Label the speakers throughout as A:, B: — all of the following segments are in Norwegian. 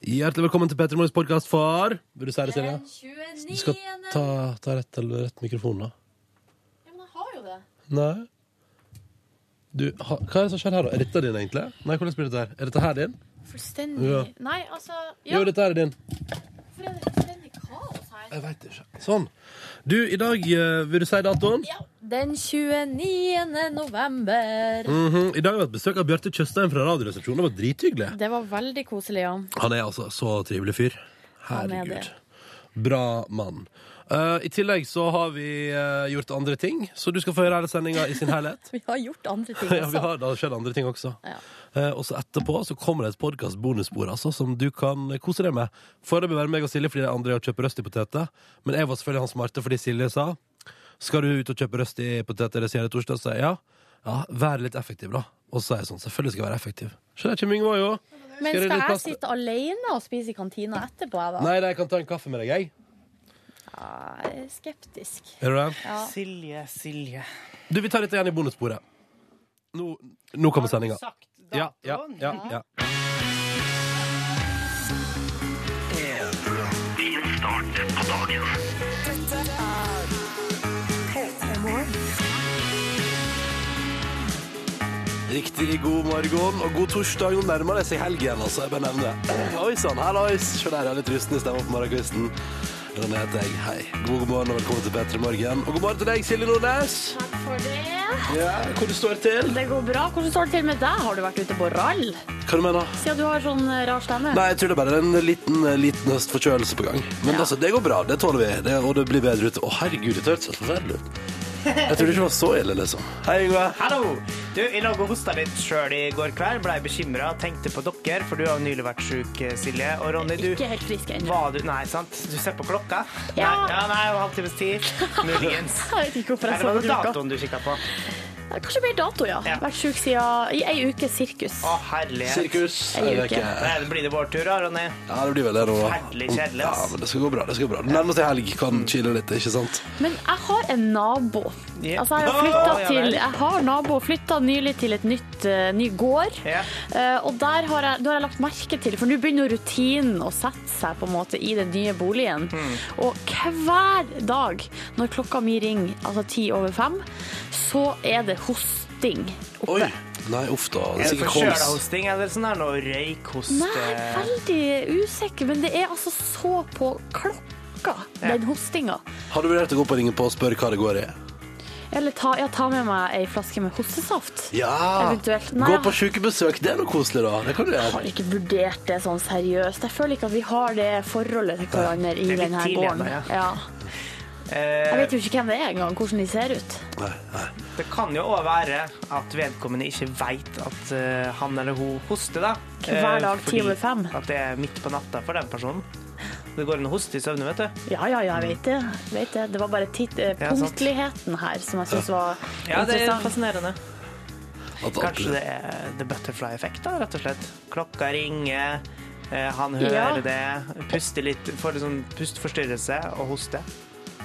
A: Hjertelig velkommen til Petter Morgens podkast for Vil du si det, Silje?
B: Den 29.
A: Du skal ta, ta rett eller rett mikrofon, da.
B: Ja, men jeg har jo det.
A: Nei. Du, ha, hva er det som skjer her, da? Er dette din, egentlig? Nei, hvordan blir dette her? Er dette her din?
B: Fullstendig
A: Ja.
B: Nei, altså Ja,
A: Jo, dette her er din.
B: hvorfor er det fullstendig kaos her?
A: Jeg veit ikke. Sånn. Du, i dag eh, Vil du si datoen?
B: Ja, den 29. november.
A: Mhm. I dag har vi hatt besøk av Bjarte Tjøstheim fra Radioresepsjonen. Det var drithyggelig.
B: Det var veldig koselig, Jan.
A: Han er altså så trivelig fyr.
B: Han er
A: Herregud.
B: det.
A: Bra mann. Eh, I tillegg så har vi eh, gjort andre ting, så du skal få høre hele sendinga i sin helhet.
B: Vi har gjort andre ting
A: ja, vi
B: også.
A: har, det har skjedd andre ting også.
B: Ja.
A: Eh, og så etterpå så kommer det et podkast bonusspor altså, som du kan kose deg med. Foreløpig være meg og Silje fordi det er André og kjøpe røstipoteter. Men jeg var selvfølgelig han smarte fordi Silje sa Skal du ut og kjøpe røstipoteter senere torsdag? Så jeg ja. ja. Vær litt effektiv, da. Og så er jeg sånn. Selvfølgelig skal jeg være effektiv. Skjønner ikke Myngvold, jo.
B: Men
A: Skal jeg
B: skal
A: rydde
B: jeg
A: plass-
B: sitte alene og spise i kantina etterpå, jeg, da?
A: Nei, nei, jeg kan ta en kaffe med deg, jeg.
B: Ja, jeg er skeptisk.
A: Er du det?
B: Ja.
C: Silje, Silje.
A: Du, vi tar dette igjen i bonussporet. Nå, nå kommer sendinga.
C: sagt
A: Ja, ja, ja, ja. Riktig god morgen og god torsdag. Nå nærmer det seg helgen, altså. Jeg bare nevner det. Oi sann, hallois. Se der, jeg har litt rusten i stemmen på morgenkvisten. Ronny heter jeg. Hei. God morgen og velkommen til P3 Morgen. Og god morgen til deg, Silje Nordnes.
B: Takk for det.
A: Ja, hvor du står til.
B: Det går bra. Hvordan står det til med deg? Har du vært ute på rall?
A: Hva du mener
B: Siden du har sånn eh, rar stemme.
A: Nei, jeg tror det er bare en liten, liten høstforkjølelse på gang. Men altså, det går bra. Det tåler vi. Det, og det blir bedre ute. Å, herregud, det hørtes helt forferdelig ut. Jeg trodde ikke det var så ille, liksom. Hei, Yngve.
C: Hallo! Du, I lag og hosta litt sjøl i går kveld. Blei bekymra, tenkte på dere, for du har jo nylig vært sjuk, eh, Silje. Og Ronny, du
B: Ikke helt frisk ennå.
C: var du, Nei, sant? Du ser på klokka?
B: Ja.
C: Nei, ja, nei en halvtimes tid. Muligens.
B: Jeg vet ikke hvorfor
C: Nei,
B: jeg
C: det
B: så på
C: var jo
B: klokka.
C: datoen du kikka på.
B: Kanskje mer dato, ja.
C: Ja.
B: Vært sjuk siden i ei uke sirkus.
C: Å, herlighet.
A: Sirkus.
B: Jeg gjør
A: Jeg vet
B: ikke.
A: ikke.
C: Nei, det blir det vår tur, da, Ronny.
A: Ja, det blir vel det nå.
C: Forferdelig kjedelig,
A: Ja,
C: ass. Mm.
A: men det skal gå bra. Det skal gå bra. Nærmer seg helg, kan chille litt, ikke sant?
B: Men jeg har en nabo.
C: Ja.
B: Altså, jeg har
C: Å,
B: flytta
C: ja
B: til
C: vel.
B: Jeg har nabo flytta nylig til et nytt eh, ny gård.
C: Ja.
B: Eh, og der har jeg, da har jeg lagt merke til, for nå begynner jo rutinen å sette seg på en måte i den nye boligen.
C: Hmm.
B: Og hver dag når klokka mi ringer, altså ti over fem, så er det hosting
A: Oi.
B: oppe.
A: Nei, uff da. Det
C: Er
A: er
C: det
A: sikkert kols.
C: forkjølahosting eller sånn her noe røykhost?
B: Nei,
C: eh,
B: veldig usikker, men det er altså så på klokka,
C: Ja.
B: den hostinga.
A: Har du vurdert å gå opp og ringe på og spørre hva det går i?
B: Eller ta, ja, ta med meg ei flaske med hostesaft.
A: Ja.
B: Eventuelt. Nei,
A: Gå
B: jeg-
A: på sjukebesøk. Det er noe koselig, da. Det kan du
B: Jeg
A: gjøre.
B: har ikke vurdert det sånn seriøst. Jeg føler ikke at vi har det forholdet til hverandre i
C: Det er litt
B: denne
C: tidlig
B: gården.
C: ennå,
B: Ja.
C: eh,
B: Jeg vet jo ikke hvem det er engang, hvordan de ser ut.
A: Nei, nei.
C: Det kan jo òg være at vedkommende ikke veit at eh, han eller hun hoster, da.
B: Hver
C: Eh,
B: dag, ti
C: fordi
B: over fem.
C: At det er midt på natta for den personen. Det går en hoste i søvne, vet du.
B: Ja, ja, ja, jeg vet det. Jeg vet det. det var bare titt, eh,
C: Ja, sant.
B: punktligheten her som jeg syns var
C: Ja, det er
B: interessant.
C: fascinerende.
A: At alt-
C: Kanskje det er the butterfly-effekt, da, rett og slett. Klokka ringer, eh, han
B: Ja.
C: hører det, puster litt, får litt sånn pustforstyrrelse og hoster.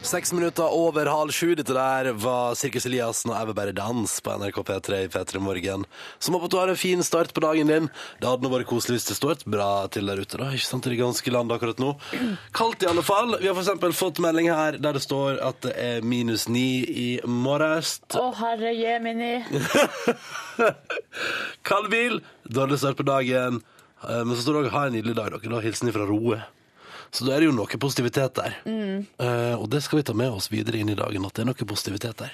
A: Seks minutter over halv sju. Dette der var Sirkus Eliassen og Jeg vil bare dans på NRK P3 i P3 Morgen. Som håper at du har en fin start på dagen din. Det hadde nå vært koselig hvis det står et bra til der ute, da. Ikke sant, i det ganske land akkurat nå. Kaldt i alle fall. Vi har for eksempel fått melding her der det står at det er minus ni i morges.
B: Å, herre jemini.
A: Kald bil, dårlig start på dagen. Eh, Men så står det også 'ha en nydelig dag', dere. Da hilsen fra Roe. Så da er det jo noe
B: Mm.
A: positivitet der. Eh, og det skal vi ta med oss videre inn i dagen, at det er noe positivitet der.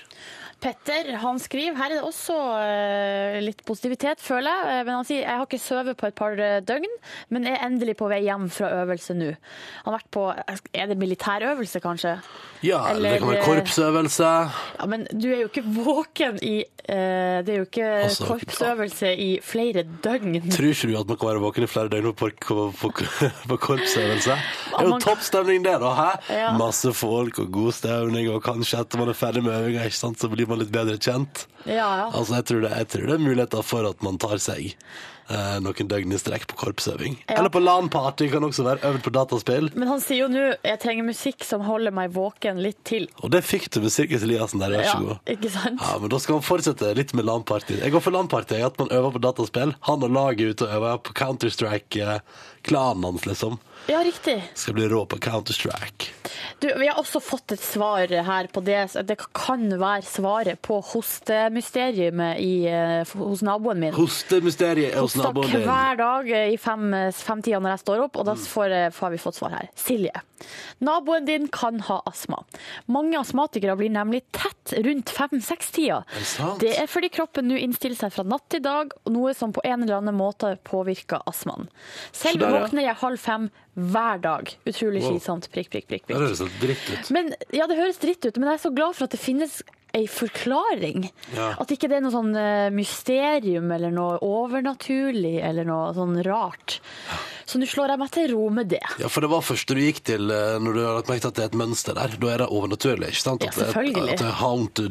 B: Petter han skriver Her er det også eh, litt positivitet, føler jeg. Eh, Men han sier jeg har ikke sovet på et par eh, døgn, men er endelig på vei hjem fra øvelse nå. Han har vært på eh, Er det militærøvelse, kanskje?
A: Ja, eller det kan være
B: Eller-
A: korpsøvelse.
B: Ja, Men du er jo ikke våken i eh, Det er jo ikke
A: Altså,
B: korpsøvelse i flere døgn.
A: Tror ikke du at man kan være våken i flere døgn på, på, på, på korpsøvelse? Det er
B: Ja,
A: jo
B: man-
A: topp stemning det, da. Hæ?
B: Ja.
A: Masse folk og god stemning, og kanskje etter man er ferdig med øvinga, ikke sant, så blir man litt bedre kjent.
B: Ja, ja.
A: Altså, jeg tror det, jeg tror det er muligheter for at man tar seg eh, noen døgn i strekk på korpsøving.
B: Ja.
A: Eller på LAN-party kan også være øvd på dataspill.
B: Men han sier jo nå jeg trenger musikk som holder meg våken litt til.
A: Og det fikk du med Sirkus Eliassen der, vær
B: Ja,
A: så god.
B: ikke sant?
A: Ja, men Da skal man fortsette litt med LAN-party. Jeg går for LAN-party, at man øver på dataspill. Han og laget er ute og øver på Counter-Strike-klanen hans, liksom.
B: Ja, riktig.
A: Skal bli rå på Counter-Strike.
B: Du, vi har også fått et svar her på det. så Det kan være svaret på hostemysteriet i, eh, hos naboen min.
A: Hostemysteriet er hos
B: Hosta
A: naboen din. Mm.
B: hver dag eh, i fem, femtida når jeg står opp, og da får, eh, har vi fått svar her. Silje. Naboen din kan ha astma. Mange astmatikere blir nemlig tett rundt fem-seks-tida.
A: Er det sant?
B: Det er fordi kroppen nå innstiller seg fra natt til dag, noe som på en eller annen måte påvirker astmaen. Selv
A: Så der, ja.
B: våkner jeg halv fem hver dag. Utrolig
A: Wow.
B: slitsomt. Prikk, prikk, prikk.
A: Det
B: prikk.
A: høres helt dritt ut.
B: Men, ja, det høres dritt ut, men jeg er så glad for at det finnes ei forklaring.
A: Ja.
B: At ikke det er noe sånn eh, mysterium eller noe overnaturlig eller noe sånn rart. Så nå slår jeg meg til ro med det.
A: Ja, for det var første du gikk til eh, når du har lagt merke til at det er et mønster der. Da er det overnaturlig, ikke sant?
B: Ja,
A: At det- At
B: selvfølgelig.
A: det er haunted.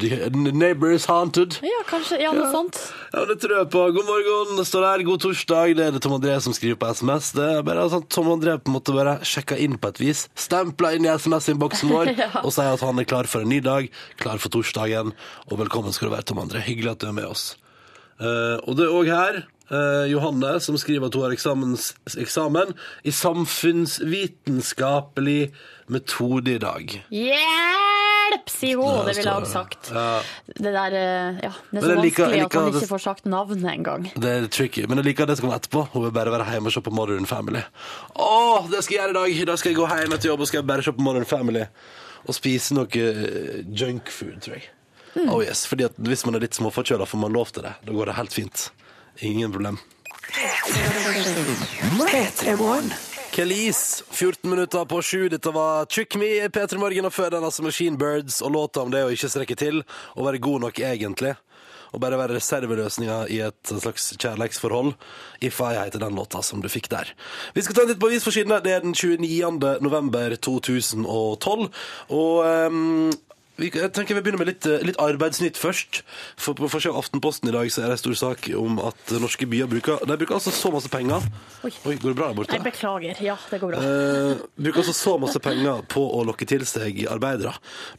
A: Neighbor is haunted.
B: Ja, kanskje. Ja, noe sånt.
A: Ja, men det tror jeg på. God morgen, det står her. God torsdag. Det er det Tom André som skriver på SMS. Det er bare sånn at Tom André på en måte bare sjekka inn på et vis. Stempla inn i SMS-innboksen vår og sier at han er klar for en ny dag, klar for torsdagen. Og velkommen skal du være, Tom André. Hyggelig at du er med oss. Eh, og det er òg her eh, Johanne som skriver at hun har eksamens, eksamen i samfunnsvitenskapelig metode i dag.
B: Hjelp, sier hun!
A: Der
B: Det ville jeg
A: står
B: også sagt.
A: Ja.
B: Det der eh, Ja, det er
A: Men
B: så
A: jeg liker-
B: vanskelig
A: jeg
B: at han
A: liker-
B: ikke får sagt navnet engang.
A: Det er tricky, men jeg liker det som kommer etterpå. Hun vil bare være hjemme og se på Modern Family. Åh, det skal jeg gjøre i dag! Da skal jeg gå hjem etter jobb og skal jeg bare se på Modern Family. Og spise noe eh, junk food, tror jeg. Oh yes, fordi at hvis man er litt småforkjøla, får man lov til det. Da går det helt fint. Ingen problem. Kelis, 14 minutter på sju. Dette var Trick Me i P3 Morgen, og før den altså Machine Birds og låta om det å ikke strekke til og være god nok egentlig. Og bare være reserveløsninga i et slags kjærleiksforhold. If I heter den låta som du fikk der. Vi skal ta en titt på avisforsidene. Det er den 29. november 2012. Og ehm, vi, jeg tenker vi begynner med litt, eh, litt arbeidsnytt først. For På forsiden av Aftenposten i dag så er det en stor sak om at norske byer bruker De bruker altså så masse penger. Oi,
B: Oi.
A: går det bra der borte?
B: Nei, beklager. Ja, det går bra.
A: Eh, bruker altså så masse penger på å lokke til seg arbeidere.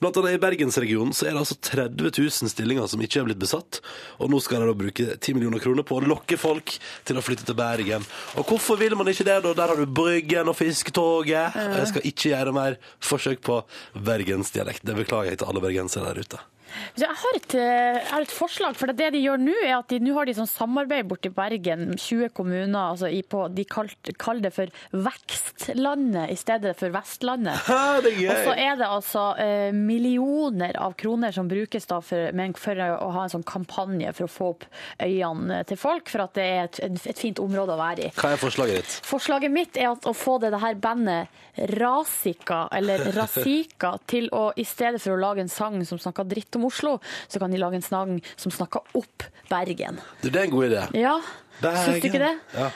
A: Blant annet i Bergensregionen så er det altså 30 000 stillinger som ikke er blitt besatt, og nå skal de da bruke 10 millioner kroner på å lokke folk til å flytte til Bergen. Og hvorfor vil man ikke det, da? Der har du Bryggen og Fisketoget. Og Jeg skal ikke gjøre mer forsøk på bergensdialekt. Det beklager jeg til alle bergensere der ute.
B: Du, Jeg har et, eh, jeg har et forslag, for det de gjør nå er at de nå har de sånn samarbeid borti Bergen, 20 kommuner, altså i på, de kalt, kaller det for Vekstlandet i stedet for Vestlandet.
A: Ha, det er gøy!
B: Og så er det altså eh, millioner av kroner som brukes da for, men for å ha en sånn kampanje for å få opp øynene til folk, for at det er et, et fint område å være i.
A: Hva er forslaget ditt?
B: Forslaget mitt er at å få det, det her bandet Rasika, eller Rasika, til å i stedet for å lage en sang som snakker dritt om Oslo, så kan de lage en sang som snakker opp Bergen.
A: Du, det er en god idé.
B: Ja,
A: Bergen.
B: syns du ikke det?
A: Ja.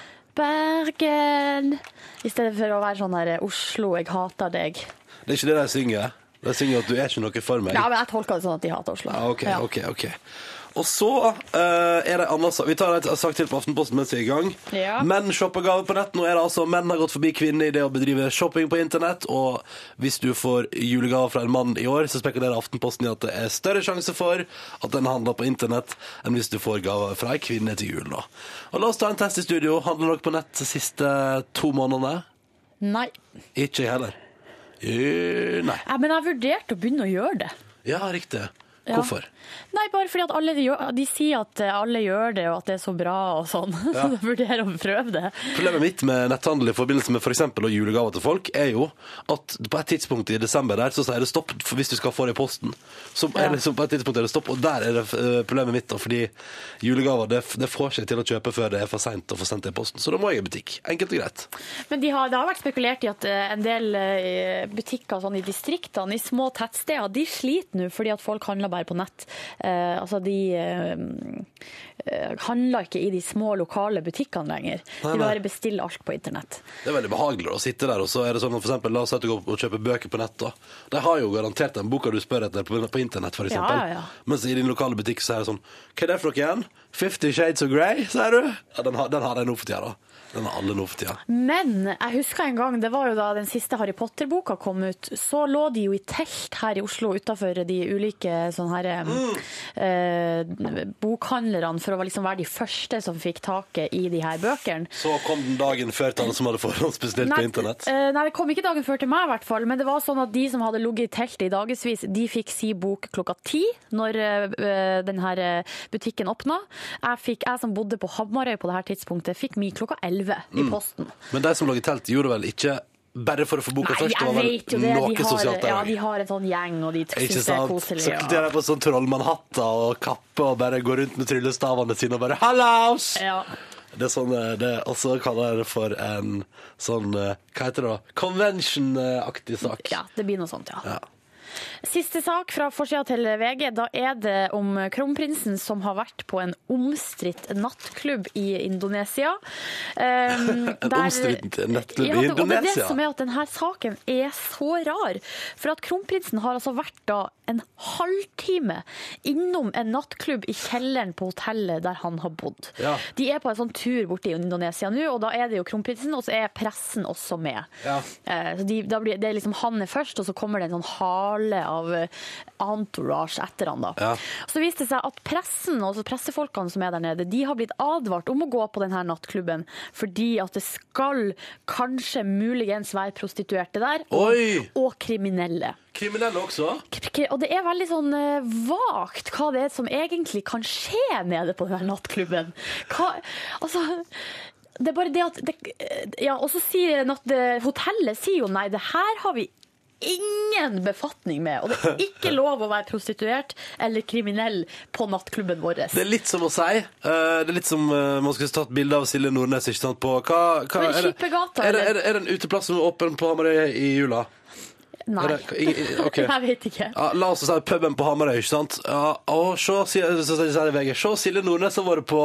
B: Bergen! I stedet for å være sånn her Oslo, jeg hater deg.
A: Det er ikke det de synger. De synger at du er ikke noe for meg.
B: Ja, men jeg tolker det sånn at de hater Oslo.
A: Ja, ok,
B: Ja.
A: ok, ok. Og så eh, er det en annen sak. Vi tar en sak til på Aftenposten mens vi er i gang.
B: Ja.
A: Menn shopper gaver på nett. Nå er det altså menn har gått forbi kvinner i det å bedrive shopping på internett. Og hvis du får julegaver fra en mann i år, så spekulerer Aftenposten i at det er større sjanse for at den handler på internett, enn hvis du får gaver fra ei kvinne til jul. Da. Og la oss ta en test i studio. Handler dere på nett de siste to månedene?
B: Nei.
A: Ikke jeg heller. Eh, nei.
B: Ja, men jeg vurderte å begynne å gjøre det.
A: Ja, riktig.
B: Ja.
A: Hvorfor?
B: Nei, bare fordi at alle gjør, de sier at eh, alle gjør det, og at det er så bra og sånn.
A: Ja.
B: Så jeg vurderer å prøve det.
A: Problemet mitt med netthandel i forbindelse med for eksempel og julegaver til folk, er jo at på et tidspunkt i desember der så sier det stopp for hvis du skal få det i posten. Så er det, så på et tidspunkt er det stopp, og der er det eh, problemet mitt, da, fordi julegaver det, det får seg til å kjøpe før det er for seint å få sendt det i posten. Så da må jeg i butikk. Enkelt og greit.
B: Men de har, det har vært spekulert i at eh, en del eh, butikker sånn, i distriktene, i små tettsteder, de sliter nå fordi at folk handler bare på nett. Eh, altså de eh, eh, handler ikke i de små lokale butikkene lenger.
A: Nei, nei.
B: De bare bestiller alt på internett.
A: Det er veldig behagelig å sitte der, og så er det sånn at for eksempel, la oss si at du går og kjøper bøker på nett, da. De har jo garantert den boka du spør etter på, på internett, for eksempel.
B: Ja, ja, ja.
A: Mens i din lokale butikk så er det sånn, hva er det for noe igjen? 50 Shades of Grey, sier du? Ja, den har, den har de nå for tida, da. Den har alle nå for tida.
B: Men jeg husker en gang, det var jo da den siste Harry Potter-boka kom ut, så lå de jo i telt her i Oslo utenfor de ulike sånne her
A: Mm.
B: eh, bokhandlerne for å liksom være de første som fikk taket i de her bøkene.
A: Så kom den dagen før til alle som hadde forhåndsbestilt på internett.
B: eh, nei, det kom ikke dagen før til meg i hvert fall, men det var sånn at de som hadde ligget i teltet i dagevis, de fikk si bok klokka ti når eh, den her eh, butikken åpna. Jeg, fikk, jeg som bodde på Hammarøy på det her tidspunktet, fikk mi klokka elleve i
A: Mm.
B: posten.
A: Men de som lå i telt, gjorde vel ikke bare for å få boka først? Det var
B: jeg vet jo
A: vel
B: det.
A: noe
B: De har,
A: sosialt der
B: ja,
A: også.
B: de har en sånn gjeng, og de
A: Ikke
B: syns det er
A: sant?
B: koselig.
A: Så de
B: Ja.
A: er på sånn trollmannhatter og kappe og bare går rundt med tryllestavene sine og bare Hallows!
B: Ja.
A: Det er sånn, eh, det, og så kaller jeg det for en sånn, eh, hva heter det da, convention-aktig sak.
B: ja, det blir noe sånt, ja.
A: Ja.
B: Siste sak fra forsida til VG. Da er det om kronprinsen som har vært på en omstridt nattklubb i Indonesia. Um,
A: En omstridt nattklubb i
B: det- og Det er
A: Indonesia?
B: det som er at denne saken er så rar. For at kronprinsen har altså vært da en halvtime innom en nattklubb i kjelleren på hotellet der han har bodd.
A: Ja.
B: De er på en sånn tur borte i Indonesia nå, og da er det jo kronprinsen, og så er pressen også med.
A: Ja.
B: Eh, Så de, da blir, det er liksom han er først, og så kommer det en sånn hale av eh, entourage etter han. da.
A: Ja.
B: Så viste det seg at pressen, altså pressefolkene som er der nede, de har blitt advart om å gå på denne nattklubben, fordi at det skal kanskje muligens være prostituerte der, og,
A: Oi!
B: og kriminelle.
A: Kriminelle også?
B: K- k- Og det er veldig sånn eh, vagt hva det er som egentlig kan skje nede på denne nattklubben. Hva, altså... Det er bare det at det, eh, Ja, og så sier natt, det, hotellet sier jo nei, det her har vi ingen befatning med. Og det er ikke lov å være prostituert eller kriminell på nattklubben vår.
A: Det er litt som å si, eh, det er litt som eh, man skulle tatt bilde av Silje Nordnes, ikke sant, på hva, hva
B: Men
A: er, det,
B: Kippegata,
A: er, det,
B: eller?
A: er, det, er det en uteplass som er åpen på Hamarøy i jula?
B: Nei.
A: Er det- i- i- ok.
B: Jeg vet ikke.
A: Ja, la oss si puben på Hamarøy, ikke sant? Ja, og se, sier- så sier det i VG, se Silje Nordnes har vært på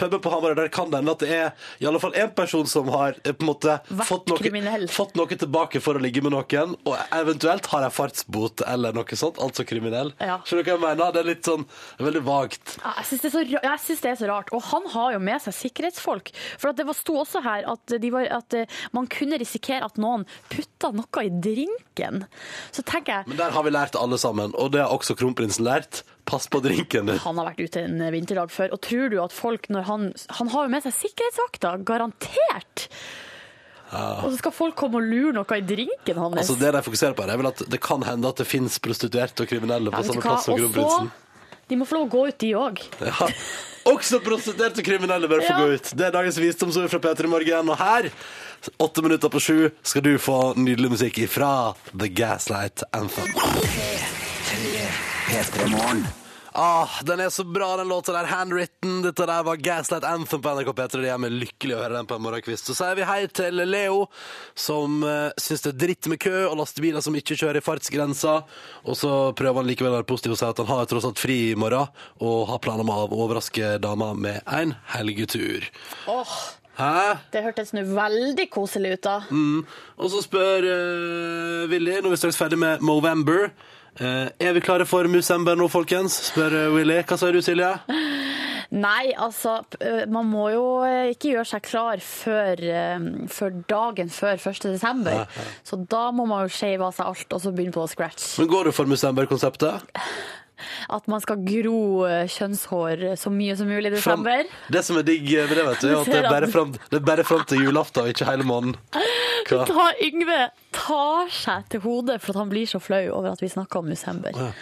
A: puben på Hamarøy. Der kan det hende at det er i alle fall én person som har eh, på en måte
B: Vært
A: fått noe,
B: kriminell.
A: fått noe tilbake for å ligge med noen, og eventuelt har en fartsbot eller noe sånt, altså kriminell.
B: Ja.
A: Skjønner du hva jeg mener? Det er litt sånn det er veldig vagt.
B: Ja, Jeg syns det, er så ra- jeg synes det er så rart. Og han har jo med seg sikkerhetsfolk. For at det var- sto også her at, de var, at eh, man kunne risikere at noen putta noe i drinken. Så tenker jeg
A: Men der har vi lært alle sammen, og det har også kronprinsen lært. Pass på drinken din.
B: han har vært ute en vinterdag før, og tror du at folk når han Han har jo med seg sikkerhetsvakter, garantert! Og så skal folk komme og lure noe i drinken hans.
A: Altså Det de fokuserer på, her er vel at det kan hende at det fins prostituerte og kriminelle
B: Ja,
A: på
B: vet du
A: samme
B: hva?
A: plass som
B: Og så-
A: kronprinsen.
B: De må få lov å gå ut, de òg.
A: Ja. Også prostituerte og kriminelle bør få
B: Ja.
A: gå ut. Det er dagens visdomsord fra Peter i morgen. Og her, åtte minutter på sju, skal du få nydelig musikk ifra The Gaslight Anthem. Ah, den er så bra, den låta der. Handwritten. Dette der var Gaslight Anthem på NRK P3. Det gjør meg lykkelig å høre den på en morgenkvist. Så sier vi hei til Leo, som uh, syns det er dritt med kø og lastebiler som ikke kjører i fartsgrensa. Og så prøver han likevel å være positiv og si at han har tross alt fri i morgen, og har planer om å overraske dama med en helgetur. Hæ?
B: det hørtes nå veldig koselig ut, da.
A: Og så spør eh, Willy, nå er vi straks ferdig med Movember. Eh, er vi klare for Musember nå, folkens? Spør eh, Willy. Hva sier du, Silje?
B: Nei, altså, p- øh, man må jo øh, ikke gjøre seg klar før, øh, før dagen før 1. desember. Så da må man jo shave av seg alt og så begynne på scratch.
A: Men går du for Musember-konseptet?
B: At man skal gro øh, kjønnshår så mye som mulig i
A: Fram-
B: desember.
A: Det som er digg med det, vet du, er at det er bare fram, det er bare fram til julaften, og ikke hele måneden. Hva?
B: Ta Yngve tar seg til hodet for at han blir så flau over at vi snakker om Musember.
A: Ja.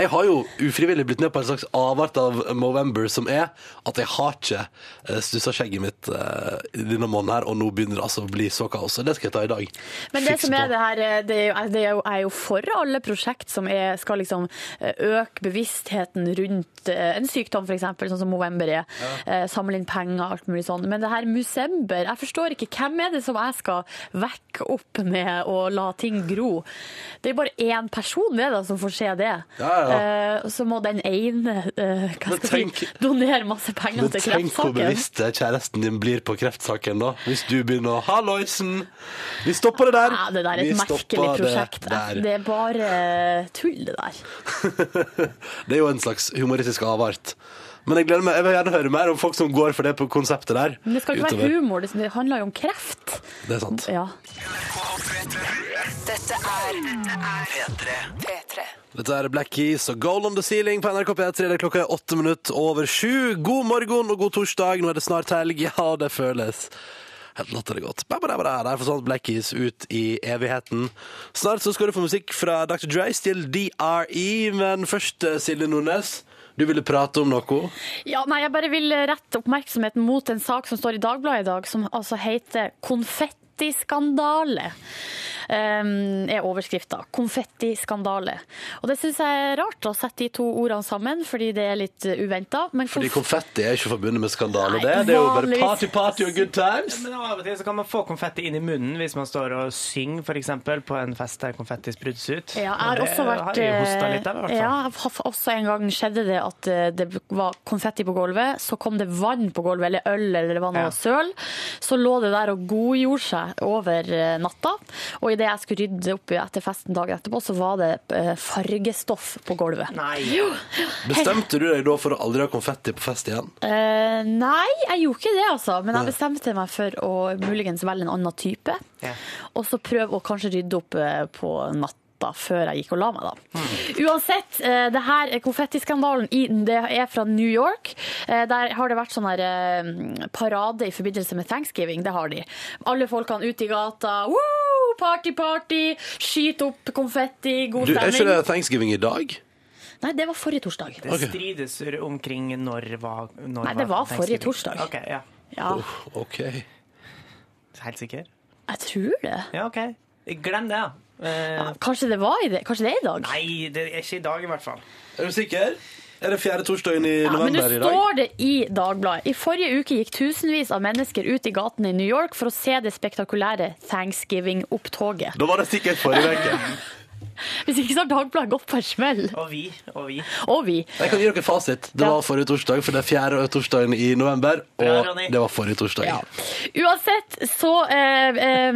A: Jeg har jo ufrivillig blitt med på en slags avart av Movember, som er at jeg har ikke eh, stussa skjegget mitt eh, i denne måneden her, og nå begynner det altså å bli så kaos. Og Det skal jeg ta i dag.
B: Men det
A: Fiks
B: som er
A: på.
B: det her, eh, det er jo, det er jo, er jo for alle prosjekt som er, skal liksom eh, øke bevisstheten rundt eh, en sykdom, f.eks., sånn som Movember er. Eh, Samle inn penger og alt mulig sånn. Men det her Musember, jeg forstår ikke. Hvem er det som jeg skal vekke opp med å la ting gro? Det er bare én person ved da, som får se det.
A: Ja, ja.
B: Eh, og så må den ene eh, hva
A: Men
B: skal jeg si,
A: tenk-
B: donere masse penger
A: Men
B: til
A: tenk hvor
B: kreftsaken.
A: bevisst kjæresten din blir på kreftsaken, da. Hvis du begynner å Halloisen! Vi stopper det der!
B: Ja, det der er
A: Vi
B: et merkelig
A: stopper det
B: prosjekt.
A: der.
B: Det, det er bare tull, det der.
A: Det er jo en slags humoristisk avart. Men jeg, gleder meg. jeg vil gjerne høre mer om folk som går for det på konseptet der.
B: Men det skal jo ikke
A: utover.
B: være humor, det- det handler jo om kreft.
A: Det er sant.
B: Ja.
D: Dette er P3. P3.
A: Dette er Black Keys og Goal on the Ceiling på NRK P3. Det er klokka er åtte minutter over sju. God morgen og god torsdag. Nå er det snart helg. Ja, det føles helt latterlig godt. Ba, ba, da, ba, da. Der forsvant sånn Black Keys ut i evigheten. Snart så skal du få musikk fra Dr. Dreis til DRE, men først, eh, Silje Nordnes. Du ville prate om noe.
B: ja, nei, jeg bare vil rette oppmerksomheten mot en sak som står i Dagbladet i dag, som altså heter konfettiskandale. Um, er overskrifta. Konfettiskandale. Og det syns jeg er rart å sette de to ordene sammen, fordi det er litt uventa.
A: Fordi konfetti er ikke forbundet med skandale.
B: Nei,
A: Det Det er jo bare
B: vanligvis.
A: party, party og good times.
C: Men av og til så kan man få konfetti inn i munnen hvis man står og synger for eksempel, på en fest der konfetti sprutes ut.
B: Ja, jeg har
C: Og det
B: også vært eh,
C: har jeg hosta litt av, i hvert fall.
B: Ja, jeg har også en gang skjedde det at eh, det var konfetti på gulvet, så kom det vann på gulvet, eller øl, eller det var noe
C: Ja.
B: søl. Så lå det der og godgjorde seg over eh, natta. Og idet jeg skulle rydde opp etter festen dagen etterpå, så var det eh, fargestoff på gulvet.
C: Nei.
B: Jo.
A: Bestemte du deg da for å aldri ha konfetti på fest igjen?
B: Eh, nei, jeg gjorde ikke det, altså. Men jeg
A: Nei.
B: bestemte meg for å muligens velge en annen type.
C: Ja.
B: Og så prøve å kanskje rydde opp eh, på natta før jeg gikk og la meg, da. Uansett, eh, det her eh, konfettiskandalen i- det er fra New York. Eh, Der har det vært sånn her eh, parade i forbindelse med thanksgiving. Det har de. Alle folkene ute i gata. Woo! Party, party! Skyt opp konfetti, god
A: Du, er ikke
B: stemning.
A: det thanksgiving i dag?
B: Nei, det var forrige torsdag.
C: Det strides omkring når var når
B: Nei, det var forrige
C: Thanksgiving.
B: torsdag.
C: Ok, ja.
B: Ja,
A: OK.
C: Helt sikker?
B: jeg tror det.
C: Ja, OK. Glem det, da. Eh,
B: Kanskje det, var i det. Kanskje det er i dag?
C: nei, det er ikke i dag, i hvert fall.
A: Er du sikker? Er det fjerde torsdagen i
B: Ja, men
A: november
B: nå
A: i dag?
B: står det i Dagbladet. I forrige uke gikk tusenvis av mennesker ut i gatene i New York for å se det spektakulære Thanksgiving-opptoget.
A: Da var det sikkert forrige uke.
B: Hvis ikke så har Dagbladet gått på en smell.
C: Og vi. Og vi.
B: Og vi.
A: Jeg kan gi dere fasit. Det
B: Ja.
A: var forrige torsdag, for det er fjerde torsdagen i november.
C: Bra,
A: Og
C: Ronny.
A: det var forrige torsdag.
B: Ja. Uansett, så eh, eh,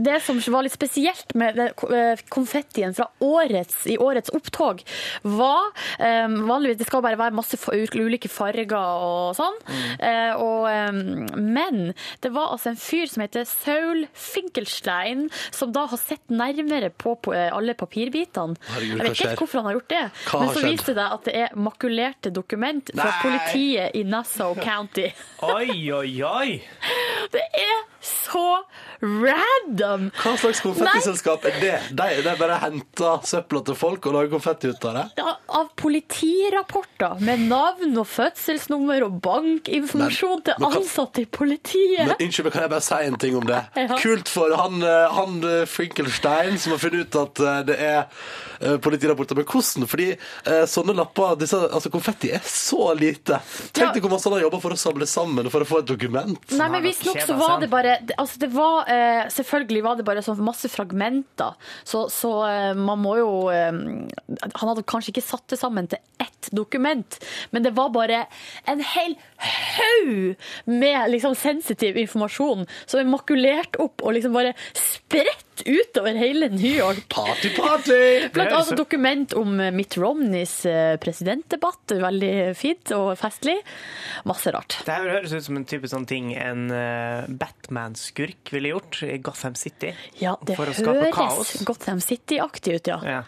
B: Det som var litt spesielt med det, eh, konfettien fra årets, i årets opptog, var eh, Vanligvis det skal bare være masse fa- ulike farger og sånn.
A: Mm.
B: Eh, og, eh, men det var altså en fyr som heter Saul Finkelstein, som da har sett nærmere på, på eh, alle papirbitene.
A: Herregud,
B: Jeg
A: hva
B: vet ikke
A: skjer?
B: helt hvorfor han har gjort det,
A: Hva
B: men
A: har
B: så
A: skjedd?
B: viste det seg at det er makulerte dokument fra
C: Nei!
B: politiet i Nassau County.
C: Oi, oi, oi!
B: Det er så random!
A: Hva slags konfettiselskap er det? De, de bare henter søpla til folk og lager konfetti ut av det?
B: Ja, Av politirapporter med navn og fødselsnummer og bankinformasjon
A: Men-
B: til
A: men hva-
B: ansatte i politiet.
A: Men Unnskyld, men kan jeg bare si en ting om det?
B: Ja.
A: Kult for han, eh, han eh, Finkelstein som har funnet ut at eh, det er eh, politirapporter. Men hvordan? Fordi eh, sånne lapper, disse, altså konfetti, er så lite.
B: Ja.
A: Tenk deg hvor masse han har jobba for å samle sammen for å få et dokument.
B: Nei, men
C: Nei,
B: visstnok
C: dere
B: så
C: kjeder
B: var
C: seg.
B: det bare det- altså det var, eh, Selvfølgelig var det bare sånn masse fragmenter, så, så eh, man må jo eh, Han hadde kanskje ikke satt det sammen til ett dokument, men det var bare en hel haug med liksom sensitiv informasjon som er makulert opp og liksom bare spredt utover hele New York.
A: Party, party!
B: Blant
C: Det er
B: annet
C: så-
B: dokument om Mitt Romneys eh, presidentdebatt. Veldig fint og festlig. Masse rart.
C: Det her høres ut som en type sånn ting en eh, Batman-skurk ville gjort i Gotham City.
B: Ja, det
C: for å skape
B: høres
C: kaos.
B: Gotham City-aktig ut, ja.
C: Ja.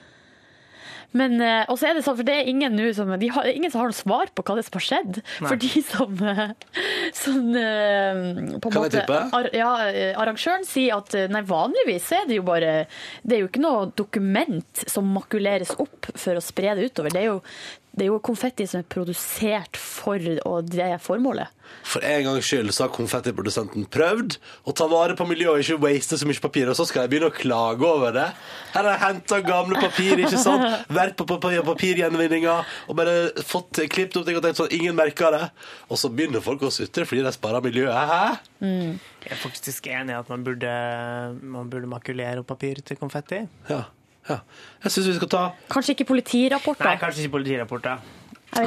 B: Men, eh, og så er det sånn, for det er ingen nå som de har, det er Ingen som har noe svar på hva det er som har skjedd. For de som, eh, som eh, på en
A: Kan jeg
B: måte,
A: tippe?
B: Ar, ja, eh, arrangøren sier at eh, nei, vanligvis så er det jo bare Det er jo ikke noe dokument som makuleres opp for å spre det utover. Det er jo, det er jo konfetti som er produsert for og det formålet.
A: For en gangs skyld så har konfettiprodusenten prøvd å ta vare på miljøet og ikke waste så mye papir, og så skal jeg begynne å klage over det. Her har jeg henta gamle papir, ikke sant? Vært på pap- papirgjenvinninga og bare fått klippet opp ting og tenkt sånn ingen merker det. Og så begynner folk å sutre fordi de sparer miljøet. Hæ?
C: Jeg er faktisk enig i at man burde, man burde makulere papir til konfetti.
A: Ja. ja. Jeg syns vi skal ta
B: Kanskje ikke politirapporter.
C: Nei, kanskje ikke politirapporter.
B: Jeg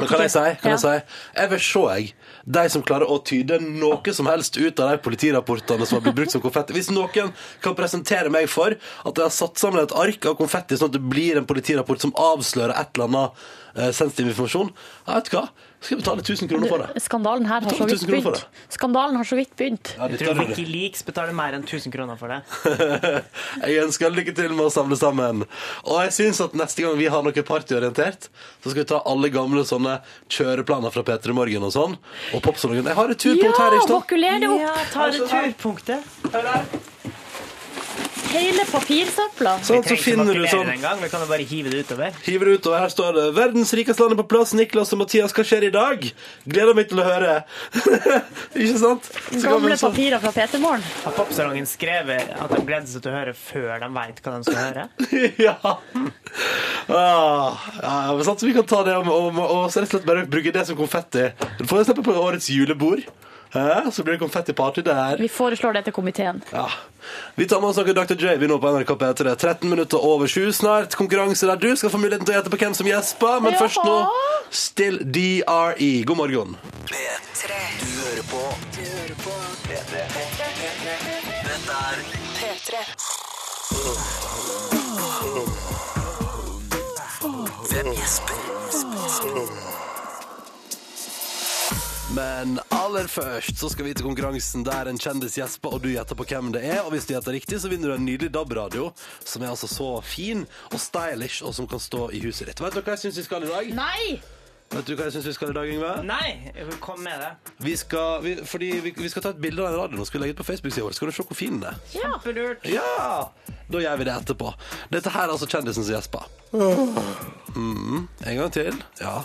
A: Men
B: vet
A: kan jeg si,
B: ikke.
A: kan
B: Ja.
A: jeg si Jeg vil se, jeg. De som klarer å tyde noe som helst ut av de politirapportene som har blitt brukt som konfetti. Hvis noen kan presentere meg for at jeg har satt sammen et ark av konfetti, sånn at det blir en politirapport som avslører et eller annet eh, sensitiv informasjon, ja, vet du hva? Skal jeg betale 1000 kroner for det?
B: Skandalen her har så
A: 12 000
B: vidt
A: kroner for
B: begynt. Skandalen har så vidt begynt.
A: Ja,
C: Jeg
A: dette
C: tror
A: er det.
C: Wikileaks betaler mer enn 1000 kroner for det.
A: Jeg ønsker lykke til med å samle sammen. Og jeg syns at neste gang vi har noe partyorientert, så skal vi ta alle gamle sånne kjøreplaner fra P3 Morgen og sånn, og popsalongen. Jeg har et
B: Ja,
A: turpunkt her, ikke sant?
B: vakuler det opp!
C: ta
A: Altså,
C: returpunktet.
B: Hele papirsøpla.
A: Sånn, så
C: Vi trenger ikke
A: finner du
C: makulere
A: sånn
C: det engang, vi kan jo bare hive det utover.
A: Hiver det ut, og her står det 'Verdens rikeste land er på plass'. Niklas og Mathias, hva skjer i dag? Gleder meg til å høre. Ikke sant? Så kan vi sånn-
B: Gamle
A: så-
B: papirer fra PT Morgen.
C: Har popsalongen skrevet at de gleder seg til å høre før de vet hva de skal høre?
A: ja. Ah, ja, men sant, så vi kan ta det om, om, og så rett og slett bare bruke det som konfetti. For eksempel på årets julebord. Hæ? Så blir det konfettiparty der.
B: Vi foreslår det til komiteen.
A: Ja. Vi tar med oss noe Dr. J. Vi nå på NRK P3. 13 minutter over 7 snart. Konkurranse der du skal få muligheten til å gjette på hvem som gjesper, men
B: Ja.
A: først nå Still DRE. God morgen.
D: P3. Du hører på. Du hører på. P3. Dette er P3.
A: Men aller først så skal vi til konkurransen der en kjendis gjesper, og du gjetter på hvem det er. Og hvis du gjetter riktig, så vinner du en nydelig DAB-radio, som er altså så fin og stylish, og som kan stå i huset ditt. Vet du hva jeg syns vi skal i dag?
B: Nei!
A: Vet du hva jeg synes vi skal i dag, Yngve?
C: Nei, jeg vil komme med det.
A: Vi skal, vi, fordi vi, vi skal ta et bilde av den radioen og skal legge ut på Facebook-sida vår. Skal du se hvor fin den er?
B: Ja.
C: Kjempelurt.
A: Ja! Da gjør vi det etterpå. Dette her er altså kjendisen som gjesper. Mm, en gang til. Ja.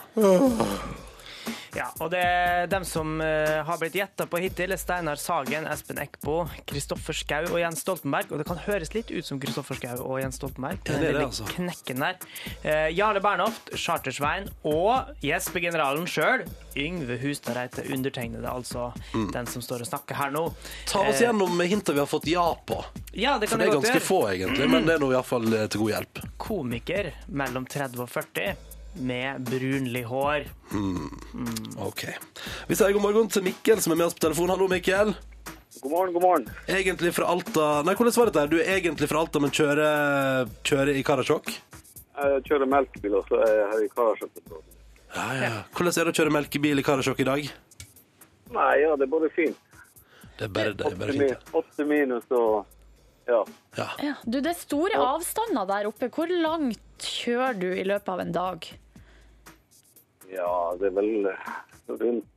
C: Ja, og det er dem som eh, har blitt gjetta på hittil, er Steinar Sagen, Espen Eckbo, Kristoffer Schau og Jens Stoltenberg. Og det kan høres litt ut som Kristoffer Schau og Jens Stoltenberg.
A: Ja, det er det, altså.
C: Knekken der. Eh, Jarle Bernhoft, Chartersveien og Jesper-generalen sjøl, Yngve Hustad Reite, undertegnede, altså
A: Mm.
C: den som står og snakker her nå.
A: Ta oss
C: Eh,
A: gjennom hintet vi har fått ja på.
C: Ja, det
A: For
C: kan
A: det
C: jeg
A: er
C: godt
A: ganske
C: gjøre.
A: få, egentlig, men det er nå iallfall eh, til god hjelp.
C: Komiker mellom 30 og 40 med brunlig hår.
A: Ok. Vi sier god morgen til Mikkel, som er med oss på telefon. Hallo, Mikkel.
E: God morgen, god morgen.
A: Egentlig fra Alta Nei, hvordan var dette? her? Du er egentlig fra Alta, men kjører, kjører i Karasjok?
E: Jeg kjører melkebil, og så er jeg her i Karasjok.
A: Ja, ja. Hvordan er det å kjøre melkebil i Karasjok i dag?
E: Nei, ja, det er bare fint.
A: Det er bare, det er
E: Åtte
A: bare
E: min-
A: fint.
E: åtte minus og ja.
A: Ja.
B: Ja. Du, det er store avstander der oppe. Hvor langt kjører du i løpet av en dag?
E: ja, det er vel eh, rundt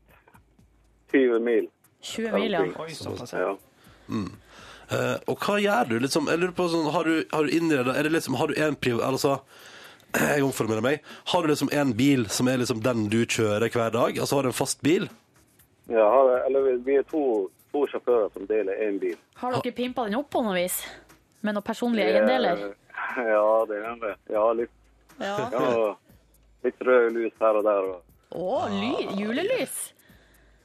E: 20 mil.
B: 20 mil, ja.
C: Oi, såpass, ja.
E: Ja.
A: Eh, og hva gjør du? Liksom, jeg lurer på, sånn, har du, har du innredet Er det liksom, har du en priv... Altså, jeg omformulerer meg. Har du liksom en bil som er liksom den du kjører hver dag? Altså har du en fast bil?
E: ja har, jeg- eller, vi er to, to sjåfører som deler én bil.
B: Har dere pimpa den opp på noe vis? Med noen personlige
E: Eh,
B: eiendeler?
E: Ja, det hender. Ja, litt,
B: Ja.
E: ja, litt rød lys her og der. Og.
B: Å, ly,
A: Ah.
B: julelys!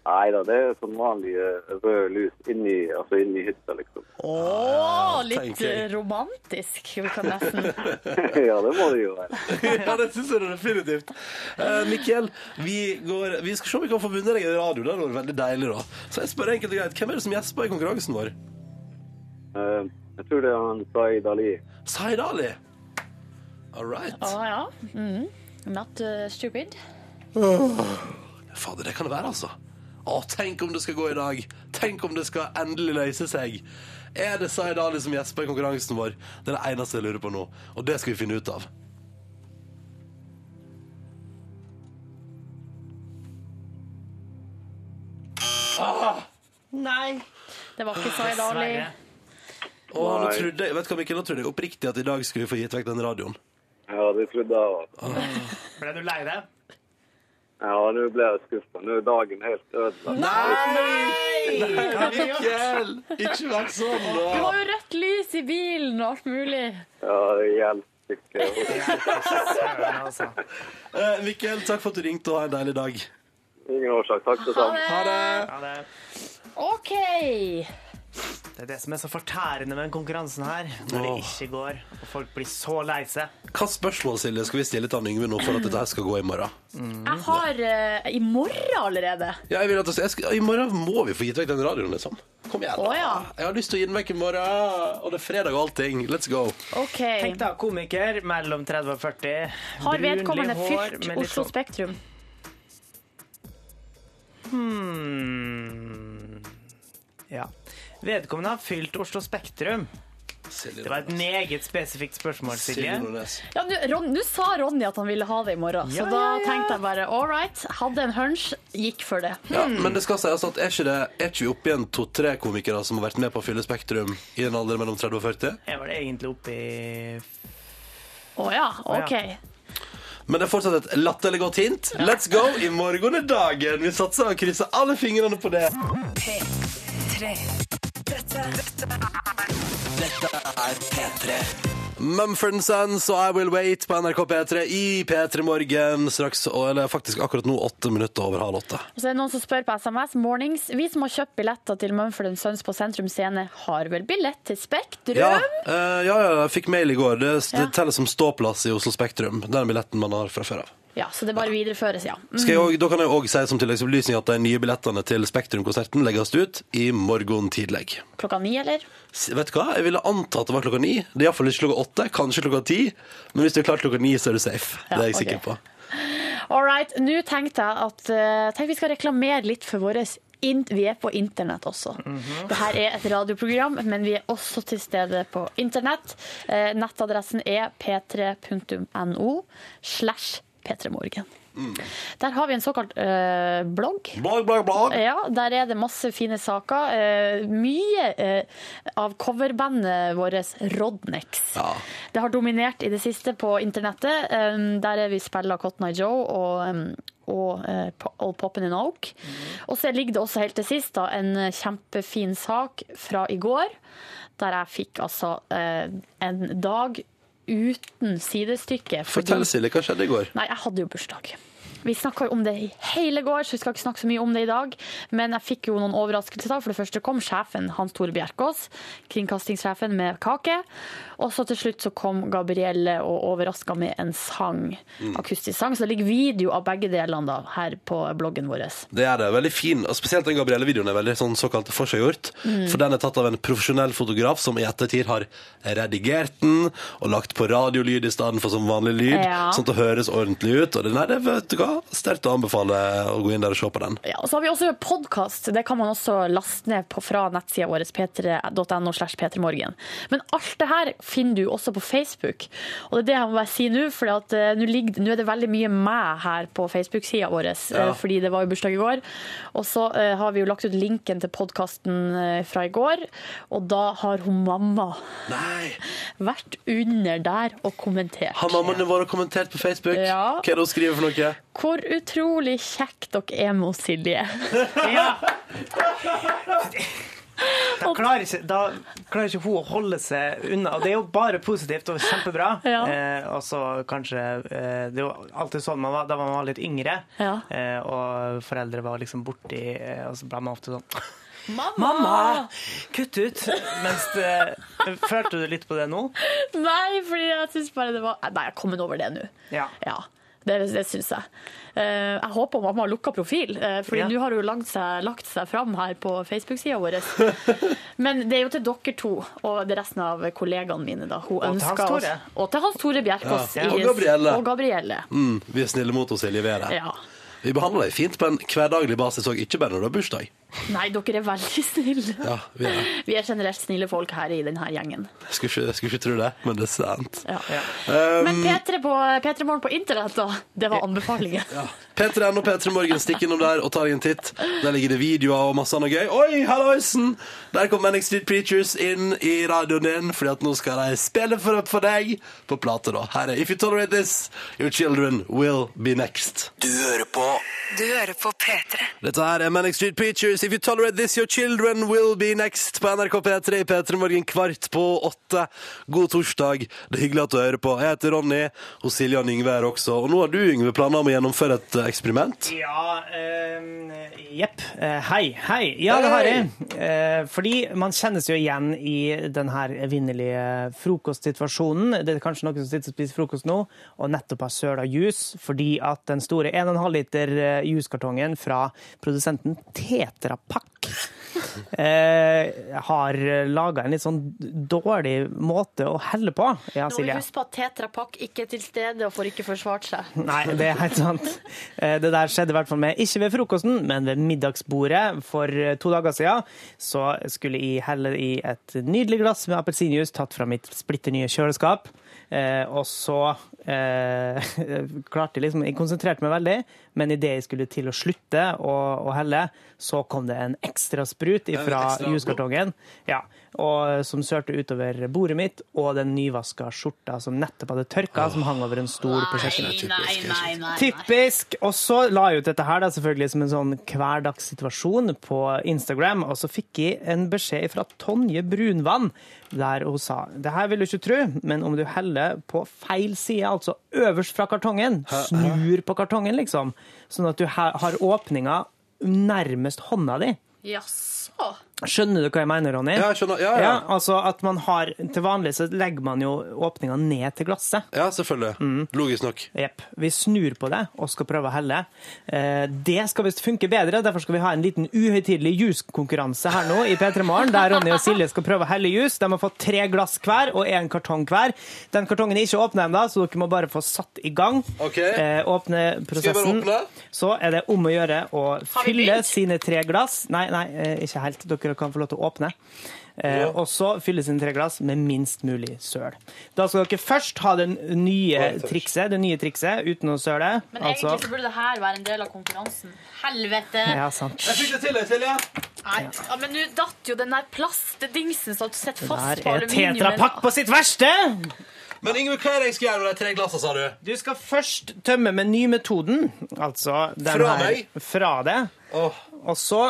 E: Nei da, det er sånn vanlig eh, rød lys inni, altså inni hytta, liksom.
B: Å, litt
A: tenker jeg.
B: eh, romantisk. Vi kan nesten
E: ja, det må det jo være.
A: ja, det syns jeg definitivt. Eh, Mikkel, vi, går, vi skal se om vi kan få vunnet deg en radio. Det hadde vært veldig deilig, da. Så jeg spør enkelt og greit, hvem er det som gjesper i konkurransen vår?
E: Eh, Jeg tror det er han Zaid Ali.
A: Zaid Ali. All right.
B: Å ja. Mhm. Not eh, stupid.
A: Fader, det kan det være, altså. Å, tenk om det skal gå i dag. Tenk om det skal endelig løse seg. Er det Zaid Ali som gjesper i konkurransen vår? Det er det eneste jeg lurer på nå, og det skal vi finne ut av.
C: Nei.
B: Det var ikke så dårlig.
C: Dessverre.
A: Og nå
E: Nei.
A: trodde jeg, vet du hva, Mikkel, nå trodde jeg oppriktig at i dag skulle vi få gitt vekk den radioen.
E: Ja, det trodde jeg òg.
C: Ble du lei deg?
E: Ja, nå ble jeg skuffa. Nå er dagen helt ødelagt.
A: Mikkel! Ikke vær sånn,
B: Det
A: da!
B: var jo rødt lys i bilen og alt mulig.
E: Ja, det hjelper ikke.
C: Søren, altså.
A: Eh, Mikkel, takk for at du ringte, og ha en deilig dag.
E: Ingen årsak. Takk det
B: Ha
E: samme.
B: det.
C: Ja, det,
B: OK.
C: det er det som er så fortærende med den konkurransen her. Når det
A: Åh.
C: ikke går, og folk blir så lei seg.
A: Hva spørsmål Silje, skal vi stille til han Yngve nå for at dette her skal gå i morgen?
C: Mm.
B: Jeg har eh, I morgen allerede.
A: Ja, jeg vil at jeg skal, I morgen må vi få gitt vekk den radioen, liksom. Kom igjen. da.
B: Å, ja.
A: Jeg har lyst til å gi den vekk i morgen. Og det er fredag og allting. Let's go.
B: OK.
C: Tenk da, komiker mellom 30 og 40.
B: Har
C: brunlig
B: vedkommende
C: hår,
B: fylt
C: med litt
B: Oslo
C: sånn-
B: Spektrum?
C: Hmm. Ja. Vedkommende har fylt Oslo Spektrum.
A: Silje
C: Det var et meget spesifikt spørsmål, Silje.
A: Silje Nordnes.
B: Ja, Nå Ron- nå sa Ronny at han ville ha det i morgen, så
C: Ja,
B: da
C: ja, ja.
B: tenkte jeg bare all right. Hadde en hunch, gikk for det.
A: Ja, men det skal sies at er ikke, det, er ikke vi oppe igjen to-tre komikere som har vært med på å fylle Spektrum i en alder mellom 30 og 40?
C: Jeg var det egentlig oppe i
B: Å ja,
C: ja.
B: OK.
A: Men det er fortsatt et latterlig godt hint. Let's go! I morgen er dagen. Vi satser og krysser alle fingrene på det.
D: P3. Dette, dette er
A: Mumford Sons og I Will Wait på NRK P3 i P3 Morgen straks, eller faktisk akkurat nå, åtte minutter over halv åtte.
B: Og Så er det noen som spør på SMS mornings. Vi som har kjøpt billetter til Mumford Sons på Sentrum Scene, har vel billett til Spektrum?
A: Ja, eh, ja, ja, jeg fikk mail i går. Det, det
B: Ja.
A: teller som ståplass i Oslo Spektrum. Den billetten man har fra før av.
B: Ja, så det bare videreføres, ja. Mm.
A: Skal jeg også, da kan jeg òg si som tilleggsopplysning at de nye billettene til Spektrum-konserten legges ut i morgen tidlig.
B: Klokka ni, eller?
A: S- Vet du hva? Jeg ville anta at det var klokka ni. Det er iallfall ikke klokka åtte, kanskje klokka ti. Men hvis du er klar klokka ni, så er du safe. Det er jeg
B: Ja,
A: sikker
B: ok.
A: på.
B: All right, nå tenkte jeg at eh, Tenk vi skal reklamere litt for våre in- Vi er på internett også. Dette er et radioprogram, men vi er også til stede på internett. Eh, Nettadressen er p3.no slash p3morgen. Der har vi en såkalt eh, blogg.
A: Blogg, blogg, blogg.
B: Ja, der er det masse fine saker. Eh, mye eh, av coverbandet vårt Rodnex.
A: Ja.
B: Det har dominert i det siste på internettet. Um, der er vi spiller Cotton Eye Joe og, um, og eh, Po- Old Poppin' in Oak. Og så ligger det også helt til sist da, en eh, kjempefin sak fra i går, der jeg fikk altså eh, en dag uten sidestykke.
A: Fortell, Silje, hva skjedde i går?
B: Nei, jeg hadde jo bursdag. Vi snakka jo om det i hele går, så vi skal ikke snakke så mye om det i dag. Men jeg fikk jo noen overraskelser. da. For det første kom sjefen, Hans Tore Bjerkås, kringkastingssjefen, med kake. Og så til slutt så kom Gabrielle og overraska med en sang, akustisk sang. Så det ligger video av begge delene da, her på bloggen vår.
A: Det er det. Veldig fin. Og spesielt den Gabrielle-videoen er veldig sånn såkalt forseggjort. For den er tatt av en profesjonell fotograf som i ettertid har redigert den og lagt på radiolyd i stedet for som vanlig lyd.
B: Ja.
A: Sånn at det høres ordentlig ut. Og det, nei, det vet du hva. Sterkt å anbefale å gå inn der og se på den.
B: Ja, og så har vi også podkast. Det kan man også laste ned på fra nettsida vår p3.no. slash p3morgen. Men alt det her finner du også på Facebook. Og det er det jeg må bare si nå, for at, eh, nå ligger- nå er det veldig mye meg her på Facebook-sida vår, eh,
A: Ja.
B: fordi det var jo bursdag i går. Og så eh, har vi jo lagt ut linken til podkasten fra i går, og da har hun mamma
A: Nei!
B: vært under der og kommentert.
A: Har mammaene våre kommentert på Facebook?
B: Ja.
A: Hva er det hun skriver for noe?
B: Hvor utrolig kjekt dere er med Silje.
C: Ja! Klarer ikke, da klarer ikke hun å holde seg unna. Og det er jo bare positivt og kjempebra.
B: Ja.
C: Eh, og så kanskje eh, Det er jo alltid sånn man var, da man var litt yngre,
B: Ja.
C: eh, og foreldre var liksom borti eh, Og så ble man ofte sånn
B: Mamma!
C: Mamma! Kutt ut! Mens det, Følte du litt på det nå?
B: Nei, fordi jeg syns bare det var Nei, jeg er kommet over det nå.
C: Ja.
B: Ja, det, det syns jeg. Eh, jeg håper mamma har lukka profil, uh, Fordi
C: Ja.
B: nå har hun lagt seg, lagt seg fram her på Facebook-sida vår. Men det er jo til dere to og det resten av kollegaene mine. Da. Hun
C: til
B: ønsker
C: Hans Tore.
B: oss- Og til Hans Tore Bjerkås.
A: Ja.
B: i-
A: Og Gabrielle.
B: Og Gabrielle.
A: Mm, vi er snille mot henne, Silje. Vi er det.
B: Ja.
A: Vi behandler deg fint på en hverdaglig basis og ikke bare når du har bursdag.
B: Nei, dere er veldig snille.
A: Ja, vi er. det.
B: Vi er generelt snille folk her i denne gjengen.
A: Jeg Skulle ikke, jeg skulle ikke tro det, men det er sant.
B: Ja.
C: Ja.
A: Um,
B: Men P3 på P3 Morgen på internett, da. Det var anbefalingen.
A: P3N og P3 Morgen, stikk innom der og ta deg en titt. Der ligger det videoer og masse annet gøy. Oi, halloisen! Der kom Manic Street Preachers inn i radioen din, fordi at nå skal de spille for, for deg på plate, da. Her er If You Tolerate This, Your Children Will Be Next.
D: Du hører på Du hører på P3.
A: Dette her er Manic Street Preachers. If you tolerate this, your children will be next på NRK P3 i P3 Morgen kvart på åtte. God torsdag. Det er hyggelig at du hører på. Jeg heter Ronny, og Silje og Yngve er her også. Og nå har du, Yngve, planer om å gjennomføre et eh, eksperiment.
C: Ja ehm, Jepp. Eh, hei. Hei. Ja, det har jeg. Eh, fordi man kjennes jo igjen i den her evinnelige frokostsituasjonen. Det er kanskje noen som sitter og spiser frokost nå og nettopp har søla juice fordi at den store 1,5 liter eh, juicekartongen fra produsenten Tetra Pak eh, har laga en litt sånn dårlig måte å helle på. Ja,
B: Nå må vi
C: Silje.
B: huske på at Tetra Pak ikke er til stede og får ikke forsvart seg.
C: Nei, det er helt sant. Eh, Det der skjedde i hvert fall med, ikke ved frokosten, men ved middagsbordet for eh, to dager siden. Så skulle jeg helle i et nydelig glass med appelsinjuice tatt fra mitt splitter nye kjøleskap. Eh, og så eh, klarte jeg liksom Jeg konsentrerte meg veldig, men idet jeg skulle til å slutte å, å helle, så kom det en ekstra sprut fra
A: ekstra blod.
C: juskartongen. Ja, og eh, som sørte utover bordet mitt, og den nyvaska skjorta som nettopp hadde tørka, som hang over en stol på kjøkkenet.
B: nei, nei, nei.
C: Typisk! Og så la jeg ut dette her da, selvfølgelig som en sånn hverdagssituasjon på Instagram, og så fikk jeg en beskjed fra Tonje Brunvann, der hun sa det her vil du ikke tro, men om du heller på feil side, altså øverst fra kartongen, snur på kartongen, liksom, sånn at du ha- har åpninga nærmest hånda di.
B: Jaså?
C: Skjønner du hva jeg mener, Ronny?
A: Ja, jeg skjønner. Ja, ja.
C: Ja, altså at man har, Til vanlig så legger man jo åpninga ned til glasset.
A: Ja, selvfølgelig. Logisk nok.
C: Jepp. Vi snur på det og skal prøve å helle. Eh, Det skal visst funke bedre, derfor skal vi ha en liten uhøytidelig juskonkurranse her nå i P3 Morgen, der Ronny og Silje skal prøve å helle jus. De har fått tre glass hver og én kartong hver. Den kartongen er ikke åpna ennå, så dere må bare få satt i gang.
A: Ok.
C: Eh, Åpne
A: jeg bare
C: prosessen.
A: åpne?
C: Så er det om å gjøre å
B: vi
C: fylle
B: begynt?
C: sine tre glass. Nei, nei, eh, ikke helt. Dere kan få lov til å åpne. Eh,
A: Ja.
C: og så fylle sine tre glass med minst mulig søl. Da skal dere først ha den nye
A: Oi, tørs.
C: trikset, det nye trikset uten å søle.
B: Men
C: Altså,
B: egentlig så burde det her være en del av konkurransen. Helvete!
C: ja, sant.
A: Jeg fikk det til, Silje.
B: Nei, ja, men nå datt jo den der plastdingsen som sitter
C: Der
B: fast på
C: er Tetra
B: aluminiumen.
C: Pak på sitt verste!
A: Men Yngve, hva er det jeg skal gjøre med de tre glassene, sa du?
C: Du skal først tømme med nymetoden, altså den
A: Fra
C: her
A: meg?
C: fra deg.
A: Åh,
C: Og så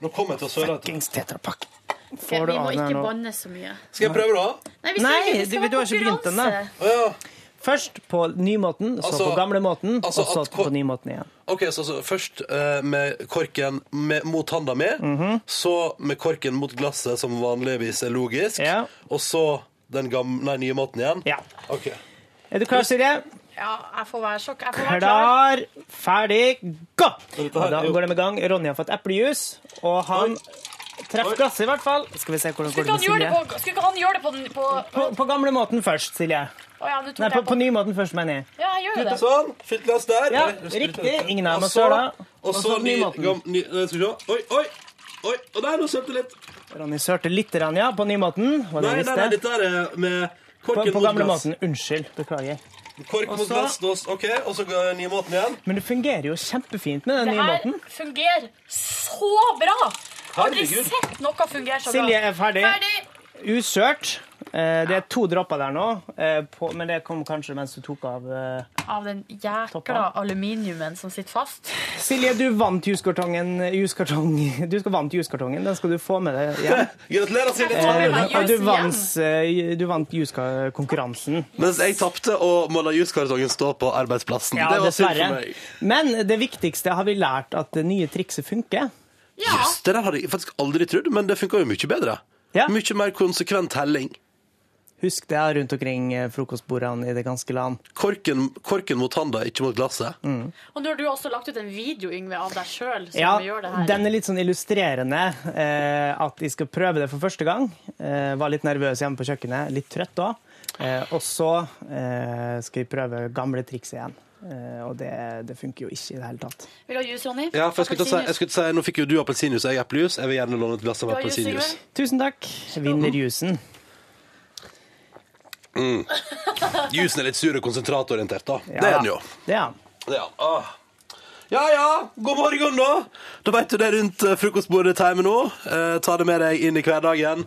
A: nå kommer jeg til å søle. vet du.
C: Fuckings Tetra Pak.
B: Vi
C: Får du
B: må
C: av den her
B: ikke
C: nå?
B: banne så mye.
A: Skal jeg prøve, da?
B: Nei, vi
C: Nei,
B: sier ikke det skal
C: du- du har
B: være
C: ikke begynt
B: konkurranse.
C: ennå.
A: Å, ja.
C: Først på nymåten, så
A: Altså-
C: på gamlemåten,
A: altså
C: og så
A: at-
C: på nymåten igjen.
A: Ok, så, så først eh, med korken med, mot handa mi, så med korken mot glasset, som vanligvis er logisk,
C: Ja.
A: og så den gamle, nei, nye måten igjen.
C: Ja.
A: Ok.
C: Er du klar, Silje?
B: Ja, jeg får være sjokk. Jeg får være klar.
C: Klar, ferdig, gå!
A: dette her
C: Og da
A: er jo-
C: går de i gang. Ronny har fått eplejus, og han treffer glasset i hvert fall. Skal vi se
B: Skulle
C: hvordan går
B: ikke
C: det med
B: han gjøre det
C: Silje?
B: på, skulle ikke han gjøre det på, den- på,
C: På, på gamlemåten først, Silje.
B: Å ja, nå tok
C: Nei,
B: jeg
C: på, på nymåten først, mener jeg.
B: Ja, jeg gjør jo det.
A: Sånn, fylt glass der.
C: Ja,
A: Oi,
C: riktig. Ingen av
A: Og
C: dem har
A: så-
C: søla.
A: Og så ny,
C: nymåten.
A: gam, ny eh, Skal vi se. Oi, oi! Oi, og der, nå sølte jeg litt.
C: Ronny sørte litt, grann, ja, på nymåten. Var det
A: Nei, nei, nei,
C: riktig?
A: dette er eh, med
C: På,
A: korken
C: på
A: mot glass.
C: gamlemåten. Unnskyld. Beklager.
A: Kork mot
C: så-
A: glass, nå s- ok, og så går jeg nye måten igjen.
C: Men det fungerer jo kjempefint med den
B: Det
C: nye
B: her
C: måten.
B: fungerer så bra! Aldri
A: Herregud.
B: sett noe fungere så bra.
C: Silje er ferdig.
B: Ferdig!
C: Usørt. Eh, Det er to dropper der nå, eh, på, men det kom kanskje mens du tok av eh,
B: Av den jækla
C: Toppa.
B: aluminiumen som sitter fast.
C: Silje, du vant juskartongen. juskartong- Du skal vant juskartongen. Den skal du få med deg hjem.
A: Gratulerer,
B: Jeg
A: Silje.
B: tar med meg
C: Ja, du
B: jusen hjem.
C: vant, eh, du vant juskonkurransen.
A: Mens jeg tapte og måla juskartongen stå på arbeidsplassen.
C: Ja,
A: det var synd for
C: dessverre.
A: meg.
C: Men det viktigste har vi lært at det nye trikset funker.
B: Ja.
A: Jøss, det der hadde jeg faktisk aldri trodd, men det funka jo mye bedre.
C: Ja.
A: Mye mer konsekvent helling.
C: Husk det rundt omkring eh, frokostbordene i det ganske land.
A: Korken, korken mot handa, ikke mot glasset.
B: Og nå har du også lagt ut en video, Yngve, av deg sjøl som
C: Ja,
B: gjør det her.
C: den er litt sånn illustrerende eh, at jeg skal prøve det for første gang. Eh, var litt nervøs hjemme på kjøkkenet, litt trøtt òg. Eh, og så eh, skal jeg prøve gamle triks igjen. Eh, Og det, det funker jo ikke i det hele tatt.
B: Vil du ha juice, Ronny?
A: Ja, for jeg skulle, til å si, jeg skulle til å si, Nå fikk jo du appelsinjuice og jeg eplejus. Jeg vil gjerne låne et glass av
B: Du har juice,
A: appelsinjuice.
B: Sigve?
C: Tusen takk. Vinner jusen.
A: Jusen er litt sur og konsentratorientert, da. det er den jo.
C: Det er han.
A: Det er han. Ah. Ja ja, god morgen, da! Da vet du det er rundt eh, frokostbordet time nå. Eh, ta det med deg inn i hverdagen.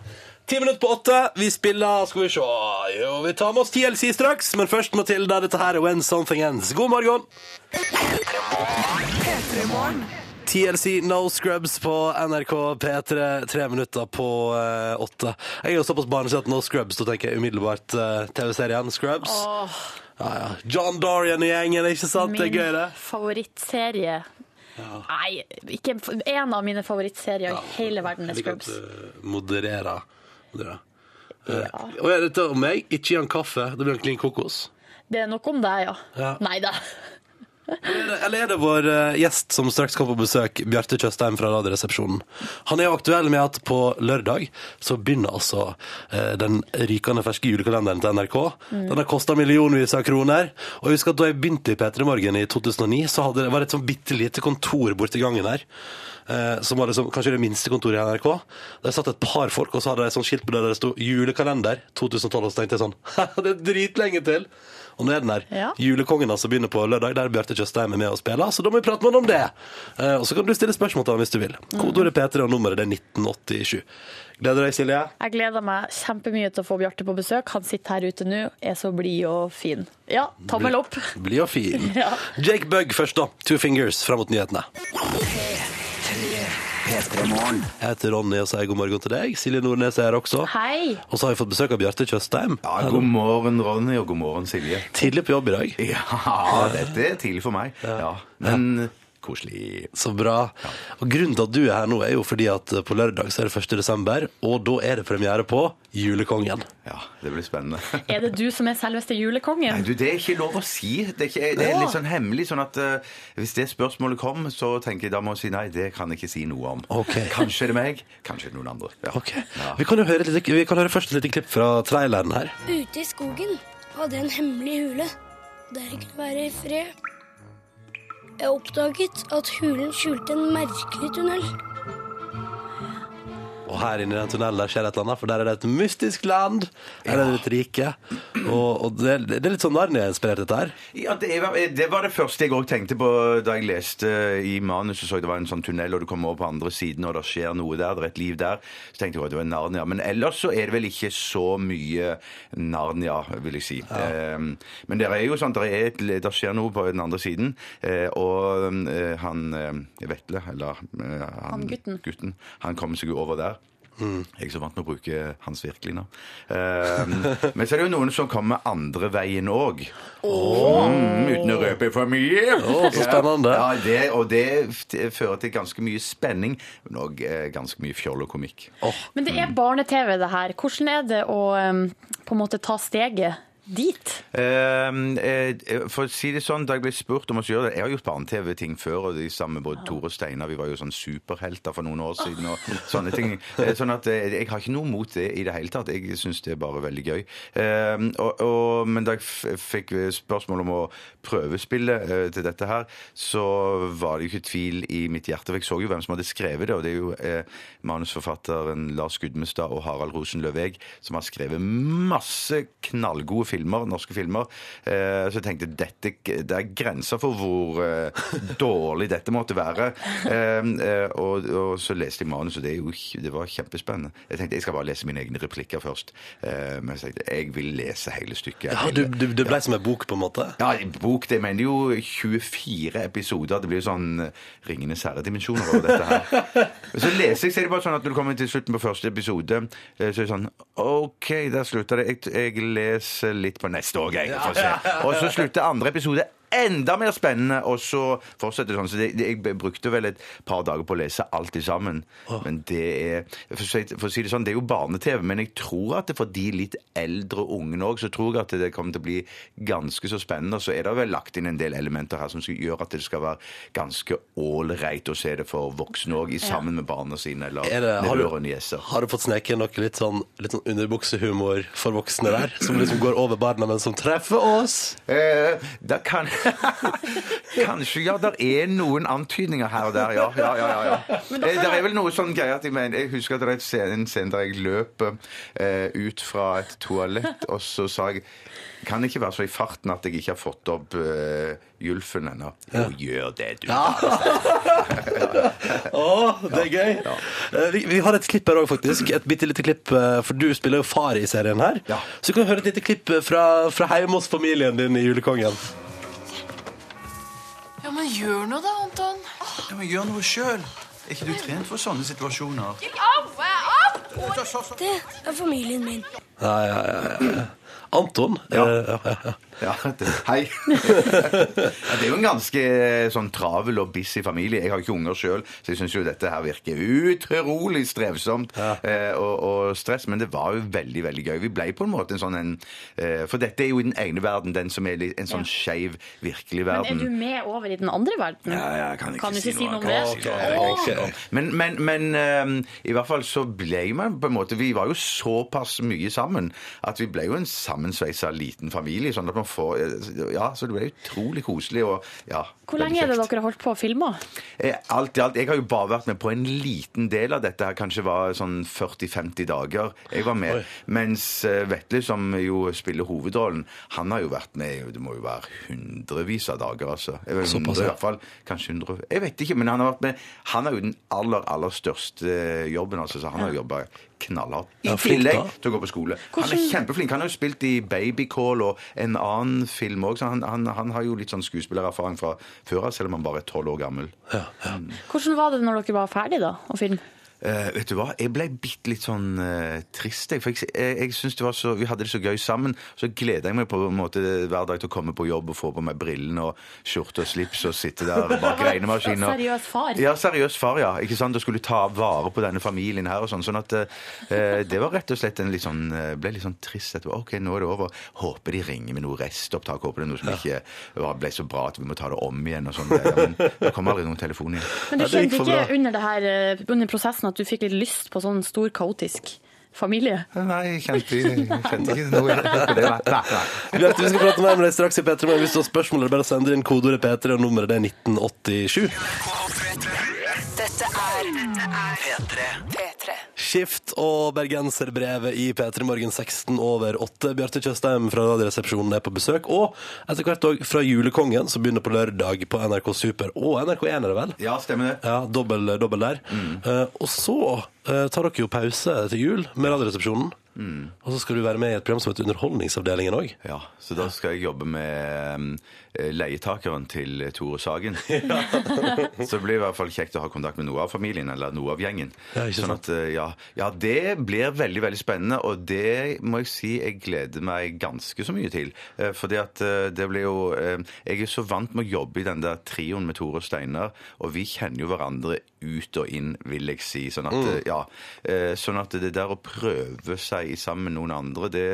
A: Ti minutter på åtte. Vi spiller Skal vi se Jo, vi tar med oss TLC straks, men først Matilda. Dette her er When Something Ends. God morgen! TLC No Scrubs på NRK P3, tre minutter på eh, åtte. Jeg er jo såpass barneslig at No Scrubs, da tenker jeg umiddelbart eh, TV-serien Scrubs. Ja, ja. John Dorian og gjengen, ikke sant? Det er gøy, det.
B: Min favorittserie. Nei, ikke en av mine favorittserier i hele verden er
A: Jeg liker at
B: Scrubs.
A: du modererer. modererer. Eh, og er dette om meg? Ikke gi han kaffe, da blir han klin kokos.
B: Det er nok om deg, ja.
A: Ja.
B: Nei da.
A: Eller er det- Eller er det vår eh, gjest som straks kommer på besøk, Bjarte Tjøstheim fra Radioresepsjonen? Han er jo aktuell med at på lørdag så begynner altså eh, den rykende ferske julekalenderen til NRK. Den har kosta millionvis av kroner. Og jeg husker at da jeg begynte i P3 Morgen i 2009, så hadde, det- var det et sånn bitte lite kontor borti gangen her. eh, Som var liksom, kanskje det minste kontoret i NRK. Der satt et par folk, og så hadde de et sånt skilt på der det sto 'Julekalender 2012'. Og så tenkte jeg sånn Det er dritlenge til! Og nå er den her.
B: Ja.
A: Julekongen altså begynner på lørdag, der Bjarte Tjøstheim er med og spiller, så da må vi prate med han om det. Eh, og så kan du stille spørsmål til han hvis du vil. Kodeordet P3 og nummeret det er 1987. Gleder deg, Silje.
B: Jeg gleder meg kjempemye til å få Bjarte på besøk. Han sitter her ute nå, er så blid og fin. Ja, tommel opp.
A: Bli og fin.
B: Ja.
A: Jake Bugg først, da. Two Fingers fram mot nyhetene. Jeg heter Ronny og sier god morgen til deg. Silje Nordnes er her også.
B: Hei.
A: Og så har vi fått besøk av Bjarte Tjøstheim.
F: Ja, god morgen, Ronny, og god morgen, Silje.
A: Tidlig på jobb i dag.
F: Ja, dette er tidlig for meg. Ja, men koselig.
A: Så bra. Og Grunnen til at du er her nå, er jo fordi at på lørdag så er det 1. desember, og da er det premiere på Julekongen.
F: Ja, det blir spennende.
B: Er det du som er selveste julekongen?
F: Nei, du, det er ikke lov å si. Det er, ikke, det er litt sånn hemmelig, sånn at eh, hvis det spørsmålet kom, så tenker jeg da må jeg si nei, det kan jeg ikke si noe om.
A: Ok.
F: Kanskje er det meg, kanskje er det noen andre. Ja.
A: Ok, vi kan jo høre, et lite, vi kan høre først et lite klipp fra traileren her.
G: Ute i skogen hadde jeg en hemmelig hule. Der jeg kunne være i fred. Jeg oppdaget at hulen skjulte en merkelig tunnel.
A: Og her inne i den tunnelen der skjer et eller annet, for der er det et mystisk land. Her er det et rike. Og, og det, det er litt sånn Narnia-inspirert, dette her.
F: Ja, det, var, det var det første jeg òg tenkte på da jeg leste eh, i manuset. Så jeg det var en sånn tunnel, og du kommer over på andre siden, og det skjer noe der. Det er et liv der. Så tenkte jeg at det var Narnia. Men ellers så er det vel ikke så mye Narnia, vil jeg si. Ehm, men det er jo sånn, det, er et, det skjer noe på den andre siden. eh, og eh, han eh, Vetle, eller eh, han,
B: Han gutten.
F: han kommer seg jo over der. Jeg er ikke så vant med å bruke hans virkelige navn. Ehm, men så er det jo noen som kommer andre veien òg. Mm, uten å røpe for mye.
A: Å, så spennende.
F: Ja, ja, det, og det f- fører til ganske mye spenning, men òg ganske mye fjoll og komikk.
B: Men det er barne-TV, det her. Hvordan er det å um, på en måte ta steget dit?
F: Ehm, eh, for å si det sånn, da jeg ble spurt om å gjøre det Jeg har gjort barne-TV-ting før, og de samme både Tore og Steinar Vi var jo sånn superhelter for noen år siden og sånne ting. Eh, Sånn at eh, jeg har ikke noe mot det i det hele tatt. Jeg syns det er bare veldig gøy. Ehm, og, og, men da jeg f fikk spørsmål om å prøvespille eh, til dette her, så var det jo ikke tvil i mitt hjerte. For jeg så jo hvem som hadde skrevet det, og det er jo eh, manusforfatteren Lars Gudmestad og Harald Rosenløv Egg som har skrevet masse knallgode filmer, norske filmer. Eh, så jeg tenkte dette, det er grenser for hvor eh, dårlig dette måtte være. Eh, eh, og, og så leste jeg manus, og det, er jo, ikke- det var kjempespennende. Jeg tenkte jeg skal bare lese mine egne replikker først. Eh, men så tenkte jeg jeg vil lese hele stykket.
A: Ja,
F: hele-
A: du, du, det ble som en bok, på en måte.
F: ja, i bok, det mener jo 24 episoder. Det blir jo sånn eh, Ringenes herre-dimensjoner over dette her. Så leser jeg, så er det bare sånn at når du kommer til slutten på første episode, eh, så er det sånn OK, der slutter det. Jeg, jeg leser litt på neste òg, jeg. for å se. Og så slutter andre episode enda mer spennende, og så fortsetter det sånn. Så det, det, jeg brukte vel et par dager på å lese alt i sammen. Men det er for å, si, for å si det sånn, det er jo barne-TV, men jeg tror at det for de litt eldre ungene òg, så tror jeg at det kommer til å bli ganske så spennende. Og så er det vel lagt inn en del elementer her som skal gjøre at det skal være ganske ålreit å se det for voksne òg, sammen med barna sine eller
A: Er det, har,
F: nevøer og
A: du,
F: nieser.
A: har du fått sneke inn noe litt sånn, litt sånn underbuksehumor for voksne der? Som liksom går over barna, men som treffer oss?
F: Eh, da kan Kanskje, ja, der er noen antydninger her og der, ja. ja, ja, ja, ja. Eh, der er vel noe sånn greie at jeg, mener, jeg husker at det er et scene, en scene der jeg løper eh, ut fra et toalett, og så sa jeg kan det ikke være så i farten at jeg ikke har fått opp eh, Julfen ennå? Jo, gjør det, du.
A: Å, det er gøy. Eh, Vi, vi har et klipp her òg, faktisk. Et bitte lite klipp, eh, for du spiller jo far i serien her.
F: Ja.
A: Så vi kan høre et lite klipp eh, fra, fra hjemme hos familien din i Julekongen.
H: Ja, men gjør noe da, Anton.
I: Ja, men gjør noe sjøl. Er ikke du trent for sånne situasjoner?
G: Det er familien min.
A: Ja, ja, ja, ja. Anton?
F: Ja.
A: eh, ja, ja, ja.
F: Ja, det, hei. ja, det er jo en ganske eh, sånn travel og busy familie. Jeg har ikke unger sjøl, så jeg syns jo dette her virker utrolig strevsomt eh, og, og stress. Men det var jo veldig, veldig gøy. Vi ble på en måte en sånn en eh, For dette er jo i den ene verden, den som er litt- en sånn skeiv virkelig
B: Men er
F: verden.
B: du med over i den andre verden?
F: jeg kan
B: Kan du ikke si noe om
F: jeg kan
B: det?
F: ikke si noe om det. Men, men, men ehm, i hvert fall så ble man på en måte Vi var jo såpass mye sammen at vi ble jo en sammensveisa liten familie. Sånn at man får Ja, så det ble utrolig koselig og ja.
B: Hvor lenge er det
F: veldig kjekt.
B: dere har holdt på å filme?
F: Eh, Alt i alt. Jeg har jo bare vært med på en liten del av dette. her, Kanskje var sånn 40-50 dager jeg var med. Mens eh, Vetle, som jo spiller hovedrollen, han har jo vært med i- Det må jo være hundrevis av dager, altså. Jeg vet,
A: Såpass,
F: hundre, i
A: ja.
F: hvert fall. Kanskje hundre Jeg vet ikke, men han har vært med. Han har jo den aller, aller største eh, jobben, altså. Så han har jo jobba knallhardt. I
A: Ja, flink, da.
F: tillegg til å gå på skole. Han er
B: Hvordan-
F: kjempeflink. Han har jo spilt i Babycall og en annen film òg, så han, han, han har jo litt sånn skuespillererfaring fra før av, selv om han bare er tolv år gammel.
B: Hvordan var det når dere var ferdig da, å filme?
F: Eh, vet du hva, jeg ble bitte litt sånn eh, trist. Jeg, for jeg, jeg, jeg synes det var så, Vi hadde det så gøy sammen. Så gleda jeg meg på en måte hver dag til å komme på jobb og få på meg brillene og skjorte og slips og sitte der bak regnemaskinen. og-
B: Seriøs far.
F: Ja, seriøs far, ja. Ikke sant? Og skulle ta vare på denne familien her og sånn. Sånn at eh, det var rett og slett en litt sånn eh, Ble litt sånn trist etterpå. OK, nå er det over. Håper de ringer med noe restopptak. Håper det er noe som ikke var- ble så bra at vi må ta det om igjen og sånn. Ja, men det kom aldri noen telefon igjen.
B: Men du
A: Ja, det gikk
B: kjente
A: for
B: ikke
A: bra.
B: under, det her, eh, under prosessen at du fikk litt lyst på sånn stor, kaotisk familie?
F: Nei, jeg kjente, jeg kjente ikke noe på det. Nei, nei, nei.
A: Bjarte, vi skal prate mer med deg straks i P3 Morgen. Hvis du har spørsmål, er det bare å sende inn kodeordet P3, og nummeret det er 1987.
D: Dette er P3. P3.
A: Skift og bergenserbrevet i P3 Morgen 16 over 8. Bjarte Tjøstheim fra Radioresepsjonen er på besøk. Og etter hvert òg fra Julekongen, som begynner på lørdag på NRK Super. Og NRK1 er det vel?
F: Ja, Mm. stemmer det.
A: Ja, dobbel, dobbel der. Eh, og så eh, tar dere jo pause til jul med Radioresepsjonen.
F: Mm.
A: Og så skal du være med i et program som heter Underholdningsavdelingen òg.
F: Ja, Så da skal jeg jobbe med um, leietakeren til Tore Sagen. så det blir i hvert fall kjekt å ha kontakt med noe av familien, eller noe av gjengen.
A: Ja, ikke
F: sånn
A: sant.
F: at, uh, ja, ja, det blir veldig, veldig spennende, og det må jeg si jeg gleder meg ganske så mye til. Eh, Fordi at eh, det blir jo eh, Jeg er så vant med å jobbe i den der trioen med Tore og Steinar, og vi kjenner jo hverandre ut og inn, vil jeg si. Sånn at, eh, ja, eh, sånn at det der å prøve seg sammen med noen andre, det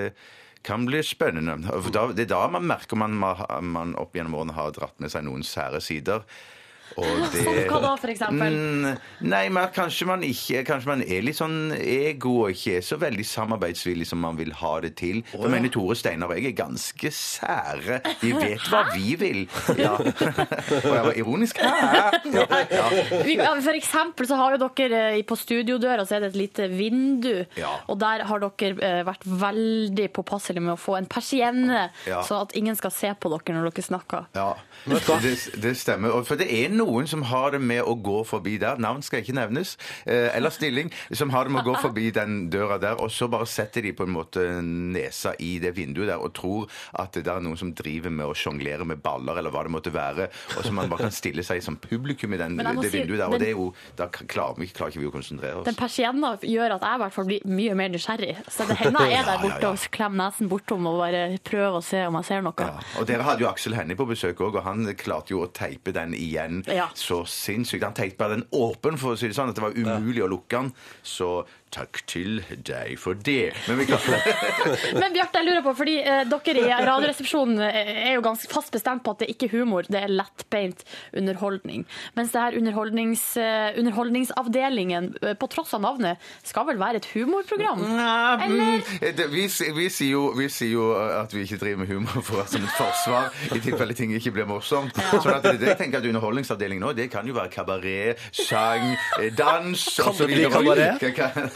F: kan bli spennende. For da, det er da man merker man, man opp gjennom årene har dratt med seg noen sære sider. Og det,
B: Som hva da, for eksempel?
F: Mm, Nei, men kanskje man ikke Kanskje man er litt sånn ego og ikke er så veldig samarbeidsvillig som man vil ha det til. For jeg mener Tore Steinar og jeg er ganske sære. Vi vet hva vi vil. Ja. og jeg var ironisk. Hæ? Ja.
B: Vi- Ja, for eksempel så har jo dere eh, på studiodøra så er det et lite vindu,
F: Ja.
B: og der har dere eh, vært veldig påpasselige med å få en persienne,
F: Ja.
B: så at ingen skal se på dere når dere snakker.
F: Ja, det, det stemmer. Og For det er noen som har det med å gå forbi der. Navn skal ikke nevnes. Eh, eller stilling. Som har det med å gå forbi den døra der, og så bare setter de på en måte nesa i det vinduet der og tror at det der er noen som driver med å sjonglere med baller, eller hva det måtte være. Og så man bare kan stille seg som publikum i den,
B: Men jeg må
F: det
B: si,
F: vinduet der. Og
B: den-
F: det er jo, da klarer vi, klarer ikke vi å konsentrere
B: Den
F: oss.
B: persienna gjør at jeg i hvert fall blir mye mer nysgjerrig. Så det hender jeg er der
F: Ja, ja,
B: borte
F: ja.
B: og klemmer nesen bortom og bare prøver å se om jeg ser noe.
F: Ja. Og dere hadde jo Aksel Hennie på besøk òg, og han klarte jo å teipe den igjen
B: Ja.
F: så sinnssykt. Han teipa den åpen, for å si det sånn, at det var umulig å lukke den. Så Takk til deg for det. Men vi kan
B: Men Bjarte, jeg lurer på, fordi eh, dere i Radioresepsjonen eh, er jo ganske fast bestemt på at det ikke er humor, det er lettbeint underholdning. Mens det her underholdnings, eh, underholdningsavdelingen, eh, på tross av navnet, skal vel være et humorprogram? Eller?
F: Eh, det- Vi, si- vi, sier jo, vi sier jo eh, at vi ikke driver med humor for som et forsvar, i tilfelle ting ikke blir morsomt. Sånn at det, jeg tenker at Underholdningsavdelingen nå, det kan jo være kabaret, sang, eh, dans og
A: det
F: så
A: bli
F: videre.
A: kabaret?
F: Kan- kan-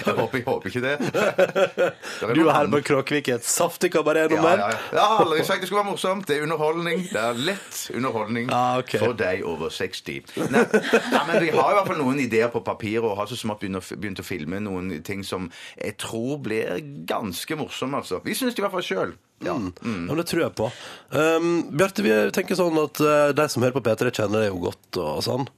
F: Jeg håper, jeg håper ikke det. det
A: Du og Herman Kråkevik er et saftig
F: Ja,
A: kabaretnummer.
F: ja, ja. Jeg har aldri sagt det skulle være morsomt. Det er underholdning. Det er lett underholdning
A: Ah, ok.
F: for deg over 60. Nei, nei, men vi har i hvert fall noen ideer på papiret, og har så smått begynt å, begynt å filme noen ting som jeg tror blir ganske morsomme, altså. Vi syns det i hvert fall sjøl. Ja.
A: Mm. Ja, men det tror jeg på. Um, Bjarte, vi tenker sånn at eh, de som hører på P3, kjenner deg jo godt og sånn.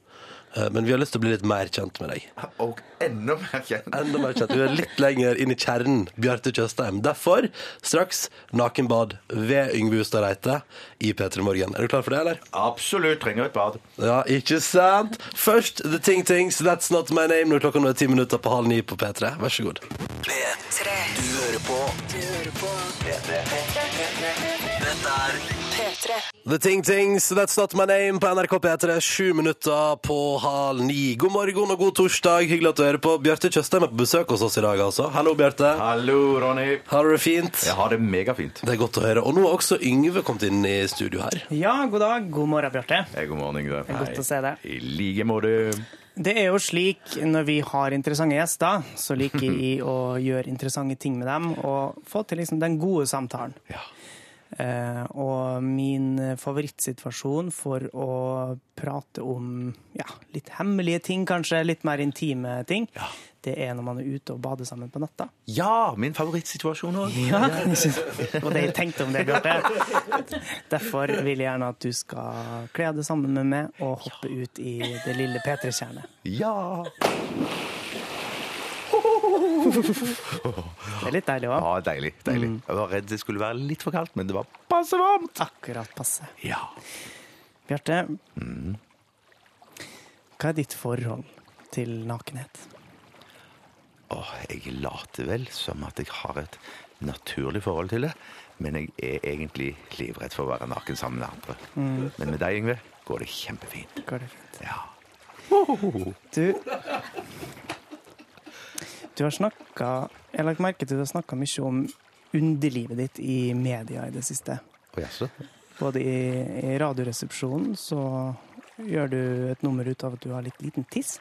A: Eh, men vi har lyst til å bli litt mer kjent med deg.
F: Og enda mer kjent.
A: Enda mer kjent. Vi er litt lenger inn i kjernen, Bjarte Tjøstheim. Derfor straks nakenbad ved Yngve Hustad Reite i P3 Morgen. Er du klar for det, eller?
F: Absolutt trenger et bad.
A: Ja, ikke sant? Først The Ting Things, That's Not My Name, når klokka nå er ti minutter på halv ni på P3. Vær så god.
D: P3. Du hører på. Du hører på. P3. Dette er P3.
A: The Ting Things, That's Not My Name på NRK P3, sju minutter på halv ni. God morgen og god torsdag, hyggelig at du hører på. Bjarte Tjøstheim er på besøk hos oss i dag, altså. Hallo, Bjarte.
F: Hallo, Ronny.
A: Har du det fint?
F: Jeg har det megafint.
A: Det er godt å høre. Og nå har også Yngve kommet inn i studio her.
C: Ja, god dag. God morgen, Bjarte.
F: Eh, God morgen, Yngve.
C: er godt å se deg.
F: I like måte.
C: Det er jo slik når vi har interessante gjester, så liker vi å gjøre interessante ting med dem og få til liksom den gode samtalen.
F: Ja.
C: Eh, og min favorittsituasjon for å prate om ja, litt hemmelige ting, kanskje litt mer intime ting, det er når man er ute og bader sammen på natta.
F: ja, min favorittsituasjon òg.
C: Ja, og det jeg tenkte om det, Bjarte. Derfor vil jeg gjerne at du skal kle deg sammen med meg og hoppe ut i det lille P3-tjernet.
F: Ja.
C: Det er litt deilig òg.
F: ja, Ah, Mm. deilig. deilig. Jeg var redd det skulle være litt for kaldt, men det var passe varmt.
C: Akkurat passe.
F: Ja.
C: Bjarte, Mm. hva er ditt forhold til nakenhet?
F: Åh, jeg later vel som at jeg har et naturlig forhold til det, men jeg er egentlig livredd for å være naken sammen med andre. Men med deg, Yngve, går det kjempefint.
C: Går det fint?
F: Mm. Ja.
C: Du, du har snakka Jeg har lagt merke til at du har snakka mye om underlivet ditt i media i det siste.
F: Å, jaså?
C: Både i, i Radioresepsjonen så gjør du et nummer ut av at du har litt liten tiss.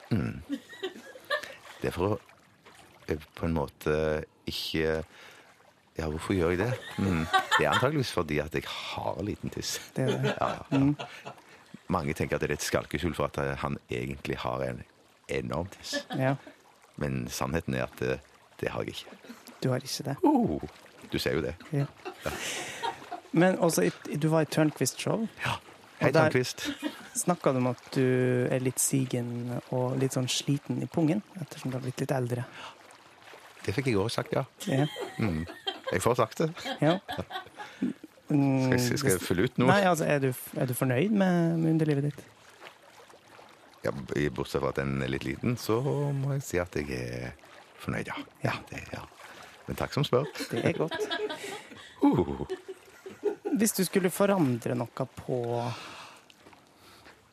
F: Det er for å eh, på en måte ikke Ja, hvorfor gjør jeg det? Mm. Det er antageligvis fordi at jeg har liten tiss.
C: Det er det. Mm.
F: Ja, ja. Mange tenker at det er et skalkeskjul for at eh, han egentlig har en enorm tiss.
C: Ja,
F: Men sannheten er at eh, det har jeg ikke.
C: du har ikke det.
F: Oh, du ser jo det.
C: Ja. Men også, i- du var i Tørnquist-show.
F: Ja. Hei,
C: Og der-
F: Tørnquist.
C: Snakka du om at du er litt sigen og litt sånn sliten i pungen ettersom du har blitt litt eldre?
F: Det fikk jeg òg sagt, ja.
C: Ja.
F: Jeg får sagt det.
C: ja. Mm,
F: Skal jeg, skal jeg fylle ut noe?
C: Nei, altså, er du, er du fornøyd med, med underlivet ditt?
F: Ja, b- bortsett fra at den er litt liten, så må jeg si at jeg er fornøyd, ja. Ja, det, ja. Men takk som spør.
C: Det er godt.
F: Uh,
C: Hvis du skulle forandre noe på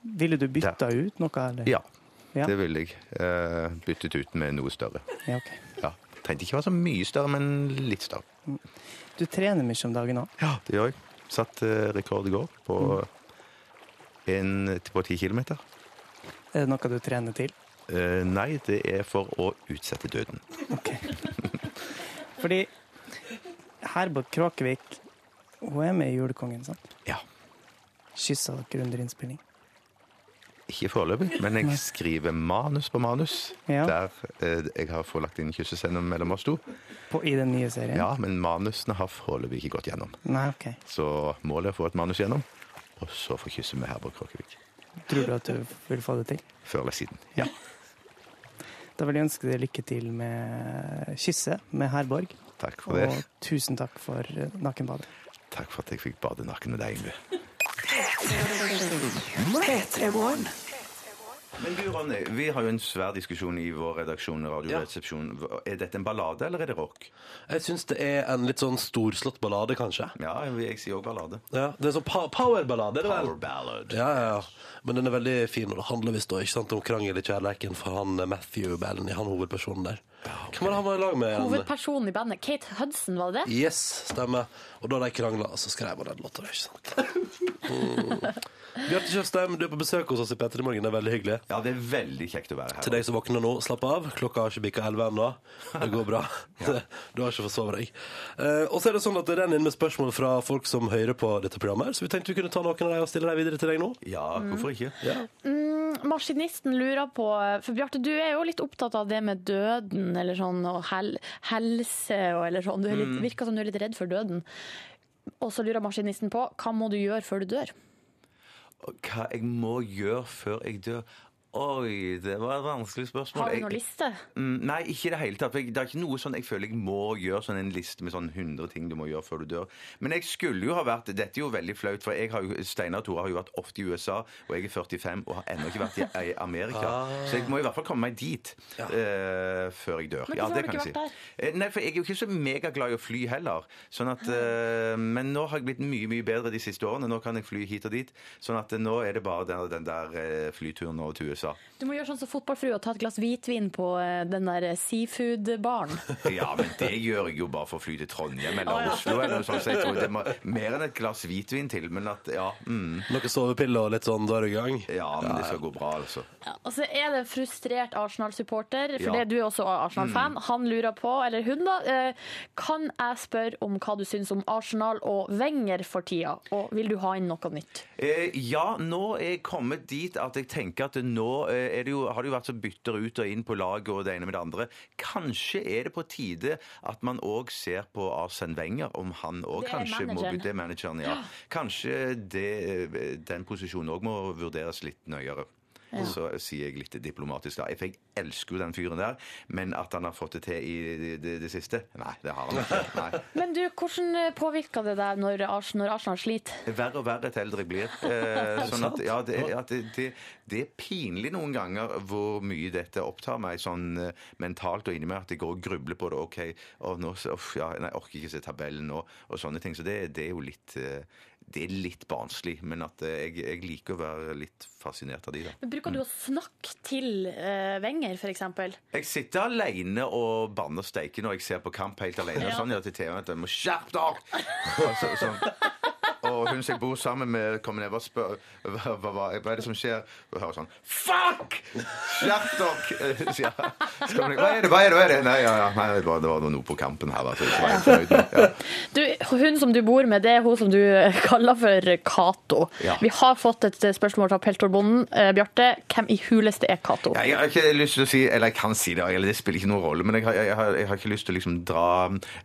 C: Ville du bytta ut noe, eller?
F: ja,
C: Ja.
F: det ville jeg. Eh, byttet ut med noe større.
C: Ja, ok.
F: Ja. Trengte ikke være så mye større, men litt større.
C: Du trener mye om dagen òg.
F: Ja, det gjør jeg. Satt eh, rekord i går på, en, på 10 kilometer.
C: Er det noe du trener til?
F: Eh, nei, det er for å utsette døden.
C: Ok. Fordi Herbert Kråkevik, hun er med i Julekongen, sant?
F: Ja.
C: Kyssa dere under innspilling?
F: Ikke foreløpig, men jeg skriver manus på manus.
C: Ja.
F: Der eh, jeg har forelagt inn kyssescenen mellom oss to.
C: På, I den nye serien?
F: Ja, men manusene har foreløpig ikke gått gjennom.
C: Nei, ok.
F: Så målet er å få et manus gjennom, og så få kysse med Herborg Kråkevik.
C: Tror du at du vil få det til?
F: Før eller siden. Ja.
C: Da vil jeg ønske deg lykke til med kysset med Herborg.
F: Takk for det.
C: Og tusen takk for eh, nakenbadet.
F: Takk for at jeg fikk bade naken med deg, Yngve. Men du, Ronny, vi har jo en svær diskusjon i vår redaksjon, Radioresepsjon. Er dette en ballade, eller er det rock?
A: Jeg syns det er en litt sånn storslått ballade, kanskje.
F: Ja, jeg, jeg sier òg ballade.
A: Ja, det er sånn pow powerballade, er det vel?
F: Power ballad.
A: Ja, ja, ja. Men den er veldig fin, og det handler visst da, ikke sant, om krangel i kjærleiken for han eh, Matthew Bellany, han hovedpersonen der. Hvem var det han var i lag med? igjen?
B: Hovedpersonen i bandet, Kate Hudson, var det det?
A: Yes, stemmer. Og da de krangla, så skrev han den låta, ikke sant. Mm. Bjarte Tjøstheim, du er på besøk hos oss i P3 Morgen, det er veldig hyggelig.
F: Ja, det er veldig kjekt å være her.
A: Til deg som våkner nå, slapp av. Klokka har ikke bikka 11 ennå. Det går bra. Du har ikke forsovet deg. Eh, og så er det sånn at det renner inn med spørsmål fra folk som hører på dette programmet, her, så vi tenkte vi kunne ta noen av dem og stille dem videre til deg nå.
F: Ja, hvorfor ikke?
B: Mm, Maskinisten lurer på eh, For Bjarte, du er jo litt opptatt av det med døden eller sånn, og hel helse og eller sånn. Du er litt, virker som du er litt redd for døden. Og så lurer maskinisten på hva må du gjøre før du dør?
F: Og Hva jeg må gjøre før jeg dør? Oi, det var et vanskelig spørsmål.
B: Har du
F: Jeg-
B: noen liste?
F: Mm, Nei, ikke i det hele tatt. for jeg- Det er ikke noe sånn jeg føler jeg må gjøre sånn en liste med sånn 100 ting du må gjøre før du dør. Men jeg skulle jo ha vært Dette er jo veldig flaut, for jeg har jo, Steinar og Tore har jo vært ofte i USA, og jeg er 45 og har ennå ikke vært i i Amerika. Så jeg må i hvert fall komme meg dit eh, før jeg dør.
B: Men hvorfor har du ikke vært
F: Eh, Nei, for jeg er jo ikke så megaglad i å fly heller. Sånn
B: Ah.
F: at, eh, men nå har jeg blitt mye, mye bedre de siste årene. Nå kan jeg fly hit og dit. Sånn at eh, nå er det bare den, den der eh, flyturen over til USA.
B: Du må gjøre sånn som fotballfrue og ta et glass hvitvin på eh, den der seafood-baren.
F: Ja, men det gjør jeg jo bare for å fly til Trondheim eller
B: Å, ja.
F: Oslo eller noe sånt. Så jeg tror det må mer enn et glass hvitvin til, men at ja, mm,
A: Noen sovepiller og litt sånn, da er du i gang.
F: ja men det skal gå bra, altså.
B: Og så er det en frustrert Arsenal-supporter, for
F: Ja.
B: det, du er også eh, Arsenal-fan. Han lurer på, eller hun da, eh, kan jeg spørre om hva du syns om Arsenal og Wenger for tida? Og vil du ha inn noe nytt?
F: Eh, ja, nå er jeg kommet dit at jeg tenker at nå eh, er det jo, har det jo vært så bytter ut og inn på laget og det ene med det andre. Kanskje er det på tide at man òg ser på Arsen Wenger, om han òg
B: Det er
F: kanskje må
B: manageren.
F: bli det er manageren. Ja. Kanskje det, eh, den posisjonen òg må vurderes litt nøyere. Så sier jeg litt diplomatisk da. For jeg elsker jo den fyren der, men at han har fått det til i det, det, det siste? Nei, det har han ikke. Nei.
B: Men du, hvordan påvirka det deg når Arsenal, når Arsenal sliter?
F: Verre og verre til eldre jeg blir. Eh, sånn at, ja, det, er- at det, det, det er pinlig noen ganger hvor mye dette opptar meg sånn eh, mentalt og inni meg, at jeg går og grubler på det. OK, å, nå, så- uff, ja, nei, jeg orker ikke se tabellen nå, og sånne ting. Så det, det er jo litt eh, det er litt barnslig, men at eh, jeg, jeg liker å være litt fascinert av de, da.
B: Men Bruker du å snakke til eh, Wenger, f.eks.?
F: Jeg sitter alene og banner steike når jeg ser på kamp helt alene.
B: Ja.
F: Sånn gjør til TV-en at jeg må skjerpe deg! Og, så, sånn. og hun som jeg bor sammen med, kommer ned og spør hva, hva, hva, hva er det som skjer. Og hører sånn Fuck! Skjerp dere! Eh, sier jeg. Så kommer jeg, Hva er det? Hva er det? Hva er det? Nei, ja, ja. Nei, det, var, det var noe på kampen her. da, så jeg var helt fornøyd med. Ja.
B: Du, hun som du bor med, det er hun som du eh, kaller for Cato.
F: Ja.
B: Vi har fått et eh, spørsmål fra Peltorbonden. Eh, Bjarte, hvem i huleste er Cato?
F: Ja, Jeg har ikke lyst til å si Eller jeg kan si det, eller det spiller ikke noen rolle, men jeg har, jeg har, jeg har ikke lyst til å liksom dra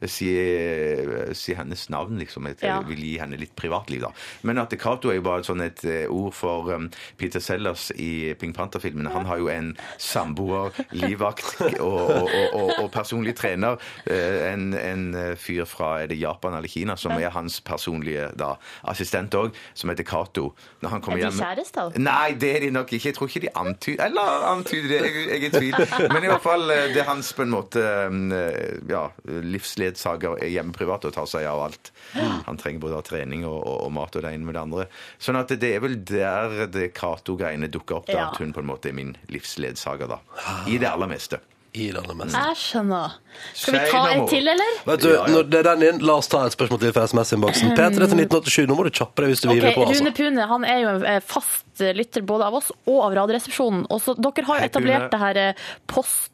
F: Si, eh, si hennes navn, liksom. Jeg
B: Ja.
F: vil gi henne litt privatliv, da. Men at Cato er jo bare et sånn et eh, ord for um, Peter Sellers i Pink Panther-filmen. Han har jo en samboer, livvakt og, og, og, og, og personlig trener. eh, En, en fyr fra er det Japan eller Kina som er hans personlige da, assistent òg, som heter Cato. Når han kommer
B: Er de
F: hjem-
B: kjærester?
F: Nei, det er de nok ikke. Jeg tror ikke de antyder Eller antyder det, jeg, jeg er i tvil. Men i hvert fall, eh, det er hans på en måte eh, ja, livsledsager er hjemme privat og tar seg av alt. Han trenger både å ha trening og, og, og mat og det ene med det andre. Sånn at det er vel der det Cato-greiene dukker opp, da,
B: Ja.
F: at hun på en måte er min livsledsager, da. I det aller meste.
A: I landet mest.
B: Jeg skjønner. Skal vi
F: Say
B: ta
F: no
B: en
F: more.
B: til, eller?
A: Vet du,
F: Ja, ja.
A: når det renner inn, la oss ta et spørsmål til fra SMS-innboksen. P3 til 1987. Nå må du kjappe deg hvis du vil
B: Ok,
A: på,
B: Rune
A: altså.
B: Pune han er jo en eh, fast eh, lytter både av oss og av Radioresepsjonen. Og så dere har jo
F: Hei,
B: etablert
F: Rune.
B: det her eh, posten,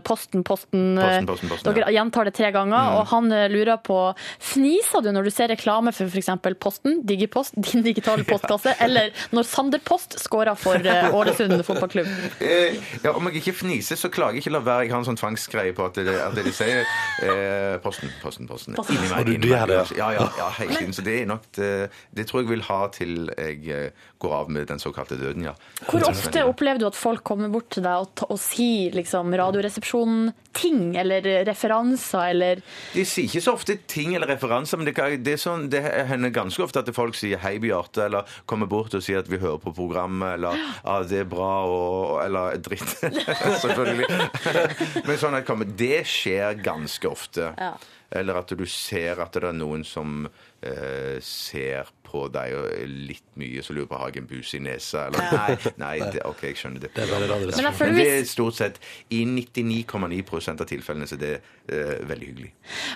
B: posten, posten. eh,
F: Posten, posten, Mm. posten,
B: dere gjentar det tre ganger, og han eh, lurer på Fniser du når du ser reklame for f.eks. Posten, Digipost, din digitale postkasse, eller når Sander Post scorer for eh, Ålesund fotballklubb?
F: Eh, ja, om jeg ikke fniser, så klager jeg ikke. La være. Jeg har en sånn tvangsgreie på at det, at det de sier eh, Posten, posten, posten.
B: Posten.
F: Inni meg,
A: Og du-
F: inni
A: du
F: meg.
A: gjør det,
F: Ja, ja, ja, hele tiden. Så det er nok det, det tror jeg vil ha til jeg eh, går av med den såkalte døden, ja.
B: Hvor ofte opplever du at folk kommer bort til deg og, ta- og sier liksom radioresepsjon-ting eller eh, referanser eller
F: De sier ikke så ofte ting eller referanser, men det, kan, det, er sånn, det hender ganske ofte at folk sier 'hei, Bjarte', eller kommer bort og sier at 'vi hører på programmet', eller 'ja, det er bra', og, eller 'dritt'. Selvfølgelig. men sånn at kommer, det skjer ganske ofte.
B: Ja.
F: Eller at du ser at det er noen som eh, ser på deg og er litt mye, så lurer på har jeg en bus i nesa, eller Nei, nei det, OK, jeg skjønner det.
A: Det er bare radioresepsjon.
B: Men jeg føler
F: Men det
B: hvis-
F: er stort sett i 99,9 av tilfellene, så det er eh, veldig hyggelig.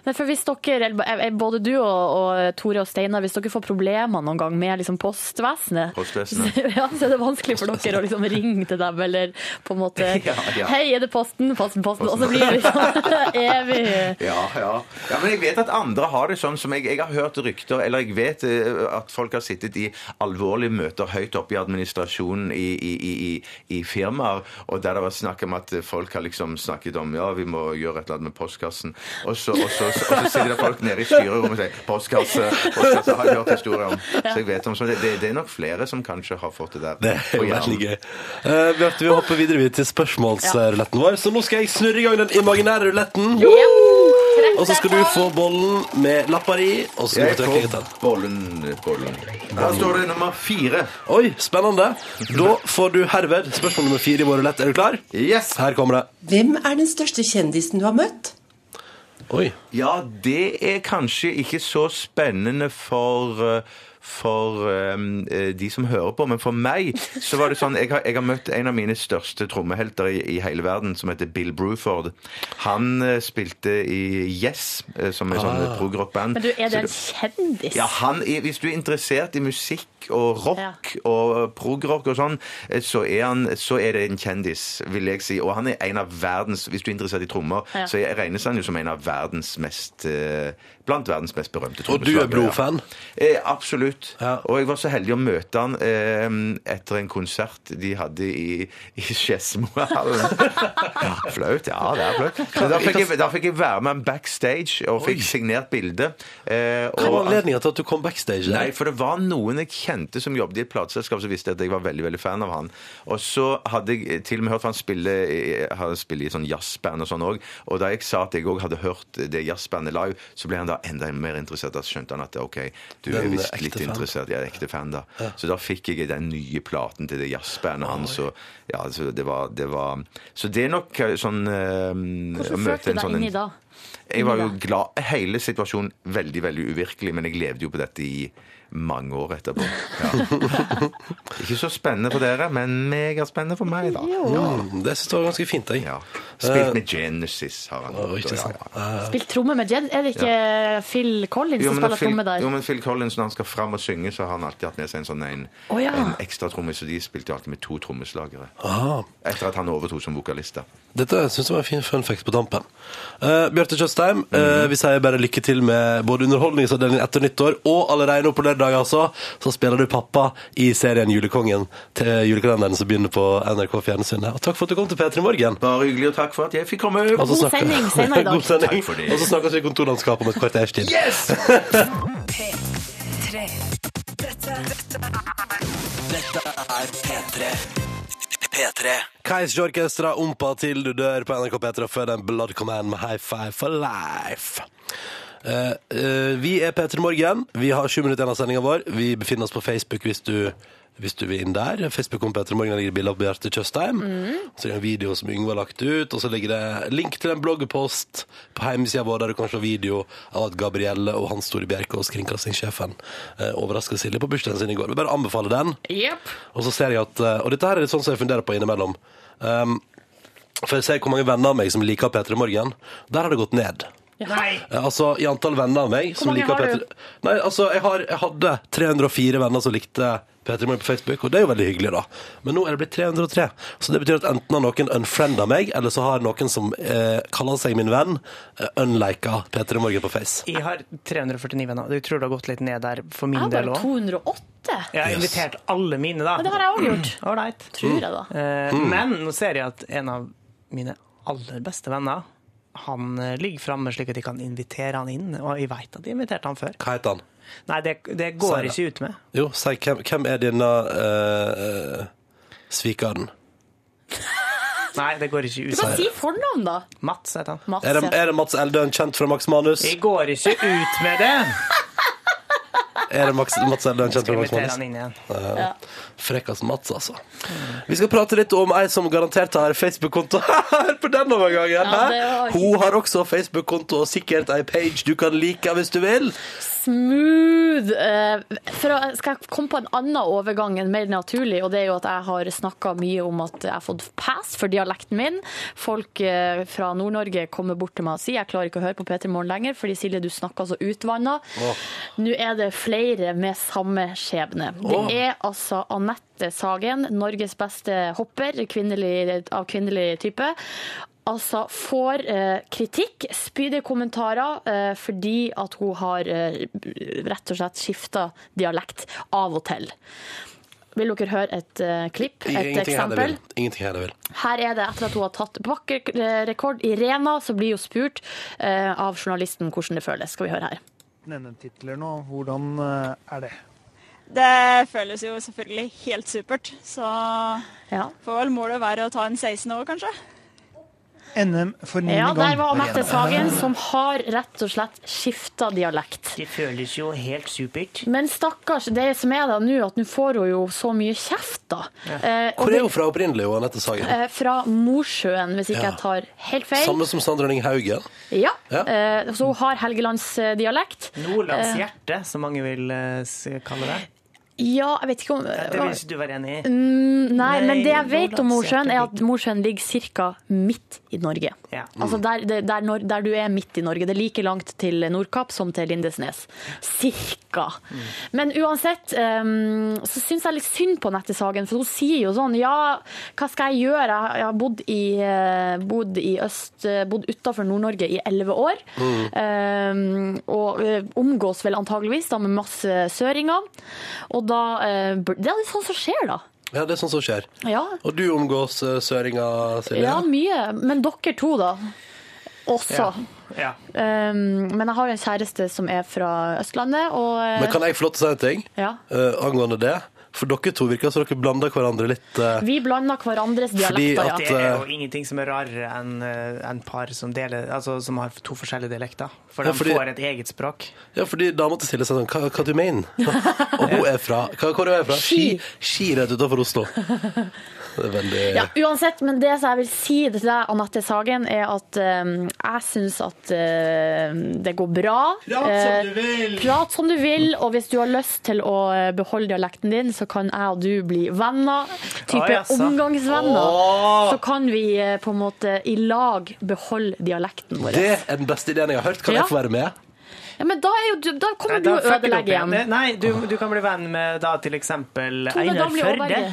B: Nei, for hvis dere, eller eh, både du og, og Tore og Steinar, hvis dere får problemer noen gang med liksom postvesenet,
F: Postvesenet.
B: så- Ja, så er det vanskelig for dere å liksom ringe til dem, eller på en måte
F: Ja, ja.
B: Hei, er det posten? Posten, posten. Og så blir det liksom evig
F: Ja, ja. ja, men jeg vet at andre har det sånn som jeg, jeg har hørt rykter, eller jeg vet eh, at folk har sittet i alvorlige møter høyt oppe i administrasjonen i, i, i, i- i firmaer, og der det har vært snakk om at folk har liksom snakket om ja, vi må gjøre et eller annet med postkassen, og så, og så, og så, sitter det folk nede i styrerommet og sier postkasse, og så har jeg hørt historier om. Så jeg vet om så det, det, det er nok flere som kanskje har fått det der.
A: Det
F: på
A: er jo
F: hjernen.
A: veldig gøy. Eh, Bjarte, vi hopper videre vi, til spørsmålsruletten vår. Så nå skal jeg snurre i gang den imaginære ruletten. Og så skal du få bollen med lapper i. Og så skal
F: Jeg
A: du få trykke etter.
F: får bollen, bollen. Der står det nummer fire.
A: Oi, spennende. Da får du herved spørsmål nummer fire i vår rulett. Er du klar?
F: Yes!
A: Her kommer det.
J: Hvem er den største kjendisen du har møtt?
A: Oi.
F: Ja, det er kanskje ikke så spennende for eh, for eh, de som hører på, men for meg så var det sånn Jeg har, jeg har møtt en av mine største trommehelter i, i hele verden, som heter Bill Bruford. Han eh, spilte i Yes, eh, som er sånn ah. progrockband.
B: Men du, er
F: Så
B: det en kjendis?
F: ja, han er, Hvis du er interessert i musikk og rock og progrock og sånn, eh, så er, han, så er det en kjendis, vil jeg si. Og han er en av verdens Hvis du er interessert i trommer,
B: Ja.
F: så er- regnes han jo som en av verdens mest eh, Blant verdens mest berømte
A: Og du er
F: trommeslagere.
A: blodfan?
F: Eh, absolutt.
A: Ja.
F: Og jeg var så heldig å møte han eh, etter en konsert de hadde i, i Skedsmohallen. ja, flaut. Ja, det er flaut. Men Da fikk, jeg, da fikk jeg være med han backstage og fikk signert bilde. Eh,
A: Hva var
F: og-
A: anledningen til at du kom backstage?
F: Nei, for det var noen jeg kjente som jobbet i et plateselskap som visste at jeg var veldig veldig fan av han. Og så hadde jeg til og med hørt for han spille, i- han spille i sånn jazzband og sånn òg. Og da jeg sa at jeg òg hadde hørt det jazzbandet live, så ble han da enda mer interessert. Da skjønte han at OK, du er
A: Den
F: visst
A: ekte
F: litt
A: fan.
F: interessert. Jeg er ekte fan, da. Så da fikk jeg den nye platen til det jazzbandet hans, og ja, så det var, det var Så det er nok eh, sånn eh, å
B: Hvordan
F: møte
B: følte
F: en
B: du deg
F: sånn-
B: inni da?
F: jeg var jo glad. Hele situasjonen veldig, veldig uvirkelig, men jeg levde jo på dette i mange år etterpå. Ja. Ikke så spennende for dere, men megaspennende for meg, da.
A: Mm, det syns jeg var ganske fint. Jeg.
F: Ja. Spilt med Genesis, har han.
A: Eh, Å,
F: gjort,
A: ikke
F: og ja,
A: sant.
F: ja.
B: Spilt tromme med Jed? Er det ikke Phil Collins
F: Jo,
B: som
F: men, da
B: spiller
F: Phil,
B: tromme der?
F: jo, men Phil Collins, når han skal fram og synge, så har han alltid hatt med seg en sånn en,
B: Å, ja.
F: en ekstra trommis, og de spilte jo alltid med to trommeslagere.
A: Ah,
F: Etter at han overtok som vokalist. da.
A: dette syns jeg var en fin fun fact på tampen. Eh, Bjarte Tjøstheim,
F: Mhm.
A: eh, vi sier bare lykke til med både Underholdningsavdelingen etter nyttår og allerede nå på lørdag, altså. Så spiller du pappa i serien Julekongen til julekalenderen som begynner på NRK Fjernsynet. Og takk for at du kom til P3 Morgen.
F: Bare hyggelig, og takk for at jeg fikk komme.
A: Og så
B: God
A: snakker-
B: sending senere i dag.
A: God sending.
F: Takk for det.
A: Og så snakkes vi i kontorlandskapet om et kvarters tid.
F: Yes!
D: P3. Dette, dette er P3. P3.
A: Kais Orkestra, Ompa til du dør på NRK P3 før den Blood Command med High Five for Life. Eh, eh, vi er P3 Morgen. Vi har 20 minutter igjen av sendinga vår. Vi befinner oss på Facebook hvis du, hvis du vil inn der. Facebook om P3 Morgen der ligger det bilde av Bjarte Tjøstheim. Så er det en video som Yngve har lagt ut, og så ligger det link til en bloggpost på hjemmesida vår der du kan se video av at Gabrielle og Hans Store Bjerkås, kringkastingssjefen, uh, overraska Silje på bursdagen sin i går. Vi bare anbefaler den. Og så ser jeg at Og dette her er litt sånn som jeg funderer på innimellom. Um, for jeg ser hvor mange venner av meg som liker P3 Morgen. Der har det gått ned.
C: Nei!
A: Eh, Altså, I antall venner av meg som
B: mange
A: liker
B: har du?
A: P3 Nei, altså, jeg, har, jeg hadde 304 venner som likte P3 Morgen på Facebook, og det er jo veldig hyggelig, da. Men nå er det blitt 303. Så det betyr at enten har noen unfrienda meg, eller så har noen som eh, kaller seg min venn, eh, unlika P3 Morgen på Face.
C: Jeg har 349 venner. Jeg tror det har gått litt ned der for
B: Jeg
C: min
B: har
C: del
B: bare
C: òg.
B: 208,
C: Jeg har invitert alle mine, da.
B: det har jeg også
F: Mm.
B: gjort.
C: All right.
B: tror jeg, da.
C: Eh,
A: Mm.
C: Men nå ser jeg at en av mine aller beste venner han eh, ligger framme slik at de kan invitere han inn, og jeg veit at de inviterte han før.
A: Hva heter han?
C: Nei, det, det
A: Sier
C: går
A: det.
C: ikke ut med.
A: Jo, si hvem, hvem er denne eh, eh, svikeren?
B: Matt?
C: Nei, det går ikke
B: Du
C: ut.
B: kan si fornavn, da.
C: Mats heter han.
B: Mats,
A: Er det,
B: ja.
A: er det Mats Eldøen kjent fra Max Manus?
C: Jeg går ikke ut med det!
A: Er det Max, Mats Eldøen kjent fra
C: Skal
A: Max
C: invitere
A: Manus?
C: han inn igjen.
A: Eh,
B: Ja.
A: Frekkas Mats, altså. Vi skal prate litt om ei som garantert har Facebook-konto. Hør på den overgangen!
B: Ja, det
A: hæ?
B: var-
A: Hun har også Facebook-konto og sikkert ei page du kan like hvis du vil.
B: Smooth. eh, For å, skal jeg komme på en annen overgang enn mer naturlig, og det er jo at jeg har snakka mye om at jeg har fått pass for dialekten min. Folk eh, fra Nord-Norge kommer bort til meg og sier jeg klarer ikke å høre på P3 Morgen lenger, fordi Silje, du snakker så utvanna. Nå er det flere med samme skjebne. Det
A: Åh.
B: er altså Anette Sagen, Norges beste hopper kvinnelig, av kvinnelig type. Altså får eh, kritikk, spydige kommentarer, eh, fordi at hun har eh, rett og slett skifta dialekt av og til. Vil dere høre et eh, klipp? Et
A: Ingenting her det
B: eksempel?
A: vil. Ingenting her det vil.
B: Her er det etter at hun har tatt bakkerrekord i Rena, så blir hun spurt eh, av journalisten hvordan det føles. Skal vi høre her.
K: NM-titler nå, hvordan eh, er det?
L: Det føles jo selvfølgelig helt supert, så
B: Ja.
L: får vel målet være å ta en 16 år, kanskje.
K: NM for niende
B: Ja,
K: gang.
B: der var Anette Sagen, som har rett og slett skifta dialekt.
C: Det føles jo helt supert.
B: Men stakkars, det som er da nå, at nå får hun jo så mye kjeft, da. Eh, og
A: Hvor er
B: det-
A: hun fra opprinnelig, hun Anette Sagen?
B: eh, Fra Mosjøen, hvis ikke
A: Ja.
B: jeg tar helt feil.
A: Samme som Sandra Ning Haugen.
B: Ja.
A: Ja.
B: eh, Så hun har Helgelandsdialekt.
C: Nordlands
B: Eh,
C: hjerte, som mange vil eh, s- kalle det.
B: Ja, jeg vet ikke om
C: Det vil ikke du være enig i?
B: Eh, Mm, nei,
C: Nei,
B: men det jeg vet om
C: Nordlands
B: Mosjøen, er
C: hjerteligg.
B: at Mosjøen ligger ca. midt i Norge.
C: Ja.
B: Altså der, der, der, Nor- der du er midt i Norge. Det er like langt til Nordkapp som til Lindesnes. Cirka. Men uansett um, så syns jeg litt synd på Nette Sagen, for hun sier jo sånn Ja, hva skal jeg gjøre? Jeg- Jeg har bodd i, eh, bodd i øst, eh, bodd utafor Nord-Norge i elleve år. Um, og eh, omgås vel antageligvis da med masse søringer. Og da eh, bur- Det er litt sånn som skjer, da.
A: Ja, det er sånn som skjer.
B: Ja,
A: Og du omgås eh, søringa, Silje?
B: ja mye. Men dere to, da. Også.
C: Ja.
B: Um, men jeg har en kjæreste som er fra Østlandet, og eh,
A: Men kan jeg få lov til å si en ting
B: Ja.
A: eh, angående det? For dere to virker som dere blander hverandre litt. eh,
B: Vi blander hverandres
A: Fordi
B: dialekter,
A: at- eh,
B: ja.
C: Det er jo ingenting som er rarere enn eh, enn par som, deler, altså, som har to forskjellige dialekter. For
A: Ja,
C: de
A: fordi-
C: får et eget språk.
A: Ja, fordi dama til Silje sa sånn Hva, hva du mener? Og hun er fra hva, Hvor er hun fra? Ski.
B: Ski.
A: Ski rett utenfor Oslo. Det er veldig
B: Ja, uansett, men det som jeg vil si til deg, Anette Sagen, er at eh, jeg syns at eh, det går bra.
C: Prat som
B: Eh,
C: du vil.
B: Prat som du vil, og hvis du har lyst til å eh, beholde dialekten din, så kan jeg og du bli venner. Type
C: Å, jaså.
B: omgangsvenner.
A: Å.
B: Så kan vi eh, på en måte i lag beholde dialekten vår.
A: Det er den beste ideen jeg har hørt. Kan
B: Ja.
A: jeg få være med?
B: Ja, men da, er jo, du- da kommer du
C: Da
B: og
C: fucker du opp
B: ødelegger igjen.
C: igjen. Nei, du, du kan bli venn med da til eksempel
B: Tone
C: Einar
B: Damli
C: Førde.
B: Aaberge.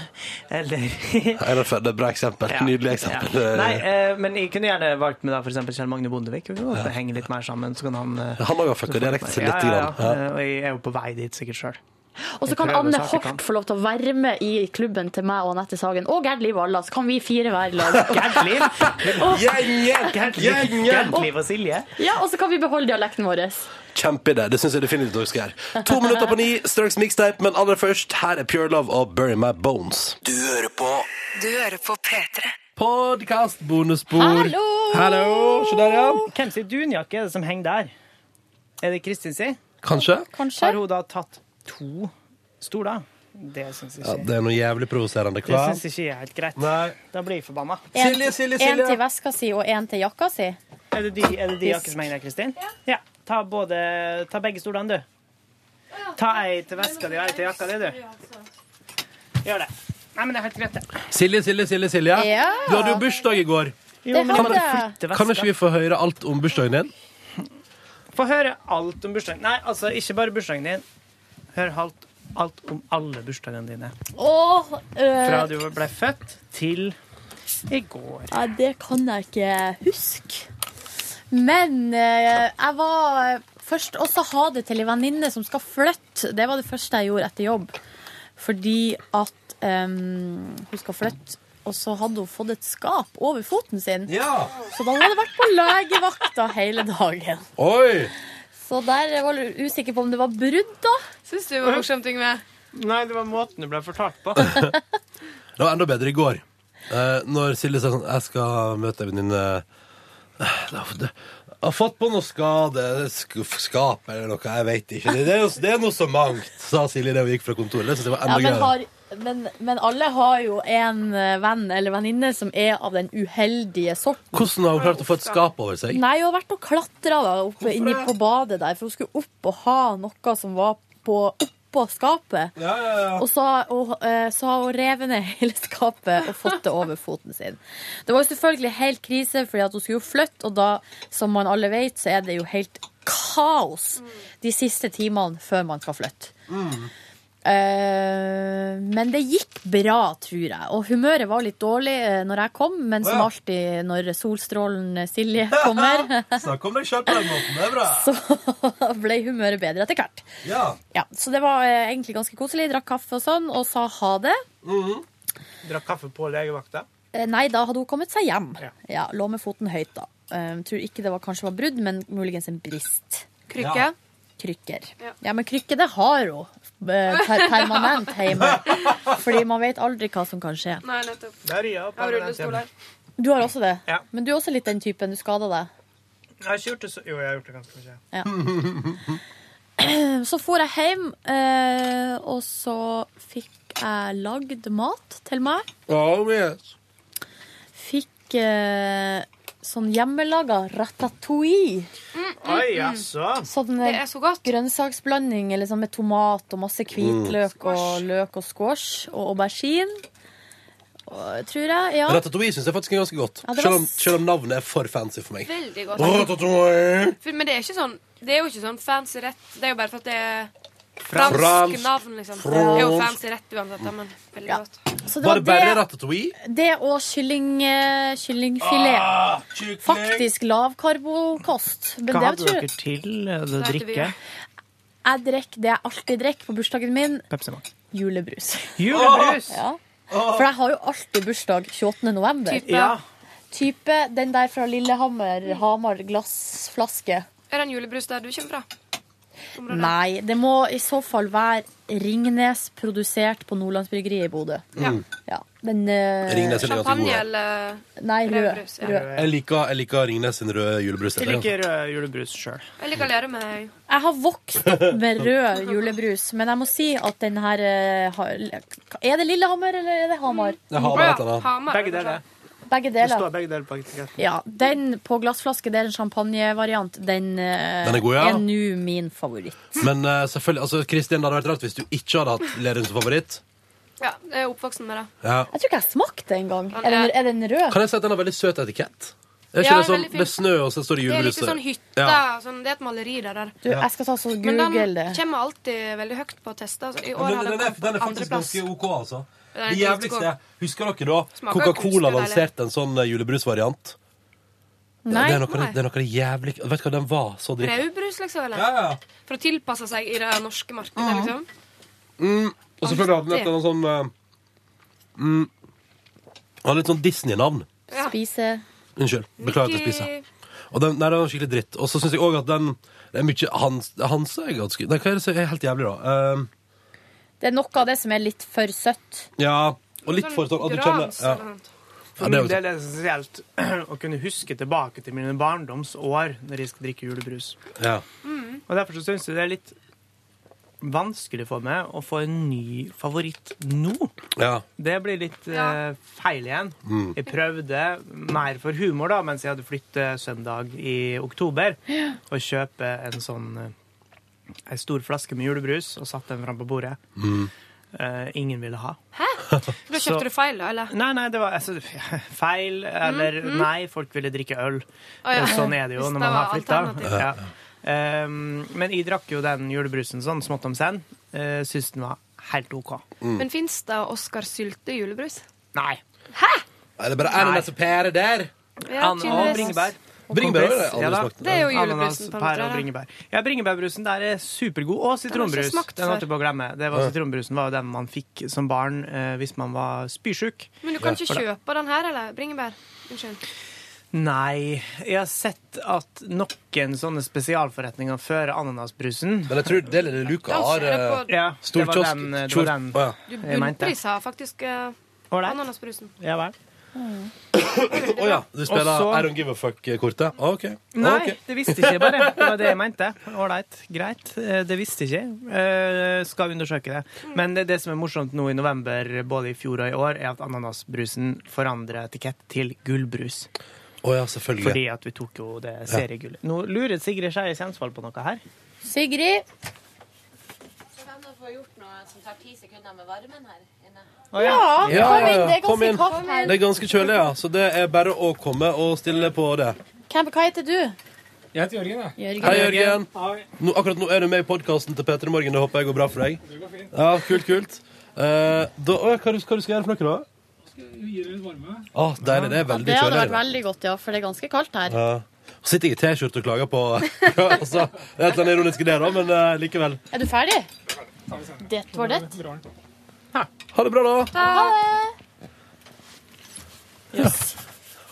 C: Eller
A: Einar Førde, et bra eksempel.
C: Ja.
A: Nydelig eksempel.
C: Ja. Nei, eh, men jeg kunne gjerne valgt med da for eksempel Kjell Magne Bondevik. Vi kan godt henge litt mer sammen, så kan han eh,
A: Han har jo fucka dialekten sin
C: ja,
A: litt.
C: ja,
A: Grann.
C: ja. Eh, Og jeg er jo på vei dit sikkert sjøl.
B: Og så
C: Jeg
B: kan
C: prøver
B: Anne
C: så hardt jeg kan.
B: Hort få lov til å være med i klubben til meg og Anette Sagen. Og Gerd Liv Alla. Så kan vi fire være i lag.
C: Gerd Liv! Gerd Liv.
A: Gjengen!
C: Gerd Liv og Silje.
B: Ja, og så kan vi beholde dialekten vår.
A: Kjempeidé. Det syns jeg definitivt dere skal gjøre. To minutter på ni, straks mixtape, men aller først, her er Pure Love og Bury My Bones.
D: Du hører på Du hører på P3.
A: Podkast, bonusbord.
B: Hallo!
A: Hallo! Se der, ja.
C: Hvem sin dunjakke er det som henger der? Er det Kristin si?
A: Kanskje?
B: Kanskje.
C: Har hun da tatt to stoler? Det syns ikke
A: Ja,
C: jeg.
A: det er noe jævlig provoserende.
C: Det
A: Hva?
C: syns ikke jeg er helt greit.
A: Nei.
C: Da blir jeg forbanna.
A: Silje, Silje, Silje!
B: veska si og én til jakka si.
C: Er det de, er det de jakkene som henger der, Kristin? Ja. Ta, både, ta begge stolene, du. Ta ei til veska di og ei til jakka di, du. Gjør det. Nei, men det er helt greit, det.
M: Silje, Silje, Silje, Silje.
B: Ja.
M: Du hadde jo bursdag i går.
C: Jo,
B: Det
C: men
B: har
C: da må du
B: jeg.
C: flytte veska.
M: Kan ikke vi få høre alt om bursdagen din?
C: Få høre alt om bursdagen Nei, altså, ikke bare bursdagen din. Hør alt, alt om alle bursdagene dine.
B: Åh,
C: Fra
B: øh,
C: du ble født til i går.
B: ja, det kan jeg ikke huske. Men øh, jeg var først også ha det til ei venninne som skal flytte. Det var det første jeg gjorde etter jobb. Fordi at øhm, hun skal flytte, og så hadde hun fått et skap over foten sin.
M: Ja.
B: Så da hadde hun vært på legevakta hele dagen.
M: Oi!
B: Så der var jeg usikker på om det var brudd, da.
H: Syns du det var morsomt, Yngve?
C: Nei, det var måten du ble fortalt på.
M: Det var enda bedre i går.
A: Eh, når Silje sier sånn Jeg skal møte en venninne Eh, det er- det- Jeg har fått på noe skade, sk- skap eller noe, jeg vet ikke. Det, det, er, jo- det er noe så mangt, sa Silje da vi gikk fra kontoret. Det synes jeg var
B: Ja,
A: enda
B: men,
A: gøyere.
B: har, men, men alle har jo en eh, venn eller venninne som er av den uheldige sorten.
A: Hvordan har hun klart å få et skap over seg?
B: Nei, hun har vært og klatra da, oppe inni på badet der, for hun skulle opp og ha noe som var på, oppå skapet. Og så, har- og, eh, så har hun revet ned hele skapet og fått det over foten sin. Det var jo selvfølgelig helt krise, fordi at hun skulle jo flytte, og da, som man alle vet, så er det jo helt kaos de siste timene før man skal flytte. Eh, men det gikk bra, tror jeg. Og humøret var litt dårlig eh, når jeg kom, men som alltid når solstrålen eh, Silje kommer,
A: Snakk om deg sjøl på den måten, det er bra.
B: så ble humøret bedre etter hvert.
A: Ja.
B: Ja, så det var eh, egentlig ganske koselig. Drakk kaffe og sånn, og sa ha det.
A: Mm-hmm.
C: Drakk kaffe på legevakta.
B: Eh, Nei, da hadde hun kommet seg hjem. Ja, Lå med foten høyt, da. Eh, tror ikke det var, kanskje var brudd, men muligens en brist.
H: Krykke? Ja.
B: Krykker. Ja, men krykke, det har hun. eh, Per permanent hjemme. Fordi man vet aldri hva som kan skje.
H: Nei, nettopp.
C: Der, ja.
H: Av rullestoler.
B: Du har også det?
C: Ja.
B: Men du er også litt den typen. Du skada deg.
C: Jeg har ikke gjort det så Jo, jeg har gjort det ganske mye.
B: Ja. Så for jeg hjem, eh, og så fikk jeg lagd mat til meg.
M: Oh, yes.
B: Fikk eh, sånn hjemmelaga ratatouille.
C: Oi, jaså.
B: Sånn eh, grønnsaksblanding eller sånn med tomat og masse hvitløk og løk og squash og aubergine. Og, tror jeg. Ja.
A: Ratatouille syns jeg faktisk er ganske godt.
B: Ja, det var
A: selv, om, selv om navnet er for fancy for meg.
H: Veldig godt.
A: Ratatouille.
H: For, men det er, ikke sånn, det er jo ikke sånn fancy rett. Det er jo bare for at det er
A: Fransk.
H: fransk navn, liksom. Det er jo
A: Fransk.
H: fancy rett uansett, da, men veldig godt.
B: Så det
A: Var
B: var
A: det bare
B: det,
A: ratatouille?
B: det og kylling, eh, kyllingfilet.
A: Ah,
B: Faktisk lavkarbokost. Men
C: Hva
B: det
C: hadde
B: tror jeg
C: dere til eh, å drikke?
B: jeg drikker det jeg alltid drikker på bursdagen min.
C: Pepsi Max.
B: Julebrus.
C: Julebrus!
B: Ja. For jeg har jo alltid bursdag 28. november.
H: Type. Ja.
B: Type den der fra Lillehammer, Hamar glassflaske.
H: Er det en julebrus der du kommer fra? Området?
B: Nei, det må i så fall være Ringnes produsert på Nordlandsbryggeriet i Bodø.
A: Ja. Mm.
B: Ja, den eh,
A: Ringnes er ganske
H: Champagne
A: god.
H: eller
B: Nei, rød.
H: rødbrus? Ja.
B: rød.
A: Jeg liker, jeg liker Ringnes sin røde julebrus.
C: Jeg liker eh, julebrus sjøl.
H: Jeg liker å lære meg.
B: Jeg har vokst opp med rød julebrus, men jeg må si at den her eh, har- Er det Lillehammer, eller er det Hamar?
A: Jeg har bare et eller annet.
C: Begge deler.
B: Begge
C: Det
B: deler.
C: står begge deler på etiketten.
B: Ja, Den på glassflaske, det er en champagnevariant. Den, eh,
A: Den er god, ja.
B: er nå min favoritt.
A: Men eh, selvfølgelig, altså, Kristin, det hadde vært rart hvis du ikke hadde hatt Lerum som favoritt.
H: Ja, jeg er oppvoksen med det.
A: Ja.
B: Jeg tror ikke jeg smakte engang.
H: Ja,
B: Er, den- er den rød?
A: Kan jeg si at den har veldig søt etikett? Er ikke
H: Ja,
A: det sånn,
H: veldig fin.
A: det er snø, og så står det
H: Det er
A: julebrus
H: liksom sånn hytte.
A: Ja.
H: Sånn, det er et maleri der. der.
B: Du, jeg skal ta så
H: Men den
B: google det.
H: kommer alltid veldig høyt på å teste. Altså, I
A: Ja,
H: år
A: men
H: har
A: den,
H: den
A: er,
H: kommet
A: den er
H: på
A: faktisk
H: andreplass.
A: ganske OK, altså.
H: Den er
A: Det
H: ganske
A: jævligste Husker dere da
H: Smaker
A: Coca-Cola
H: kunstig deilig.
A: lanserte en sånn eh, julebrusvariant?
H: Nei.
A: Det er noe av det- det er noe av det jævlig Vet du hva, den var så dritt.
H: Rødbrus, liksom? Eller?
A: Ja, ja.
H: For å tilpasse seg i det norske
C: Ah.
H: markedet, liksom?
A: Mm, og selvfølgelig hadde den et eller annet sånn eh, mm, Han hadde et sånn Disney-navn.
B: Spise
A: Unnskyld. Beklager at jeg spiser.
H: sånn
A: Og den, nei, den var skikkelig dritt. Og så syns jeg òg at den det er mye Hans, Hans er ganske Nei, hva er det som er helt jævlig, da? Eh,
B: Det er noe av det som er litt for søtt.
A: ja, og litt for sånn at du kjenner ja. Ja,
C: For
A: det er
C: min
A: jo-
C: del er det essensielt å kunne huske tilbake til mine barndomsår når jeg skal drikke julebrus.
A: ja.
C: Og derfor så syns jeg det er litt vanskelig for meg å få en ny favoritt nå.
A: ja.
C: Det blir litt eh, feil igjen.
A: Mm.
C: Jeg prøvde mer for humor da, mens jeg hadde flyttet søndag i oktober, å kjøpe en sånn eh, en stor flaske med julebrus og satte den fram på bordet.
A: Mm.
C: Eh, ingen ville ha.
H: Da
C: Så-
H: kjøpte du feil, da? eller?
C: Nei, nei, det var altså, feil, eller
H: Mm, mm.
C: nei, folk ville drikke øl.
H: Å, ja.
C: Sånn er det jo
H: Hvis
C: når
H: det
C: man har
H: var
C: flytta.
H: alternativ.
C: Ja. Um, men jeg drakk jo den julebrusen sånn smått om senn. Uh, Syns den var helt OK.
H: Men fins det Oscar Sylte julebrus?
C: Nei.
A: Er det bare ananas og pære der?
H: Ja,
C: An og
H: tydeligvis.
C: bringebær. Og
A: Bringebær har jeg
C: kompis.
A: aldri
C: da.
A: smakt.
H: Det er jo julebrusen
C: Ananas,
H: på en måte,
C: pære og
H: da.
C: bringebær. Ja, bringebærbrusen der er supergod. Og
H: Den har jeg ikke
C: sitronbrus.
H: smakt
C: Den holdt
H: før.
C: jeg på å glemme. Det var, sitronbrusen var jo den man fikk som barn eh, hvis man var spysjuk.
H: Men du kan ikke
C: For da-
H: kjøpe den her, eller? Bringebær? Unnskyld.
C: Nei. Jeg har sett at noen sånne spesialforretninger fører ananasbrusen.
A: Men jeg tror det er Luca
H: Altså, har, er det eh, på-
C: ja,
A: Stor
C: det var
A: kiosk.
C: Den, eh, det
A: Stor-
C: var den
A: Å, ja.
H: Du
C: jeg mente.
H: bunnprisa faktisk eh,
C: Ålreit.
H: ananasbrusen.
C: Ja vel.
A: Å ja, du spiller
C: Og så-
A: I don't give a fuck-kortet? OK.
C: Nei,
A: Ok.
C: det visste ikke jeg bare. Det var det jeg mente. Ålreit, greit. Eh, Det visste ikke jeg. Eh, Skal undersøke det. Men det, det som er morsomt nå i november, både i fjor og i år, er at ananasbrusen forandrer etikett til gullbrus.
A: Å ja, selvfølgelig.
C: Fordi at vi tok jo det seriegullet. Nå lurer Sigrid Skeie Sensvold på noe her.
N: Sigrid.
A: Å
N: Ja, kom inn, det er ganske
A: Kom inn.
N: kaldt her.
A: Det er ganske kjølig, ja. Så det er bare å komme og stille på det.
N: Hvem, hva heter du?
O: Jeg heter Jørgen, jeg.
N: Jørgen.
A: Hei, Jørgen.
O: Hei.
A: Nå, akkurat nå er du med i podkasten til Peter i morgen. Det håper jeg går bra for deg. Ja, kult, kult. Eh, da, å, hva, du- hva du skal gjøre for noe, da?
O: Gir dere litt varme?
A: Å, deilig. Det er veldig
N: Det hadde
A: kjølig.
N: vært veldig godt, ja, for det er ganske kaldt her.
A: Ja. Så sitter jeg i T-skjorte og klager på altså, Det er et eller annet ironisk i det, da, men eh, likevel.
N: Er du ferdig? Det var det.
A: Ha det bra, da.
N: Ha det.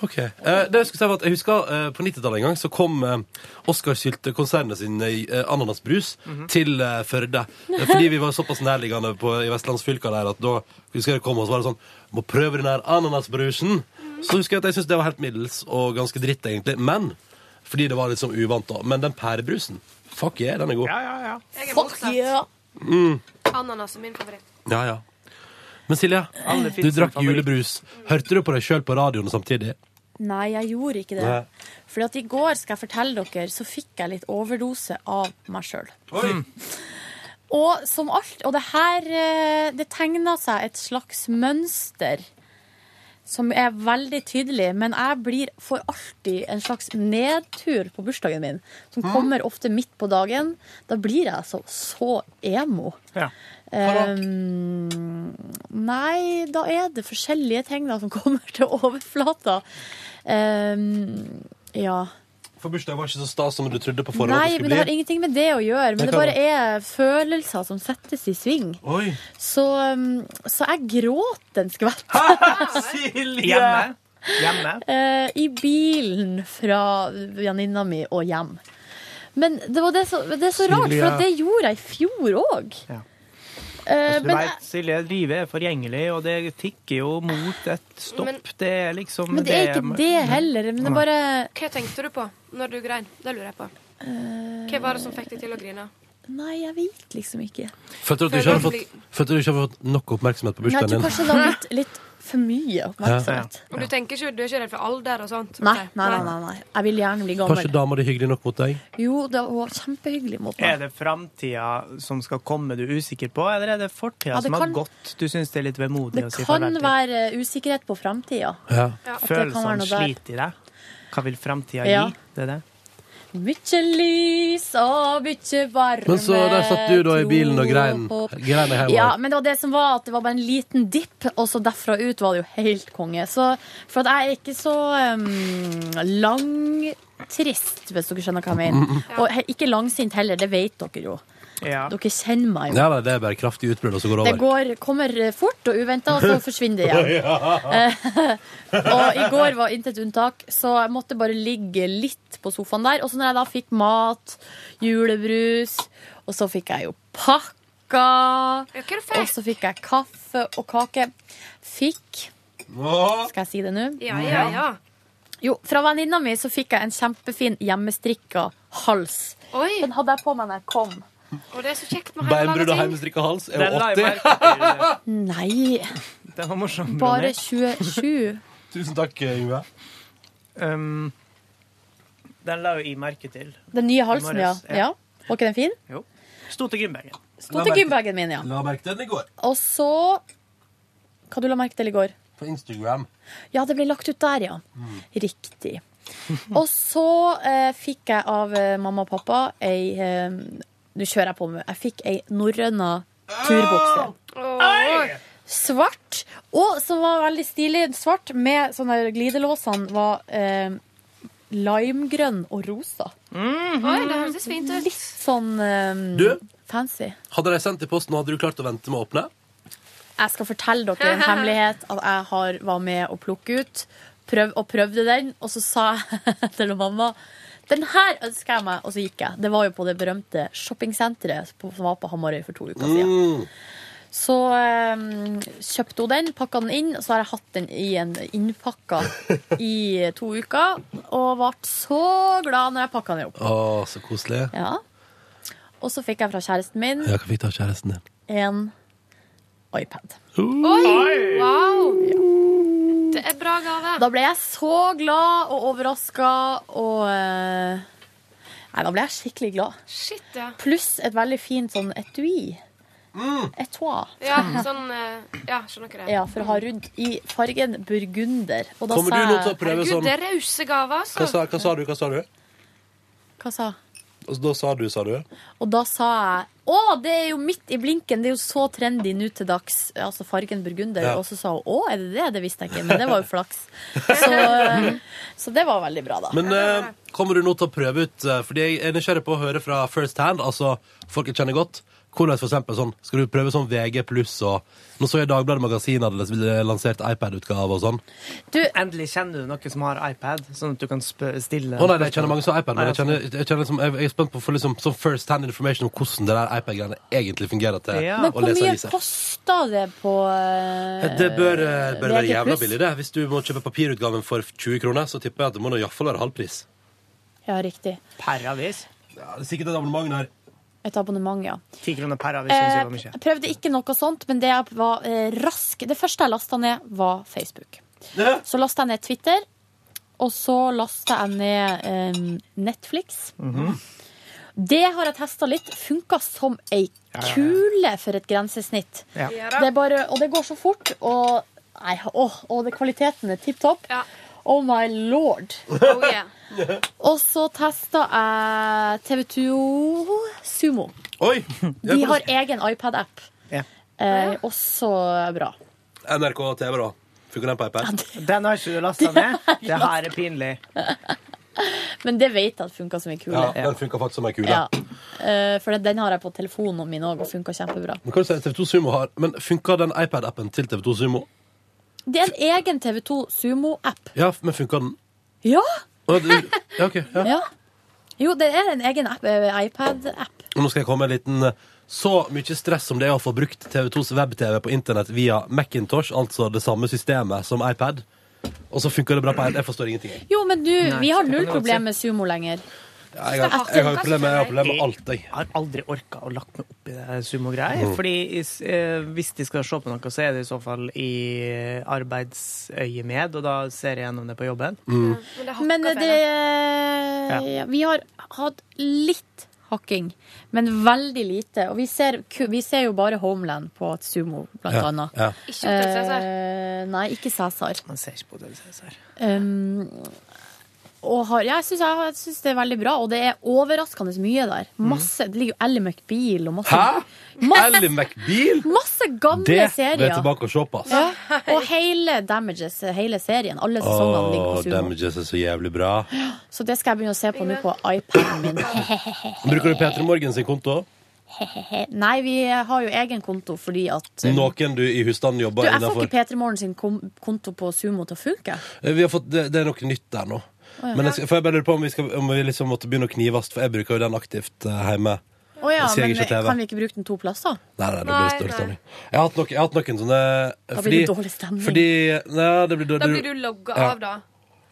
A: Ok. Eh, det jeg skulle si var at jeg husker eh, På 90-tallet en gang så kom eh, Oskar Sylte-konsernet sin eh, ananasbrus til eh, Førde. Eh, Fordi vi var såpass nærliggende på, i vestlandsfylka der at da husker jeg det kom, og så var det sånn Må prøve den her ananasbrusen. Så husker jeg at jeg syntes det var helt middels og ganske dritt, egentlig. Men fordi det var litt sånn uvant, da. Men den pærebrusen, fuck yeah, den er god.
H: Jeg er motsatt.
A: Mm,
H: Ananas er min favoritt.
A: ja, ja. Men Silja,
B: Alle
A: du
B: finnes
A: drakk
B: som favoritt.
A: julebrus. Hørte du på deg sjøl på radioen samtidig?
B: Nei, jeg gjorde ikke det.
A: Nei.
B: Fordi at i går, skal jeg fortelle dere, så fikk jeg litt overdose av meg sjøl. Og som alt Og det her eh, Det tegna seg et slags mønster som er veldig tydelig, men jeg blir for alltid en slags nedtur på bursdagen min, som kommer ofte midt på dagen. Da blir jeg altså så emo.
C: Ja.
B: Um, nei, da er det forskjellige ting da som kommer til overflata. Um, ja.
A: For bursdag var ikke så stas som du trodde på forhånd. det
B: Nei, men det
A: skulle
B: har
A: bli.
B: ingenting med det å gjøre.
A: Det
B: Men det
A: kan
B: bare er følelser som settes i sving.
A: Oi.
B: Så, um, så jeg gråt en skvett.
C: Hjemme. Hjemme.
B: Eh, I bilen fra venninna mi og hjem. Men det, var det, så, det er så rart, for
C: Silja.
B: at det gjorde jeg i fjor òg.
C: Ja. Altså,
B: Eh,
C: Du
B: men
C: vet, Silje, livet er forgjengelig, og det tikker jo mot et stopp. det er liksom
B: Men det er ikke det heller. Men det er bare
H: Hva tenkte du på når du grein? Det lurer jeg på. Hva var det som fikk deg til å grine?
B: Nei, jeg vet liksom ikke.
A: Følte du at du ikke hadde fått, følte du ikke hadde fått nok oppmerksomhet på
B: Nei, jeg
A: bursdagen
B: tror
A: din?
B: kanskje det var litt, litt for mye oppmerksomhet.
H: Og du, tenker ikke, du er ikke redd for alder og sånt?
B: Nei, nei, nei, nei, nei. Jeg vil gjerne bli
A: Var ikke
B: gammel.
A: dama di hyggelig nok mot deg?
B: Jo, det var kjempehyggelig mot
C: Er
B: meg.
C: det framtida som skal komme du er usikker på, eller er det fortida
B: Ja, det
C: som har
B: kan-
C: gått du syns det er litt vemodig å si
B: Kan
C: farvel til?
B: være usikkerhet på framtida.
A: Ja.
B: At det kan være
C: Følelsene
B: noe der.
C: sliter i deg. Hva vil framtida
B: Ja.
C: gi? Det er det.
B: Mykje lys og mykje varme
A: Men så der satt du da i bilen og grein-
B: tro på-
A: grein i heimen.
B: Ja, men det var det som var at det var bare en liten dipp, og så derfra ut var det jo helt konge. Så for at jeg er ikke så um, langtrist, hvis dere skjønner hva jeg
A: Mm,
B: mener.
A: mm.
B: Og he- ikke langsint heller, det vet dere jo. Dere kjenner meg jo.
A: Ja, nei, det er bare kraftig utbrudd, og så går det
B: Det
A: over.
B: går, kommer fort og uventa, og så forsvinner det igjen.
A: Ja.
B: og i går var intet unntak, så jeg måtte bare ligge litt på sofaen der. Og så når jeg da fikk mat, julebrus, og så fikk jeg jo pakka, og så fikk jeg kaffe og kake. Fikk Skal jeg si det nå?
H: Ja, ja, ja.
B: Jo, fra venninna mi så fikk jeg en kjempefin hjemmestrikka hals. Den hadde jeg på meg når jeg kom.
H: Og det er så kjekt med
A: Beinbrudd og
H: hjemmelaga ting.
A: heimestrikka hals er
C: Den
A: jo
C: la jeg
A: 80.
B: Nei,
C: Det var morsomt.
B: bare 27.
A: Tusen takk, Yngve.
C: Um, den la jo jeg merke til.
B: Den nye halsen,
C: I
B: ja.
C: morges,
B: ja. Var ikke den fin?
C: Jo. Sto til Grimbergen.
B: Sto til gymbagen min, ja.
A: La merke til den i går.
B: Og så Hva du la merke til i går?
A: På Instagram.
B: Ja, det ble lagt ut der, ja. Riktig. Og så eh, fikk jeg av eh, mamma og pappa ei eh, Nå kjører jeg på med Jeg fikk ei norrøna turbukse. Svart, og som var veldig stilig. Svart med sånne der glidelåsene var eh, limegrønn og rosa.
H: Oi, det høres fint ut.
B: Litt sånn eh,
A: Du?
B: fancy.
A: Hadde de sendt i posten, hadde du klart å vente med å åpne?
B: Jeg skal fortelle dere en hemmelighet at jeg har, var med å plukke ut prøv, og prøvde den, og så sa jeg til mamma den her ønsker jeg meg, og så gikk jeg. Det var jo på det berømte shoppingsenteret på- som var på Hamarøy for to uker siden. Så eh, kjøpte hun den, pakka den inn, og så har jeg hatt den i en innpakka i to uker. Og ble så glad når jeg pakka den opp.
A: Å, så koselig.
B: Ja. Og så fikk jeg fra kjæresten min
A: Ja, hva fikk du av kjæresten din?
B: en iPad.
H: Oi! Wow! Det er bra gave.
B: Da ble jeg så glad og overraska og eh, Nei, da ble jeg skikkelig glad.
H: Shit, ja.
B: Pluss et veldig fint sånn etui.
A: Mm.
B: Etui.
H: Ja, sånn eh, Ja, skjønner ikke det.
B: Ja, for å ha rundt i fargen burgunder. Og da
A: Kommer
B: sa
A: du nå til
B: jeg-
A: å prøve sånn-
H: Gud, det er rause gaver,
A: Hva
H: altså.
A: sa, hva sa du? Hva sa du?
B: Hva sa?
A: Og Da sa du, sa du?
B: Og da sa jeg Å, det er jo midt i blinken! Det er jo så trendy nå til dags. Altså fargen burgunder.
A: Ja.
B: Og så sa hun å, er det det? Det visste jeg ikke, men det var jo flaks. Så, eh, så det var veldig bra, da.
A: Men eh, kommer du nå til å prøve ut eh, Fordi jeg er nysgjerrig på å høre fra first hand, altså folk jeg kjenner godt. Hvordan for eksempel sånn Skal du prøve sånn VG pluss og Nå så jeg Dagbladet Magasin hadde les- lansert iPad-utgave og sånn.
C: Endelig kjenner du noen som har iPad, sånn at du kan spø stille
A: Å nei, nei, jeg kjenner mange som har iPad, men
C: Nei,
A: jeg, kjenner, jeg, kjenner liksom, jeg, jeg er spent på å få liksom, sånn first hand information om hvordan det der iPad-greiene egentlig fungerer til
B: Men
A: å
B: hvor
A: lese
B: mye
A: aviser.
B: kosta det på eh,
A: Det bør, eh, bør være
B: VG+?
A: jævla billig, det. Hvis du må kjøpe papirutgaven for 20 kroner, så tipper jeg at det må nå iallfall være halvpris.
B: Ja, riktig.
C: Per avis?
A: Ja, det er sikkert et abonnement der.
B: Et abonnement, ja.
C: Ti kroner per avis synes jeg var
B: Eh,
C: mye.
B: jeg prøvde ikke noe sånt, men det jeg var eh, rask Det første jeg lasta ned, var Facebook. Så lasta jeg ned Twitter, og så lasta jeg ned eh, Netflix. Det har jeg testa litt. Funka som ei
P: Ja, ja, ja.
B: kule for et grensesnitt.
P: Ja. Ja da.
B: Det er bare, og det går så fort, og, nei, åh, og det, kvaliteten er tipp topp. Oh my lord. Og så testa jeg TV2 Sumo.
A: Oi!
B: De har egen iPad-app.
C: Ja.
B: Eh, også bra.
A: NRK TV, da. Funker den på iPad?
C: Den har ikke du lasta ned? Det her er pinlig.
B: Men det vet jeg at funka som ei kule.
A: Ja, den funker faktisk som ei kule.
B: Ja. Eh, for den har jeg på telefonen min òg, og funka kjempebra.
A: Men hva du sier, TV2 Sumo har Men funker den iPad-appen til TV2 Sumo?
B: Det er en egen TV2 Sumo-app.
A: Ja, men funker den?
B: Ja!
A: Å, det- Ja, ok. Ja.
B: ja. Jo, det er en egen app, eh, iPad-app.
A: Og Nå skal jeg komme med en liten eh, så mye stress som det er å få brukt TV2s web-TV på internett via Macintosh, altså det samme systemet som iPad. Og så funker det bra på iPad. Jeg forstår ingenting. jeg.
B: Jo, men du,
A: Nei,
B: vi har
A: det kan
B: null
A: jeg godt si.
B: problem med Sumo lenger.
A: Ja, jeg har- jeg har
B: altså.
A: jo problemer- jeg har problemer med alt, jeg.
C: har aldri orka å lagt meg opp i det her sumogreier.
A: Mm.
C: Fordi eh, hvis de skal se på noe, så er det i så fall i arbeidsøyemed, og da ser jeg gjennom det på jobben.
H: Mm.
B: Men det,
C: Ja.
B: ja. Vi har hatt litt hakking, men veldig lite. Og vi ser, ku- vi ser jo bare Homeland på et sumo, blant
P: Ja,
B: annet.
P: ja.
H: Ikke altså. Hotel Cæsar.
B: Eh, nei, ikke Cæsar.
C: Man ser ikke på Hotel Cæsar.
B: Um, og har, ja, jeg syns jeg synes det er veldig bra, og det er overraskende mye der. Masse, Det ligger jo Ally McBeal og masse
A: Mm. Hæ?
B: Masse,
A: Ally McBeal?
B: masse gamle
A: Det vil jeg
B: serier.
A: tilbake og se på. ass.
B: Ja, og hele Damages, hele serien. Alle sesongene ligger på
A: Åh,
B: sumo.
A: damages er så jævlig bra.
B: Så det skal jeg begynne å se på nå på iPaden min.
A: Bruker du P3 Morgen sin konto?
B: Nei, vi har jo egen konto fordi at
A: Noen du i husstanden
B: Du,
A: jobber
B: jeg får
A: innenfor?
B: ikke P3 Morgen sin kom- konto på Sumo til å funke.
A: Eh, Vi har fått, det, det er noe nytt der nå.
B: Å, ja.
A: Men jeg, skal- for jeg bare lurer på om vi, skal, om vi liksom måtte begynne å knivast, for jeg bruker jo den aktivt eh, hjemme.
B: Å ja,
A: Jeg ser
B: men
A: ikke TV.
B: kan vi ikke bruke den to plasser?
A: Nei, nei, det blir dårlig stemning. Jeg har hatt, nok, jeg har hatt noen sånne
B: Da blir
A: fordi-
B: det dårlig stemning.
A: Fordi, nei, det blir dårlig
H: Da blir du logga
A: Ja.
H: av, da.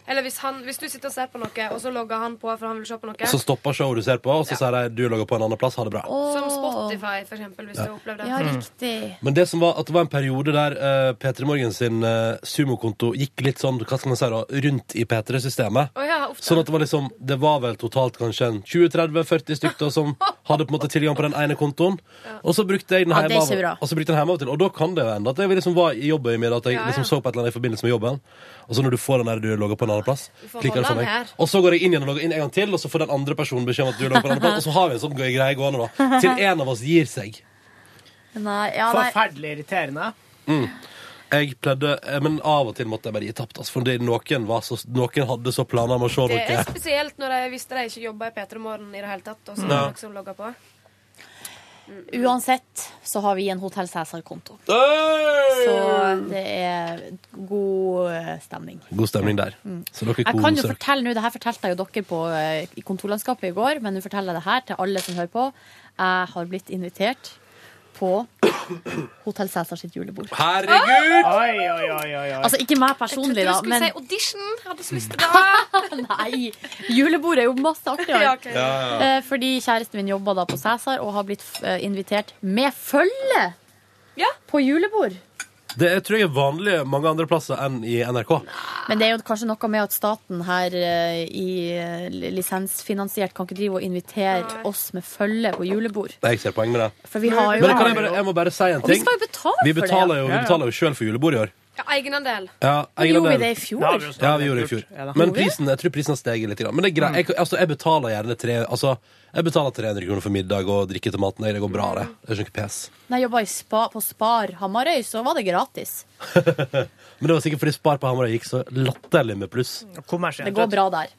H: Eller hvis, han, hvis du sitter og ser på noe, og så logger han på for han vil se på noe.
A: Så stopper showet du ser på, og så sier de du logger på en annen plass. Ha det bra.
H: Som Spotify, for eksempel, hvis
A: Ja.
H: du har opplevd det.
A: Ja, Mm.
B: riktig.
A: Men det som var at det var en periode der uh, P3 Morgen sin eh, sumokonto gikk litt sånn hva skal man si da, rundt i P3-systemet.
H: Å ja, ofte.
A: Sånn at det var liksom, det var vel totalt kanskje en 20-30-40 stykker som hadde på en måte tilgang på den ene kontoen. Og så brukte jeg den
B: Ja, det
A: hjemme
B: er
A: av
B: ikke bra.
A: og så brukte jeg den hjemme av og til. Og da kan det jo hende at jeg liksom var i jobben min, at jeg
B: Ja, ja.
A: liksom så på et eller annet i forbindelse med jobben. Og så når du får den der du logger på en annen plass,
B: Du får
A: klikker du
B: holde
A: sånn.
B: den
A: jeg.
B: her.
A: Og så går jeg inn igjen og logger inn en gang til, og så får den andre personen beskjed om at du logger på en annen plass. Og så har vi en sånn gøy greie gående, da. Til en av oss gir seg.
B: Nei, ja, nei.
C: Forferdelig irriterende.
A: Mm. Jeg pleide, eh, men av og til måtte jeg bare gi tapt, altså, fordi noen, var så, noen hadde så planer om å se
H: Det er
A: noe.
H: spesielt når jeg visste de ikke jobba i P3 Morgen i det hele tatt, og så
A: Mm. Ja.
H: var det noen som logga på.
B: Uansett så har vi en Hotell Cæsar-konto. Så det er god eh, stemning.
A: God stemning der.
B: Mm.
A: Så dere
B: Jeg kan jo
A: koser dere.
B: fortelle nå, det her fortalte jeg jo dere på, eh, i kontorlandskapet i går, men nå forteller jeg det her til alle som hører på. Jeg har blitt invitert på Hotell Cæsar sitt julebord.
A: Herregud!
C: Oi, oi, oi, oi, oi.
B: Altså ikke meg personlig,
H: Jeg
B: da,
H: trodde du skulle
B: men
H: si audition. Jeg hadde så lyst til det.
B: Nei! Julebord er jo masse artigere.
H: Ja, ok. Ja, ja, ja.
B: Eh, Fordi kjæresten min jobba da på Cæsar og har blitt eh, invitert med følge på julebord.
A: Det er, tror jeg er vanlig mange andre plasser enn i NRK.
B: Men det er jo kanskje noe med at staten her eh, i eh, lisensfinansiert kan ikke drive og invitere oss med følge på julebord.
A: Nei, Jeg ser poeng med det.
B: For vi har jo-
A: Men kan jeg, bare, jeg må bare si en
B: Og vi
A: ting.
B: skal jo betale
A: Vi
B: for det,
A: betaler
B: ja.
A: jo,
B: Ja,
A: vi
B: ja.
A: betaler jo sjøl for julebord i år.
H: Ja, egenandel.
A: Ja,
H: Men
A: jeg
H: gjorde
A: gleder-
H: vi det i fjor? Da har vi jo snakket
A: Ja, vi gjorde det i fjor.
H: Ja da.
A: Men
H: Gjorde vi?
A: prisen, jeg tror prisen har steget litt. grann. Men det er greit. Jeg, altså, jeg betaler gjerne tre, altså, jeg betaler 300 kroner for middag og drikke til maten. Det går bra, det. Det er ikke noe pes.
B: Når jeg jobba spa, på Spar Hamarøy, så var det gratis.
A: Men det var sikkert fordi Spar på Hamarøy gikk så latterlig med pluss.
B: Det går bra der.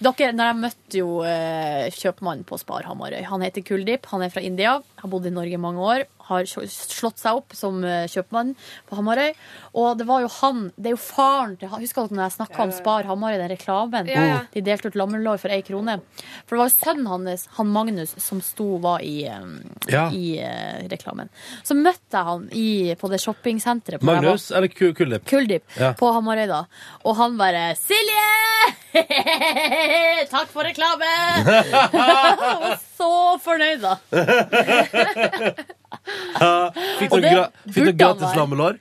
B: Dere, når jeg møtte jo eh, kjøpmannen på Spar Hamarøy. Han heter Kuldip, han er fra India, har bodd i Norge i mange år. Har sj- slått seg opp som eh, kjøpmann på Hamarøy. Og det var jo han, det er jo faren til han Husker dere når jeg snakka om Spar Hamarøy, den reklamen? Mm.
H: Ja, ja.
B: De delte ut lammelår for ei krone. For det var jo sønnen hans, han Magnus, som sto var i, eh,
A: Ja.
B: i eh, reklamen. Så møtte jeg han i, på det shoppingsenteret. på der jeg var.
A: Magnus eller Ku- Kuldip?
B: Kuldip
A: Ja.
B: på Hamarøy, da. Og han bare 'Silje! Takk for reklamen!' han var så fornøyd, da.
A: Fikk
B: Og
A: du
B: det
A: gra fikk du
B: burde
A: gratis
B: han være.
A: lammelår?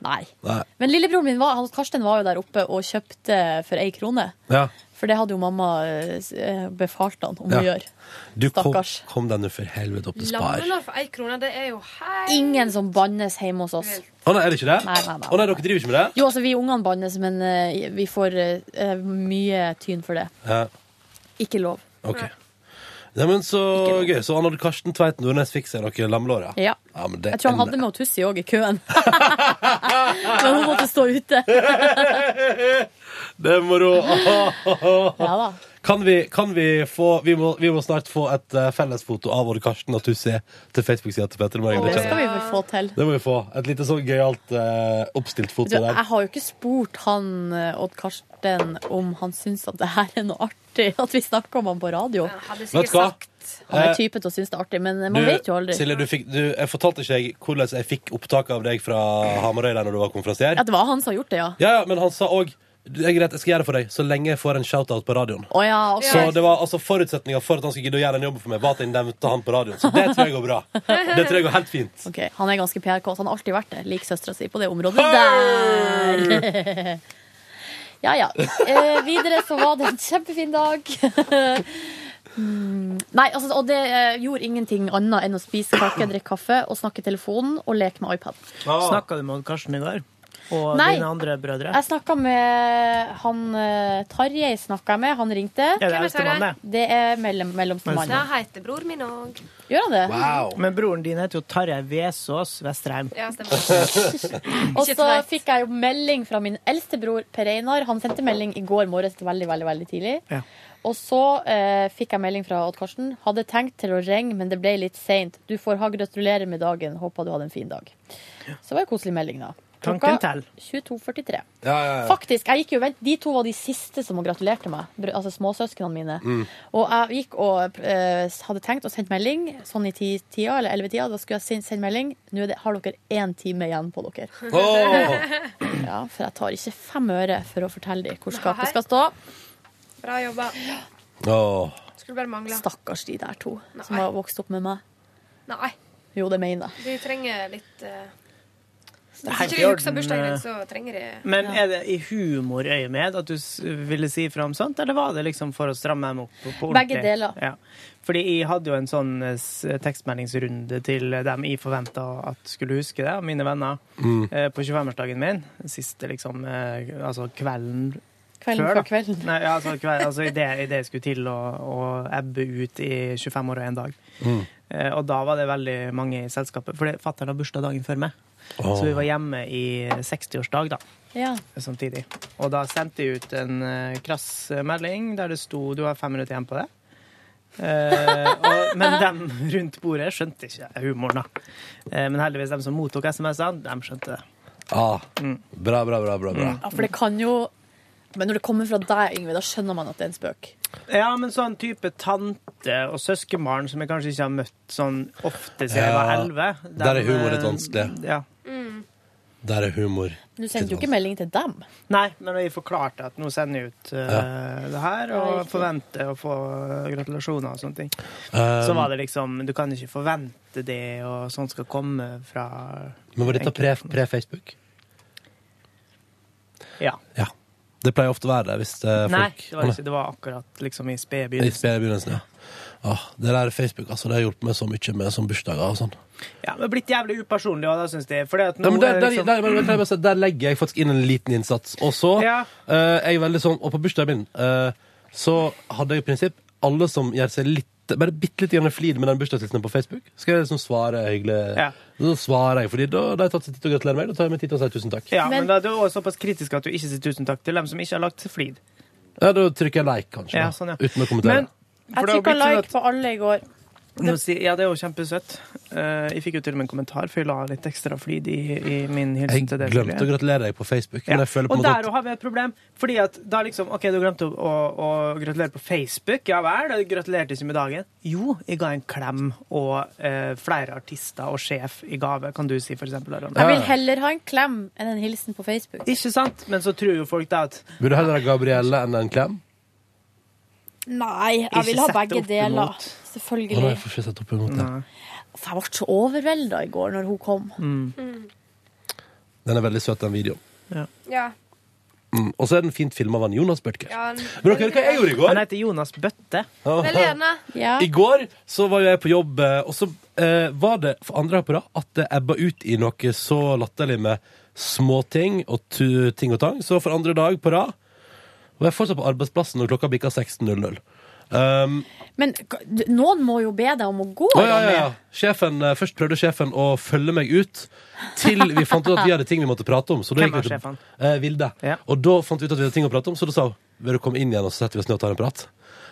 B: Nei.
A: Nei.
B: Men lillebroren min var, han, Karsten var jo der oppe og kjøpte for ei krone.
A: Ja.
B: For det hadde jo mamma eh, s- eh, befalt han om
A: Ja.
B: å gjøre.
A: Du, kom,
B: Stakkars.
A: kom deg nå for helvete opp til Spar.
H: Lammelår for én krone, det er jo helt
B: Ingen som bannes hjemme hos oss.
A: Å nei, er det ikke det?
B: Nei, nei, nei.
A: Å nei, dere driver ikke med det?
B: Jo, altså, vi ungene bannes, men eh, vi får eh, mye tyn for det.
A: Ja,
B: Ikke lov.
A: ok. Nei, men så gøy. Så han hadde Karsten Tveit Nordnes fikk seg noe lammelår, ja?
B: Ja.
A: men det
B: Jeg tror han
A: en-
B: hadde med Tussi òg i køen. Men hun måtte stå ute.
A: Det er moro.
B: Ja da.
A: Kan vi, kan vi få vi må, vi må snart få et eh, fellesfoto av både Karsten og Tussi til Facebook-sida til Petter i morgen.
B: Det
A: Det
B: skal vi
A: kommer.
B: vel få til.
A: Det må vi få. Et lite sånn gøyalt eh, oppstilt
B: Du,
A: foto der.
B: jeg har jo ikke spurt han eh, Odd Karsten om han syns at det her er noe artig, at vi snakker om han på radio.
A: Vet du hva?
B: Han
A: Eh,
B: er type til å synes det er artig, men man vet jo aldri.
A: Silje, du fikk, du, jeg fortalte ikke jeg hvordan jeg fikk opptak av deg fra Hamarøy der når du var konferansier.
B: At det var han som har gjort det, ja.
A: Ja, ja, men han sa òg det er greit, jeg skal gjøre det for deg så lenge jeg får en shoutout på radioen.
B: Å ja, ok.
A: Så det var altså forutsetninga for at han skulle gidde å gjøre den jobben for meg, var at jeg nevnte han på radioen. Så det tror jeg går bra. Det tror jeg går helt fint.
B: Ok, Han er ganske PRK, så han har alltid vært det. Lik søstera si på det området der. Ja ja. Eh, videre så var det en kjempefin dag. Mm, Nei, altså, og det eh, gjorde ingenting annet enn å spise kake, drikke kaffe og snakke i telefonen og leke med iPad.
C: Snakka du med Odd Karsten i går? Og
B: Nei.
C: dine andre brødre?
B: Jeg snakka med han eh, Tarjei, snakka jeg med. Han ringte.
C: det Hvem er eldstemann, Tarjei?
B: Det er mellom, mellomstemann.
H: Det heter bror min òg.
B: Gjør han det?
C: Men broren din heter jo Tarjei Vesaas Vestrheim.
H: Ja, stemmer.
B: Og så fikk jeg jo melding fra min eldste bror Per Einar. Han sendte melding i går morges veldig, veldig, veldig tidlig.
C: Ja.
B: Og så eh, fikk jeg melding fra Odd Karsten. Hadde tenkt til å ringe, men det ble litt seint. Du får ha gratulerer med dagen. Håper du hadde en fin dag. Så var det en koselig melding, da.
C: Tanken til.
B: 22.43.
A: Ja, ja, ja.
B: Faktisk, jeg gikk jo vent, De to var de siste som gratulerte meg. Br- Altså småsøsknene mine.
A: Mm.
B: Og jeg gikk og eh, hadde tenkt å sende melding sånn i ti-tida eller elleve-tida. Da skulle jeg sende, sende melding. Nå er det, har dere én time igjen på dere.
H: Åh!
B: Ja, For jeg tar ikke fem øre for å fortelle dem hvor
H: Nei.
B: skapet skal stå.
H: Bra jobba.
A: Åh.
H: Skulle bare mangle.
B: Stakkars de der to
H: Nei.
B: som har vokst opp med meg.
H: Nei,
B: Jo, det mener jeg.
H: de trenger litt eh,
C: er
H: Hvis
C: helt i
H: ikke de husker
C: orden,
H: bursdagen
C: eh,
H: din, så trenger de
C: Men er det i humorøyemed at du s- ville si fram sånt, eller var det liksom for å stramme dem opp? på- på
B: Begge
C: ordentlig?
B: deler.
C: Ja. Fordi jeg hadde jo en sånn eh, s- tekstmeldingsrunde til dem jeg forventa at skulle huske det, og mine venner,
A: Mm.
C: eh, på 25-årsdagen min. Siste liksom eh, Altså kvelden
B: Kvelden
C: før,
B: før
C: da.
B: kvelden.
C: Nei, ja, altså, kveld, altså i, det, i det jeg skulle til å, å ebbe ut i 25 år og en dag.
A: Mm.
C: Eh, Og da var det veldig mange i selskapet, for fatter'n har bursdag dagen før meg.
A: Åh.
C: Så vi var hjemme i 60-årsdag, da.
B: Ja.
C: Samtidig. Og da sendte jeg ut en eh, krass melding der det sto 'du har fem minutter igjen på det'. Eh, og, men dem rundt bordet skjønte ikke humoren, da. Eh, men heldigvis dem som mottok SMS-ene, dem skjønte det. Mm.
A: Ah. Bra, bra, bra. bra, bra.
B: Ja, for det kan jo Men når det kommer fra deg, Yngve, da skjønner man at det er en spøk.
C: Ja, men sånn type tante og søskenbarn som jeg kanskje ikke har møtt sånn ofte siden jeg var
A: Ja,
C: elleve. eh,
A: der er humor litt vanskelig.
C: Ja.
A: Der er humor.
B: Du sendte jo ikke melding til dem.
C: Nei, men vi forklarte at nå sender jeg ut eh, det her, og
B: Ja, riktig.
C: forventer å få eh, gratulasjoner og sånne ting.
A: Um,
C: så var det liksom Du kan ikke forvente det, og sånt skal komme fra
A: Men var dette pre- pre-Facebook?
C: Ja.
A: ja. Det pleier ofte å være det hvis det er folk
C: Nei, det var
A: Å,
C: det ikke. Det var akkurat liksom i spede
A: I
C: begynnelsen.
A: spedbegynnelsen, ja. Åh, det der Facebook altså, det har hjulpet meg så mye med sånn bursdager og sånn.
C: Ja, men blitt jævlig upersonlig, og da syns jeg. Fordi at nå
A: Ja, men der,
C: er det
A: der,
C: liksom-
A: der, men- men kan jeg bare si, der legger jeg faktisk inn en liten innsats. Og så eh, er jeg veldig sånn Og på bursdagen min eh, så hadde jeg i prinsipp alle som gjør seg litt bare bitte litt grann flid med den bursdagshilsenen på Facebook. Skal jeg liksom svare hyggelig?
C: Ja.
A: Så svarer jeg, fordi da da har jeg tatt seg tid til å gratulere meg. Da tar jeg meg tid til å si tusen takk.
C: Ja, men, da er du også såpass kritisk at du ikke sier tusen takk til dem som ikke har lagt flid.
A: Ja, da trykker jeg like, kanskje.
C: Ja,
A: da,
C: sånn, ja.
A: Uten å kommentere.
C: Men-
B: Jeg
C: For det har
B: trykka
C: blitt sånn
B: like
C: at-
B: på alle i går.
C: Nå sier- ja, det er jo kjempesøtt. Eh, jeg fikk jo til og med en kommentar, for jeg la litt ekstra flid i, i min hilsen
A: jeg
C: til dere.
A: glemte å gratulere deg på Facebook. Men jeg føler på
C: Og
A: en måte
C: der
A: at
C: har vi et problem. Fordi at da liksom, ok, Du glemte å, å, å gratulere på Facebook. Ja vel, du gratulerte ikke med dagen. Jo, jeg ga en klem og eh, flere artister og sjef i gave, kan du si, for eksempel. Aron.
B: Jeg vil heller ha en klem enn en hilsen på Facebook.
C: Ikke sant? Men så tror jo folk da at
A: Burde heller ha Gabrielle enn en klem?
B: Nei, jeg
C: Ikke
B: vil ha
C: sett det
B: begge
C: opp
B: deler.
C: imot.
A: Å, nei,
B: Selvfølgelig.
A: jeg får ikke sette opp imot det.
B: For jeg ble så overvelda i går når hun kom.
A: Den er veldig søt, den videoen.
H: Ja.
A: Mm. Og så er den fint filma av han Jonas Bødtke.
H: ja en-
A: Vil dere høre hva jeg gjorde i går?
C: Han heter Jonas Bøtte.
H: Vel gjerne.
A: I går så var jo jeg på jobb, eh, og så eh, var det for andre gang på rad at det ebba ut i noe så latterlig med småting og tu, ting og tang. Så for andre dag på rad var jeg fortsatt på arbeidsplassen når klokka bikka 16.00. Um,
B: Men k- d- noen må jo be deg om å gå.
A: å, ja, ja, ja.
B: Ronny.
A: Sjefen, eh, først prøvde sjefen å følge meg ut til vi fant ut at vi hadde ting vi måtte prate om. Så da
C: Hvem
A: gikk vi til-
C: var sjefen?
A: Eh, Vilde. Og da fant vi ut at vi hadde ting å prate om, så da sa hun vil du komme inn igjen og så setter vi oss ned og tar en prat.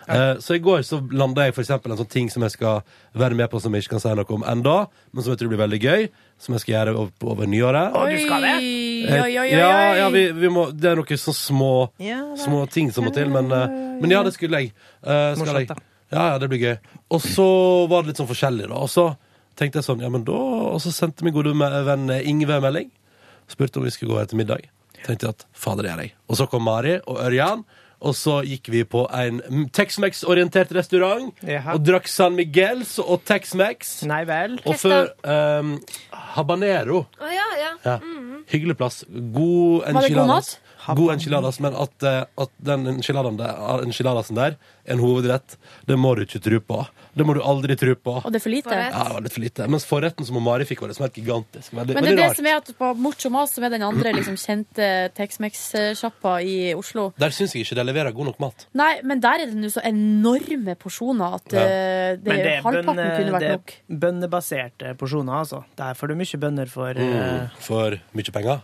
A: Eh, så i går så landa jeg for eksempel en sånn ting som jeg skal være med på som jeg ikke kan si noe om enda, men som jeg tror blir veldig gøy, som jeg skal gjøre over, over nyåret.
C: Å, du skal det?
A: Eh, Ja, ja vi, vi må, det er noen sånne små, små ting som må til, men, eh, men ja, det skulle jeg. Eh, skal
C: Morsomt,
A: jeg. Ja, ja, det blir gøy. Og så var det litt sånn forskjellig, da. Og så tenkte jeg sånn, ja, men da Og så sendte min gode me- venn eh, Ingve en melding. Spurte om vi skulle gå her til middag. Tenkte jeg at fader, det gjør jeg. Og så kom Mari og Ørjan. Og så gikk vi på en mm, Tex-Mex-orientert restaurant
C: Jaha.
A: og drakk San Miguels og Tex-Mex.
C: Nei vel.
A: Og før ehm, Habanero.
H: Å ja, ja.
A: Ja.
B: Mhm.
A: Hyggelig plass. God
H: Var det god
A: enchiladas. God enchiladas, men at, eh, at den enchiladaen der- enchiladasen der er en hovedrett, det må du ikke tro på. Det må du aldri tro på.
B: Og det er for lite.
A: Ja, det var litt for lite. Mens forretten som Mari fikk, var liksom helt gigantisk. Veldig,
B: Men det er
A: veldig
B: det
A: rart.
B: som er at på Mucho Mas, som er den andre liksom, kjente Tex-Mex-sjappa i Oslo
A: Der syns jeg ikke de leverer god nok mat.
B: Nei, men der er det nå så enorme porsjoner at
A: Ja.
B: eh, det,
C: Men det er eh,
B: halvparten
C: bønne-
B: kunne vært
C: det er
B: nok.
C: bønnebaserte porsjoner, altså. Der får du mye bønner for eh,
A: Mm, for mye penger.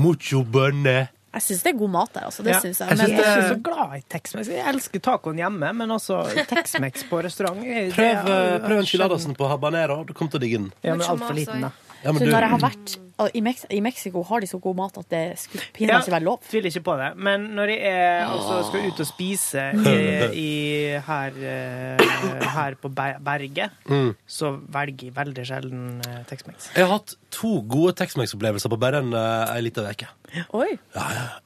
A: Mucho bønne.
B: Jeg syns det er god mat der, altså. Det
C: Ja.
B: synes
C: Jeg,
B: jeg.
C: synes
B: Men,
C: jeg er ikke så glad i Tex-Mex. Jeg elsker tacoen hjemme, men også Tex-Mex på restaurant. eh, det
A: Prøv,
C: er-
A: eh, prøv enchiladasen på habanero. Du kommer til å digge den.
C: Ja, men alt for liten, da.
A: Ja, men
B: så
A: du-
B: når jeg har vært og i, Mex I Mexico har de så god mat at det skulle pinadø ikke være lov.
C: Tviler ikke på det. Men når jeg er, altså, skal ut og spise i, i, her, eh, her på Ber- Berget,
A: Mm.
C: så velger jeg veldig sjelden eh, Tex-Mex.
A: Jeg har hatt to gode Tex-Mex-opplevelser på bare en, eh, en liten uke.
B: Oi.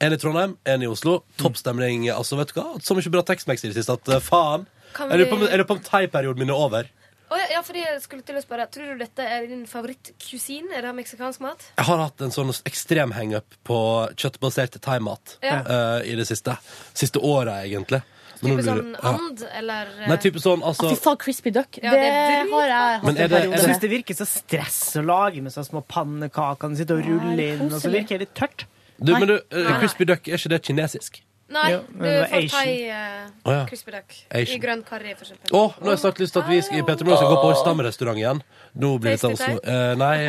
A: En i Trondheim, en i Oslo. Topp stemning. Altså, vet du hva? Så mye bra Tex-Mex i det siste at eh, faen.
H: Kan
A: Jeg lurer på om-
H: vi-
A: jeg lurer på om thaiperioden min er over.
H: Å ja, ja, fordi jeg skulle til å spørre, tror du dette er din favorittkusin? Er det meksikansk mat?
A: Jeg har hatt en sånn ekstrem hangup på kjøttbasert thaimat
H: Ja.
A: eh, i det siste. Siste året, egentlig. Men nå
H: Type
A: lurer-
H: sånn and, eller eh,
A: Nei, type sånn, altså
B: Fy faen, crispy duck.
H: Ja,
B: det,
H: det er dritgodt.
B: har jeg hatt
A: Men er
B: en
A: det- er
C: Jeg
B: periode.
C: syns altså, det virker så stress å lage med så små pannekaker. Sitte og rulle inn, og så
H: koselig.
C: virker det litt tørt.
A: du, Men du, eh,
H: Nei.
A: crispy duck, er ikke det kinesisk?
H: Nei,
C: Ja, men
H: du
C: det var
H: får
C: Asian.
H: thai eh,
A: Å, ja.
H: crispy duck. I
A: Asian.
H: grønn karri, for eksempel.
A: Å, nå har jeg snart lyst til at vi skal, Petter Moe skal gå på Stammerestaurant igjen. Nå blir det
H: Tasty
A: Oslo.
H: Thai?
A: Eh, nei,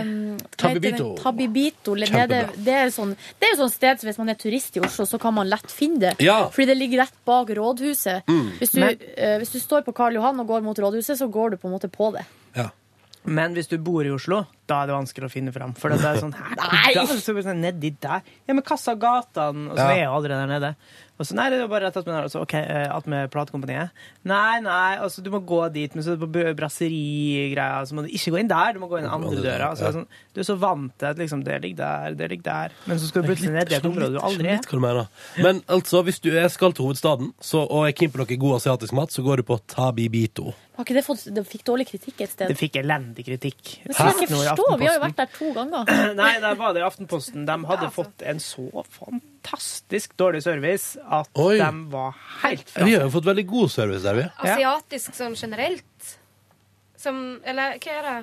B: um, hva heter det?
A: Tabibito.
B: Tabibito. eller
A: Kjempebra.
B: nede- Det er jo sånn, det er jo sånn sted som hvis man er turist i Oslo, så kan man lett finne det.
A: Ja.
B: Fordi det ligger rett bak rådhuset.
C: Mm.
B: Hvis, du,
C: Men-
B: eh, hvis du står på Karl Johan og går mot rådhuset, så går du på en måte på det.
C: Men hvis du bor i Oslo, da er det vanskelig å finne fram. For det er sånn her, da, så blir det sånn, Nedi der? Ja, men hva sa gatene? Og så
Q: Ja.
C: er jeg jo aldri der nede. Og så nei, det er bare rett attmed altså, okay, eh, attmed platekompaniet. Nei, nei, altså du må gå dit, men så er det på br- brasserigreia, så må du ikke gå inn der, du må gå inn den andre døra. Så er det sånn, du er så vant til at liksom, det ligger der, det ligger der. Men så skal du plutselig ned i et område du aldri er.
A: Litt hva du mener. Men altså, hvis du er, skal til hovedstaden så, og er keen på noe god asiatisk mat, så går du på Tabibito.
B: Har ikke det fått Det fikk dårlig kritikk et sted.
C: Det fikk elendig kritikk.
B: Det skal jeg
C: Nå
B: ikke
C: i
B: forstå. Vi har jo
C: Aftenposten.
B: vært der to ganger.
C: Nei, der var det i Aftenposten. De hadde
B: Altså.
C: fått en så fantastisk dårlig service at
A: Oi.
C: de var helt fra
A: Vi har jo fått veldig god service der, vi.
H: Asiatisk sånn generelt? Som Eller hva er det?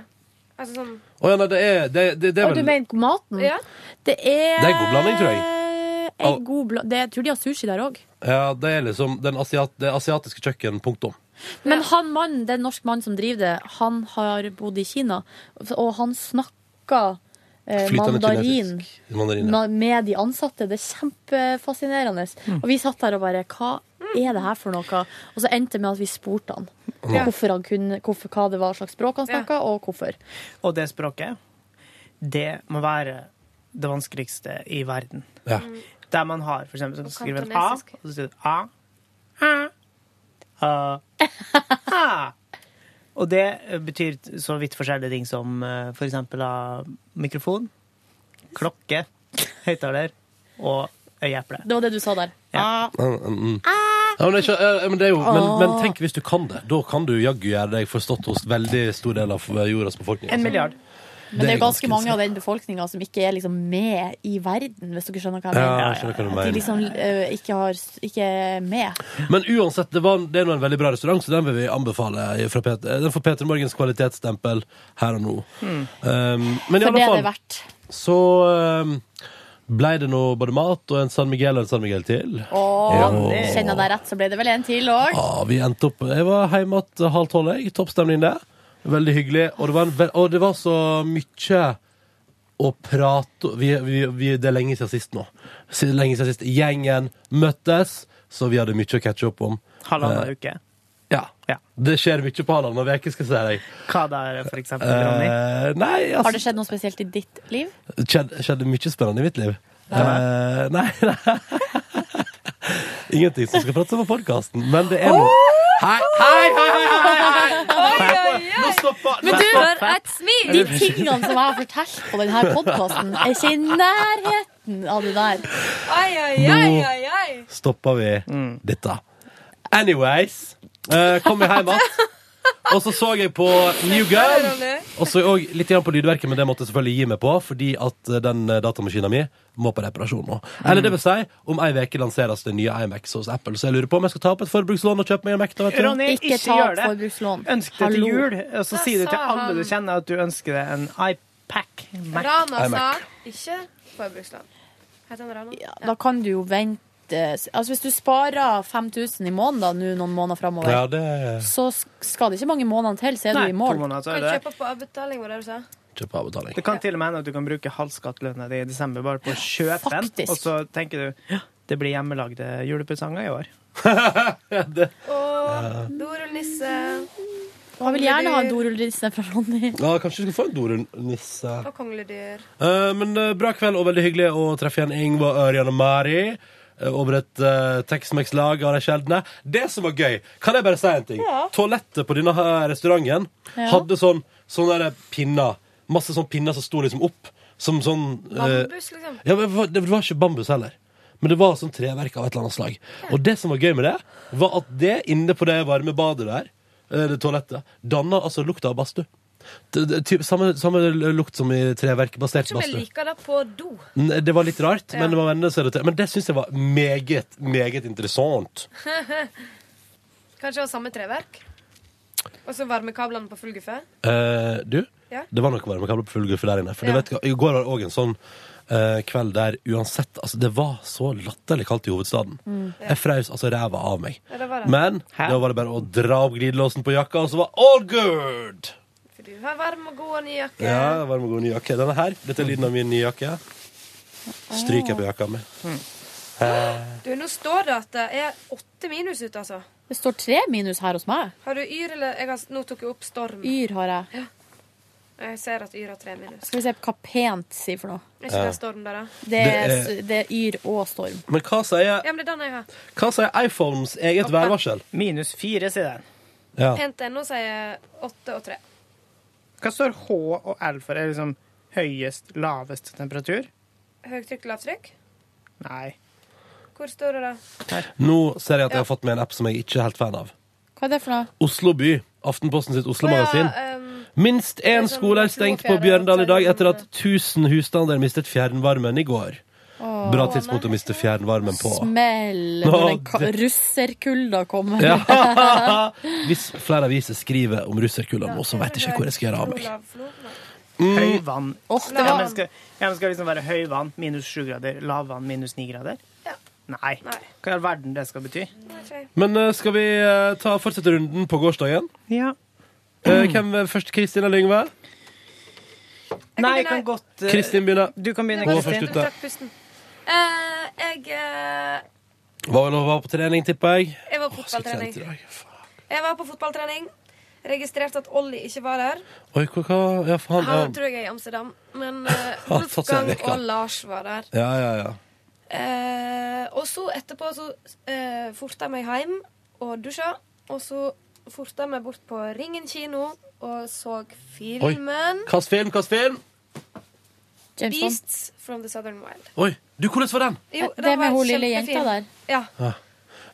H: Altså sånn
A: Å ja, nei, det er, det, det, det er
B: Og du
A: vel Det
B: mener maten?
C: Mm.
H: Ja.
B: Det er
A: er god blanding, tror jeg.
B: en god bla det, Jeg tror de har sushi der òg.
A: Ja, det er liksom den asiat, det asiatiske kjøkken, punktum.
B: Men han mannen, det er en norsk mann som driver det, han har bodd i Kina, og han snakker eh,
A: Flytende
B: mandarin
A: Mandarin. ja.
B: ma- med de ansatte. Det er kjempefascinerende.
A: Mm.
B: Og vi satt der og bare Hva er det her for noe? Og så endte det med at vi spurte han
C: Ja.
B: hvorfor han kunne, hvorfor, hva det var slags språk han snakka, og hvorfor.
C: Og det språket, det må være det vanskeligste i verden.
A: Ja.
C: Der man har for eksempel, så skriver man A, og
B: kantonesisk.
C: så sier du A, A, A. Og det betyr så vidt forskjellige ting som eh, for eksempel ah, mikrofon, klokke, høyttaler og øyeeple.
B: Det var det du sa der.
C: Ja.
A: Mm, mm, mm. Ja, men, det er ikke, eh, men, det er jo, men,
B: Ah! Åh.
A: men tenk hvis du kan det. Da kan du jaggu gjøre deg forstått hos veldig stor del av jordas befolkning. altså.
B: Men det er jo ganske
A: ganske
B: mange av den befolkninga som ikke er liksom med i verden, hvis dere skjønner hva jeg
A: Ja,
B: mener.
A: jeg skjønner hva du
B: At
A: mener.
B: De liksom eh, ikke, har, ikke er med.
A: Men uansett, det, var, det er nå en veldig bra restaurant, så den vil vi anbefale. Fra Pet- eh, den får Peter Morgens kvalitetsstempel her og nå.
B: Mm.
A: Um, men i
B: For det
A: alle
B: er det
A: fall
B: verdt.
A: så um, blei det nå både mat og en San Miguel og en San Miguel til.
B: Og
A: Ja. Ah.
B: kjenner jeg deg rett, så ble det vel en til òg.
A: Ja, vi endte opp Jeg var hjemme igjen halv tolv. jeg. Toppstemning der. Veldig hyggelig. Og det var, en, ve- og det var så mye å prate vi, vi, vi, Det er lenge siden sist nå. Si- Lenge siden sist. Gjengen møttes, så vi hadde mye å catche opp om.
C: Halvannen
A: Eh,
C: uke.
A: Ja. Det skjer mye på halvannen uke, skal jeg si deg.
C: Hva der, for eksempel, Ronny?
A: Eh, nei, altså
B: Har det skjedd noe spesielt i ditt liv?
A: skjedde, skjedde mye spennende i mitt liv. Eh, nei, nei. Ingenting som skal prates om på podkasten, men det er noe Hei, hei, hei, hei, hei! Nå stopper
B: Men du,
A: stopper-
B: et smil! de tingene som jeg har fortalt på denne podkasten, er ikke i nærheten av det der.
A: ai, ai, stopper vi dette. Anyways, eh, kom jeg hjem igjen. Og så så jeg på New Girl. Og så òg litt grann på lydverket, men det måtte jeg selvfølgelig gi meg på, fordi at eh, den eh, datamaskinen min må på reparasjon nå. Eller det vil si, om ei uke lanseres det nye iMacs hos Apple, så jeg lurer på om jeg skal ta opp et forbrukslån og kjøpe meg en Mac. da, vet du.
C: Ronny, ikke,
B: ta
C: gjør
B: opp
C: det.
B: forbrukslån.
C: Ønsk det til
B: Hallo.
C: jul, og så
H: Da
C: sier du til
H: sa
C: alle du
H: han-
C: kjenner at du ønsker deg en iPack. Mac.
H: Rana sa
C: iMac.
H: ikke forbrukslån. Heter han Rana? Ja,
B: Da kan du jo vente Altså Hvis du sparer 5000 i måneden da, nå noen måneder framover,
A: Ja, det-
B: så skal det ikke mange månedene til, så er
C: Nei,
B: du i
C: to
B: mål.
C: måneder, så er
H: Kan
C: det.
H: kjøpe på avbetaling, var det du sa?
A: Kjøpe avbetaling.
C: Det kan til og med hende at du kan bruke halvskattlønna di i desember bare på å kjøpe den,
H: Faktisk.
C: og så tenker du «Ja, det blir hjemmelagde julepresanger i år.
H: Og dorullnisse.
B: Jeg vil gjerne ha en dorullnisse fra Ronny.
A: Ja, kanskje du skal få en dorullnisse.
H: Og kongledyr.
A: Eh, men eh, bra kveld og veldig hyggelig å treffe igjen Ingvar, Ørjan og Mari. eh, Over et uh, Tex-Mex-lag av de sjeldne. Det som var gøy, kan jeg bare si en ting?
R: Ja.
A: Toalettet på denne her restauranten
R: Ja.
A: hadde sånn sånne der pinner. Masse sånne pinner som sto liksom opp. Som sånn eh,
H: Bambus, liksom.
A: ja, men det var- det var ikke bambus heller. Men det var sånn treverk av et eller annet slag. Og det som var gøy med det, var at det inne på det varme badet der, eh, det toalettet, danna altså lukta av badstue. Det- det- typ Samme, samme lukt som i treverkbasert
H: Som jeg
A: badstue.
H: liker det på do.
A: N- Det var litt rart,
H: Ja.
A: men det, var vennene som hadde til- men det syns jeg var meget, meget interessant.
H: Kanskje ha samme treverk. Og så varmekablene på full guffe.
A: Eh, du,
H: Ja.
A: det var noe varmekabler på full guffe der inne. For
H: Ja.
A: du vet, hva, I går var det òg en sånn eh, kveld der uansett Altså, det var så latterlig kaldt i hovedstaden.
R: Mm.
A: Jeg frøs altså ræva av meg.
R: Ja, det var det.
A: Men
R: Hæ?
A: da var det bare å dra opp glidelåsen på jakka, og så var all good!
H: For du har varm og god og ny jakke.
A: Ja, varm og god ny jakke. Denne her. Dette er lyden av min nye jakke. Stryker jeg på jakka mi. Eh,
H: Du, nå står det at det er åtte minus ute, altså.
B: Det står tre minus her hos meg.
H: Har du yr, eller jeg har, Nå tok jeg opp storm.
B: Yr har jeg.
H: Jeg ser at Yr har tre minus.
B: Skal vi se hva pent sier for noe.
H: Er ikke det storm der, da?
B: Det er,
A: Det er-
B: det er yr og storm.
A: Men hva sier,
H: Ja, men det er den jeg har.
A: hva sier iPhones eget værvarsel?
C: Minus fire, sier den.
A: Ja.
H: Pent.no sier åtte og tre.
C: Hva står H og L for? Er det liksom høyest, lavest temperatur?
H: Høytrykk, lavtrykk.
C: Nei.
H: Hvor står det da?
A: Nå ser jeg at jeg har fått med en app som jeg ikke er helt fan av.
B: Hva er det for noe?
A: Oslo by. Aftenposten sitt Oslo-magasin.
H: ehm,
A: Minst én skole er stengt på
B: fjerde,
A: Bjørndal i dag etter at 1000 husstander mistet fjernvarmen i går.
B: Åh.
A: Bra tidspunkt å miste fjernvarmen på. Nå,
B: Smell når den ka-
A: det-
B: russerkulda kommer.
A: Ja. Hvis flere aviser skriver om russerkulda nå, så veit jeg ikke hvor jeg skal gjøre av meg. Mm.
C: Høyvann.
B: det
C: ja,
B: var-
C: men skal, ja, men skal liksom være høyvann minus sju grader, lavvann minus ni grader? Nei. Hva i all verden det skal bety?
A: Men eh, skal vi eh, ta fortsette runden på gårsdagen?
C: Ja.
H: Mm.
A: Eh, Hvem er først? Kristin eller Yngve?
C: Nei, jeg kan godt eh,
A: Kristin begynner.
C: Du kan begynne,
A: Hun var
C: Kristin.
A: først ute.
H: Trakk pusten. Eh, jeg, eh,
A: Var vel å være på trening, tipper jeg.
H: jeg var på
A: Å, så
H: fotballtrening.
A: kjent i dag.
H: Jeg var på fotballtrening. Registrerte at Olli ikke var der.
A: Oi, hva, hva? Ja, faen. ja.
H: Han tror jeg er i Amsterdam. Men eh,
A: Han har tatt seg en
H: Wolfgang
A: vekk, da.
H: og Lars var der.
A: Ja, ja, ja.
H: Eh, og så etterpå så eh, forta jeg meg hjem og dusja. Og så forta jeg meg bort på Ringen kino og så
A: Oi.
H: filmen
A: Hvilken film? Hvilken film?
H: Beasts from the Southern Wild.
A: Oi, du, hvordan var den?
H: Jo,
B: Eh, Det
H: den
B: med
H: var
B: hun lille
H: kjempefin.
B: jenta der.
H: Ja.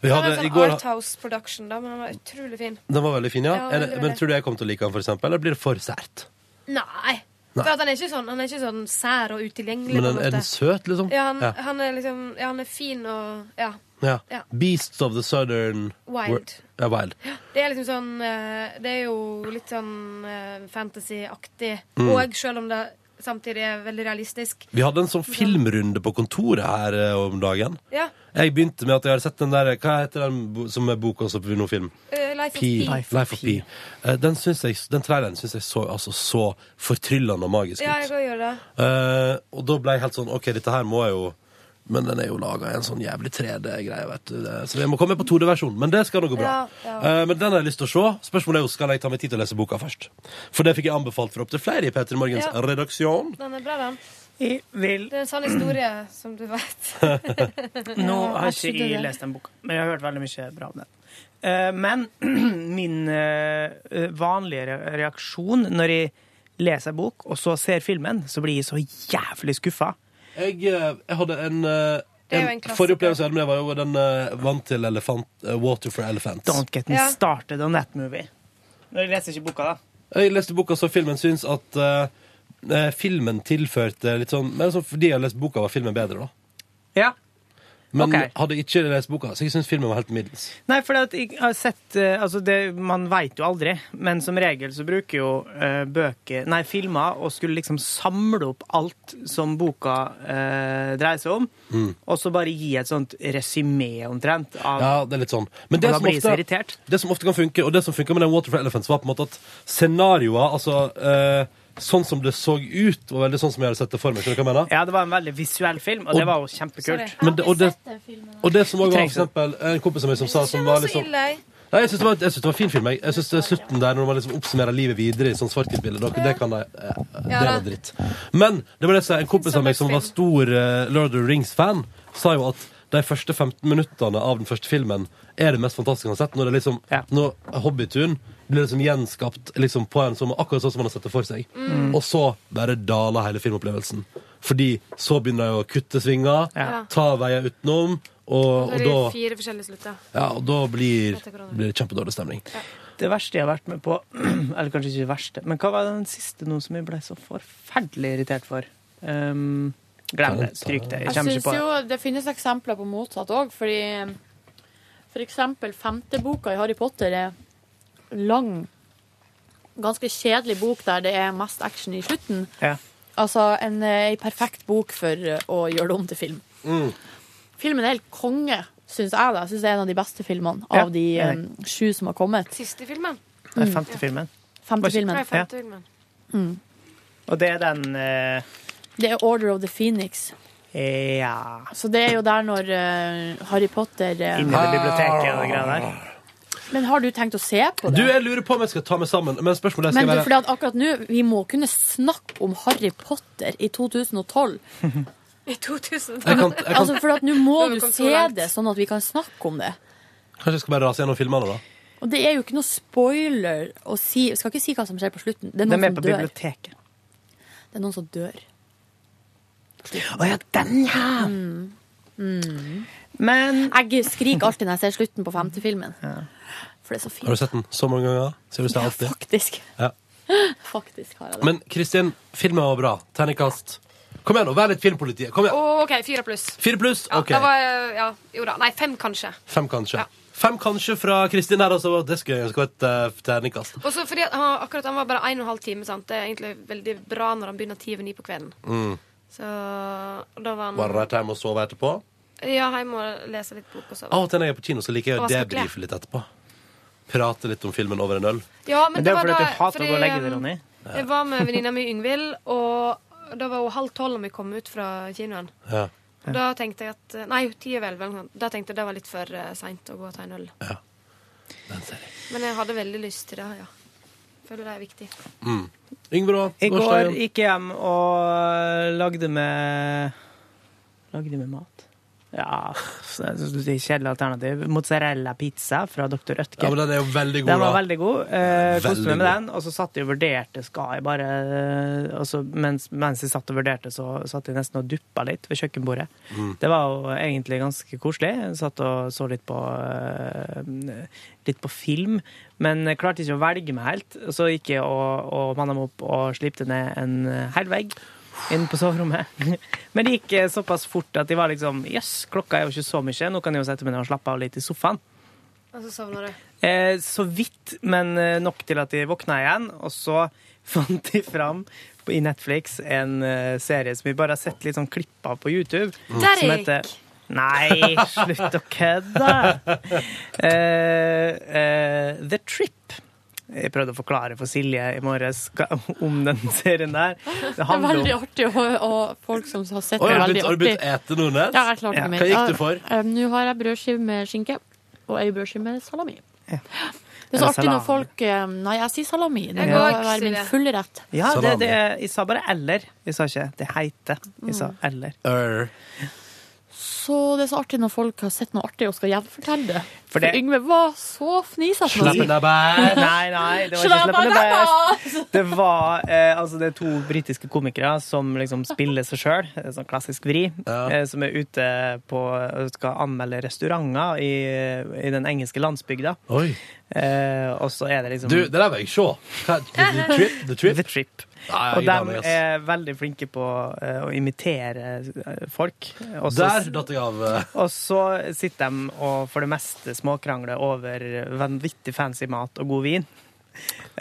A: Vi
H: Det var
A: hadde,
H: en
A: i
H: sånn
A: går,
H: Arthouse Production, da, men den var utrolig fin.
A: den var veldig fin, ja.
H: Ja,
A: Er det,
H: veldig,
A: men
H: veldig.
A: tror du jeg kommer til å like den, for eksempel? Eller blir det for sært?
H: Nei.
A: Nei.
H: For at han er ikke sånn, han er ikke sånn sær og utilgjengelig.
A: Men
H: på en
A: den, er den
H: måte.
A: søt, liksom?
H: Ja, han,
A: Ja.
H: han er liksom Ja, han er fin og Ja.
A: Ja.
H: Ja.
A: Beasts of the Southern
H: Wild.
A: Wor- Ja, wild.
H: Det er liksom sånn eh, Det er jo litt sånn eh, fantasy-aktig.
A: Mm.
H: Og selv om det samtidig er veldig realistisk.
A: Vi hadde en sånn filmrunde på kontoret her eh, om dagen.
H: Ja.
A: Jeg begynte med at jeg hadde sett den der Hva heter den bo som er bok også på noen film?
H: Eh, Life of
A: Pi.
H: Pi.
A: Life of Pi. Eh, Den, synes jeg, den traileren syns jeg så, altså, så fortryllende og magisk
H: Ja, jeg
A: ut.
H: kan gjøre det.
A: Eh, og da ble jeg helt sånn OK, dette her må jeg jo Men den er jo laga i en sånn jævlig 3D-greie, vet du. det- Så jeg må komme på 2D-versjonen. Men det skal nå gå bra.
H: Ja,
A: Eh, men den har jeg lyst til å se. Spørsmålet er jo skal jeg ta meg tid til å lese boka først. For det fikk jeg anbefalt fra opptil flere i P3 Morgens
H: Ja.
A: redaksjon.
H: Den er bra, den.
C: Jeg vil
H: Det er en
A: Mm.
H: sann historie, som du vet.
C: Nå har
H: absolutt
C: ikke jeg
H: det.
C: lest den boka, men jeg har hørt veldig mye bra om den. Eh, Men min eh, vanlige re- reaksjon når jeg leser en bok, og så ser filmen, så blir jeg så jævlig skuffa.
A: Jeg, eh, jeg hadde en, eh,
C: Det er jo
A: en,
C: en klassiker.
A: Forrige opplevelse jeg hadde med, var jo den eh, vant til elefant, eh, Water for Elephants.
C: Don't get me started on that movie. Når jeg leser ikke boka, da.
A: Jeg leste boka, så filmen syns at eh, eh, filmen tilførte litt sånn Men altså, fordi jeg har lest boka, var filmen bedre, da.
C: Ja.
A: Men
C: Ok.
A: hadde ikke lest boka, så jeg syns filmen var helt middels.
C: Nei, for at jeg har sett eh, altså det, Man veit jo aldri, men som regel så bruker jo eh, bøker Nei, filmer og skulle liksom samle opp alt som boka eh, dreier seg om,
A: Mm.
C: og så bare gi et sånt resymé omtrent av
A: Ja, det er litt sånn. Men det
C: Og da
A: som,
C: blir jeg så
A: ofte,
C: irritert.
A: det som ofte kan funke, og det som funka med den Water for Elephants, var på en måte at scenarioer Altså eh, sånn som det så ut, var veldig sånn som jeg hadde sett det for meg. Skjønner du hva jeg mener?
C: Ja, det var en veldig visuell film, og,
A: Og-
C: det var jo kjempekult.
A: Men det, og, det, og det som også var for eksempel en kompis av meg som sa som var liksom Nei, jeg syns det, var- jeg synes det var en fin film. Jeg, jeg synes det er Slutten der, når man liksom oppsummerer livet videre i sånn svart-hvitt-bilde, det, det kan jeg eh, Det
S: Ja, da.
A: var dritt. Men det var det som- en kompis av meg som var stor eh, Lord of the Rings-fan, sa jo at de første 15 minuttene av den første filmen er det mest fantastiske han har sett. Når, det liksom, når Hobbitun blir liksom gjenskapt liksom på en som akkurat sånn som han har sett det for seg.
S: Mm.
A: Og så bare daler hele filmopplevelsen. Fordi så begynner de å kutte svinger,
H: Ja.
A: ta veier utenom, og, og
H: det
A: da
H: er fire forskjellige slutter.
A: ja, og da blir, blir det kjempedårlig stemning.
C: Det verste jeg har vært med på Eller kanskje ikke det verste, men hva var den siste nå som jeg ble så forferdelig irritert for? Um, glem det. Stryk det. Jeg
B: Jeg
C: kommer
B: synes
C: ikke på det.
B: jo det finnes eksempler på motsatt òg, fordi um, for eksempel femteboka i Harry Potter er lang, ganske kjedelig bok der det er mest action i slutten.
C: Ja.
B: Altså en, eh, perfekt bok for eh, å gjøre det om til film. Filmen er helt konge, syns jeg. da. Jeg synes det er en av de beste filmene
C: Ja,
B: av de
C: enig.
B: em, sju som har kommet.
H: Siste filmen.
C: Det er femte filmen.
B: Femte filmen.
H: Nei, femte filmen.
B: Mm.
C: Og det er den eh,
B: Det er Order of the Phoenix.
C: Ja
B: Så det er jo der når eh, Harry Potter eh,
C: Inne i biblioteket og greier der.
B: Men har du tenkt å se på
A: Du,
B: det?
A: jeg lurer på om jeg skal ta meg sammen, men spørsmålet
B: Men
A: skal
B: du,
A: være
B: fordi at akkurat nå, vi må kunne snakke om Harry Potter i 2012.
H: I 2000.
B: Altså, for at nå må
H: Nå har vi
B: du
H: kommet så
B: se
H: langt.
B: det, sånn at vi kan snakke om det.
A: Kanskje jeg skal bare rase gjennom filmene, da?
B: Og det er jo ikke noe spoiler å si. Jeg skal ikke si hva som skjer på slutten. Det er
C: De
B: noen
C: er
B: som
C: på
B: dør.
C: biblioteket.
B: Det er noen som dør.
C: Å ja, den, ja!
B: Mm. Mm.
C: Men
B: Jeg skriker alltid når jeg ser slutten på femtefilmen. For det er så fint.
A: Har du sett den så mange ganger? Ser du seg alltid?
B: Faktisk.
A: Ja.
B: Faktisk har jeg det.
A: Men Kristin, filmen var bra. Terningkast. Kom igjen, nå. Vær litt filmpolitiet. Kom igjen.
H: Å, OK, fire pluss.
A: Fire pluss?
H: Ja,
A: OK.
H: da var, jeg- ja, jo da. Nei, fem, kanskje.
A: Fem, kanskje. Fem, kanskje fra Kristin her, altså. Det skulle jeg ønske var et eh, terningkast.
H: Og så fordi at han, akkurat han var bare en og en halv time. sant? Det er egentlig veldig bra når han begynner ti over ni på kvelden.
A: Mm.
H: Så og da var han
A: Var det rett hjemme og sove etterpå?
H: Ja, hjemme og lese litt bok og sove.
A: Av og til når jeg er på kino, så liker jeg
H: Og
A: å
H: vaske klær.
A: debrife litt etterpå. Prate litt om filmen over en øl.
H: Ja, men,
A: Men det er
H: var
A: fordi
H: da-
A: du hater å
H: fordi,
A: gå og legge deg,
H: um,
A: Ronny.
H: Jeg var med venninna mi Yngvild, og da var hun halv tolv når vi kom ut fra kinoen.
A: Ja.
H: Og Da tenkte jeg at Nei, ti over elleve. eller noe sånt. Da tenkte jeg det var litt for uh, seint å gå og ta en øl. Men jeg hadde veldig lyst til det, ja. Føler det er viktig.
A: Mm. Yngve, da?
C: I går
A: Gårsdagen?
C: gikk jeg hjem og lagde med Lagde med mat. Ja, så jeg synes det er kjedelig alternativ. Mozzarella-pizza fra Dr. Rødtger.
A: Ja, men den er jo veldig god,
C: Den var
A: da.
C: veldig god. Eh,
A: Veldig
C: Koste meg med
A: god.
C: den. Og så satt jeg og vurderte. Skal jeg bare eh, altså, mens, mens jeg satt og vurderte, så satt jeg nesten og duppa litt ved kjøkkenbordet.
A: Mm.
C: Det var jo egentlig ganske koselig. Jeg satt og så litt på, eh, litt på film. Men jeg klarte ikke å velge meg helt. Og Så gikk jeg og, og manna meg opp og slipte ned en hel vegg inn på soverommet. Men det gikk eh, såpass fort at de var liksom Jøss, klokka er jo ikke så mye. Nå kan jeg jo sette meg ned og slappe av litt i sofaen.
H: Og så sovna du.
C: Eh, så vidt, men eh, nok til at de våkna igjen. Og så fant de fram på, i Netflix en eh, serie som vi bare har sett litt sånn klipp av på YouTube.
T: Mm.
C: Som
T: Derek!
C: heter Nei, slutt å kødde! Eh, eh, The Trip. Jeg prøvde å forklare for Silje i morges hva- om den serien der.
B: Det er
C: handler om-
B: veldig artig, og, og folk som har sett
C: Oi,
B: det, er
C: har
B: veldig
C: du begynt-
A: Har du begynt å
B: artig.
A: ete noe nett?
B: Ja, jeg klarte meg.
A: Hva gikk du for?
B: Ja, eh, Nå har jeg brødskive med skinke, og ei brødskive med salami. Det er så
C: Eller
B: artig når
C: salami.
B: folk eh, Nei, jeg sier salami. Det
C: Jeg
B: må
C: går ikke
B: være
C: til
B: min
C: det.
B: fulle rett.
C: Ja, det, det, jeg sa bare 'eller'. Jeg sa ikke 'det heite'. Jeg
B: Mm.
C: sa 'eller'.
B: Så det er så artig når folk har sett noe artig og skal gjenfortelle det.
C: For
B: For,
C: det-
B: Yngve var så fnisete.
C: Nei, nei, det var ikke slappende bær. Det var eh, altså det er to britiske komikere som liksom spiller seg sjøl, sånn klassisk vri, eh, som er ute på eh, skal anmelde restauranter i, eh, i den engelske landsbygda.
A: Oi.
C: Eh, og så er det liksom
A: Du, det der vil jeg se. Hva- The Trip? The Trip?
C: The trip.
A: Nei, jeg gleder
C: og
A: meg,
C: de
A: ass.
C: er veldig flinke på eh, å imitere eh, folk. Og så-
A: Der datt jeg av. eh.
C: og så sitter de og for det meste småkrangler over vanvittig fancy mat og god vin.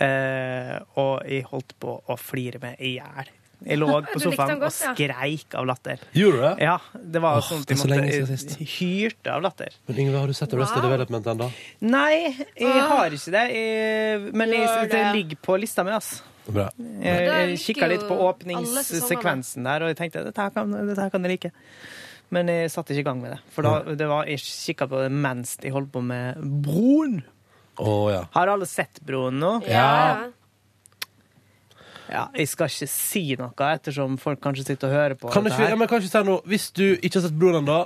C: Eh, og jeg holdt på å flire meg i hjel. Jeg lå på
T: Du likte
C: sofaen
T: den godt,
C: og skreik av latter.
A: Gjorde du det?
C: Ja, det var
A: Åh,
C: sånn at
A: det er
C: jeg
A: så lenge siden
C: måtte hyrte av latter.
A: Men Yngve, har du sett Arrested
C: Wow.
A: Development ennå?
C: Nei, jeg har ikke det. Jeg, men jeg,
T: Gjør det.
C: det ligger på lista mi, altså.
A: Bra.
T: Men
C: Jeg,
T: der
C: jeg
T: liker
C: kikka litt på
T: jo alle
C: åpningssekvensen der, og jeg tenkte dette her kan, dette her kan jeg like. Men jeg satte ikke i gang med det. For da, det var, jeg kikka på det mens jeg holdt på med Broen.
A: Å ja.
C: Har alle sett Broen nå?
A: Ja.
C: Ja, jeg skal ikke si noe, ettersom folk kanskje sitter og hører på.
A: Kan du
C: dette
A: ikke,
C: her.
A: ja, men kan du ikke si noe? Hvis du ikke har sett Broren ennå,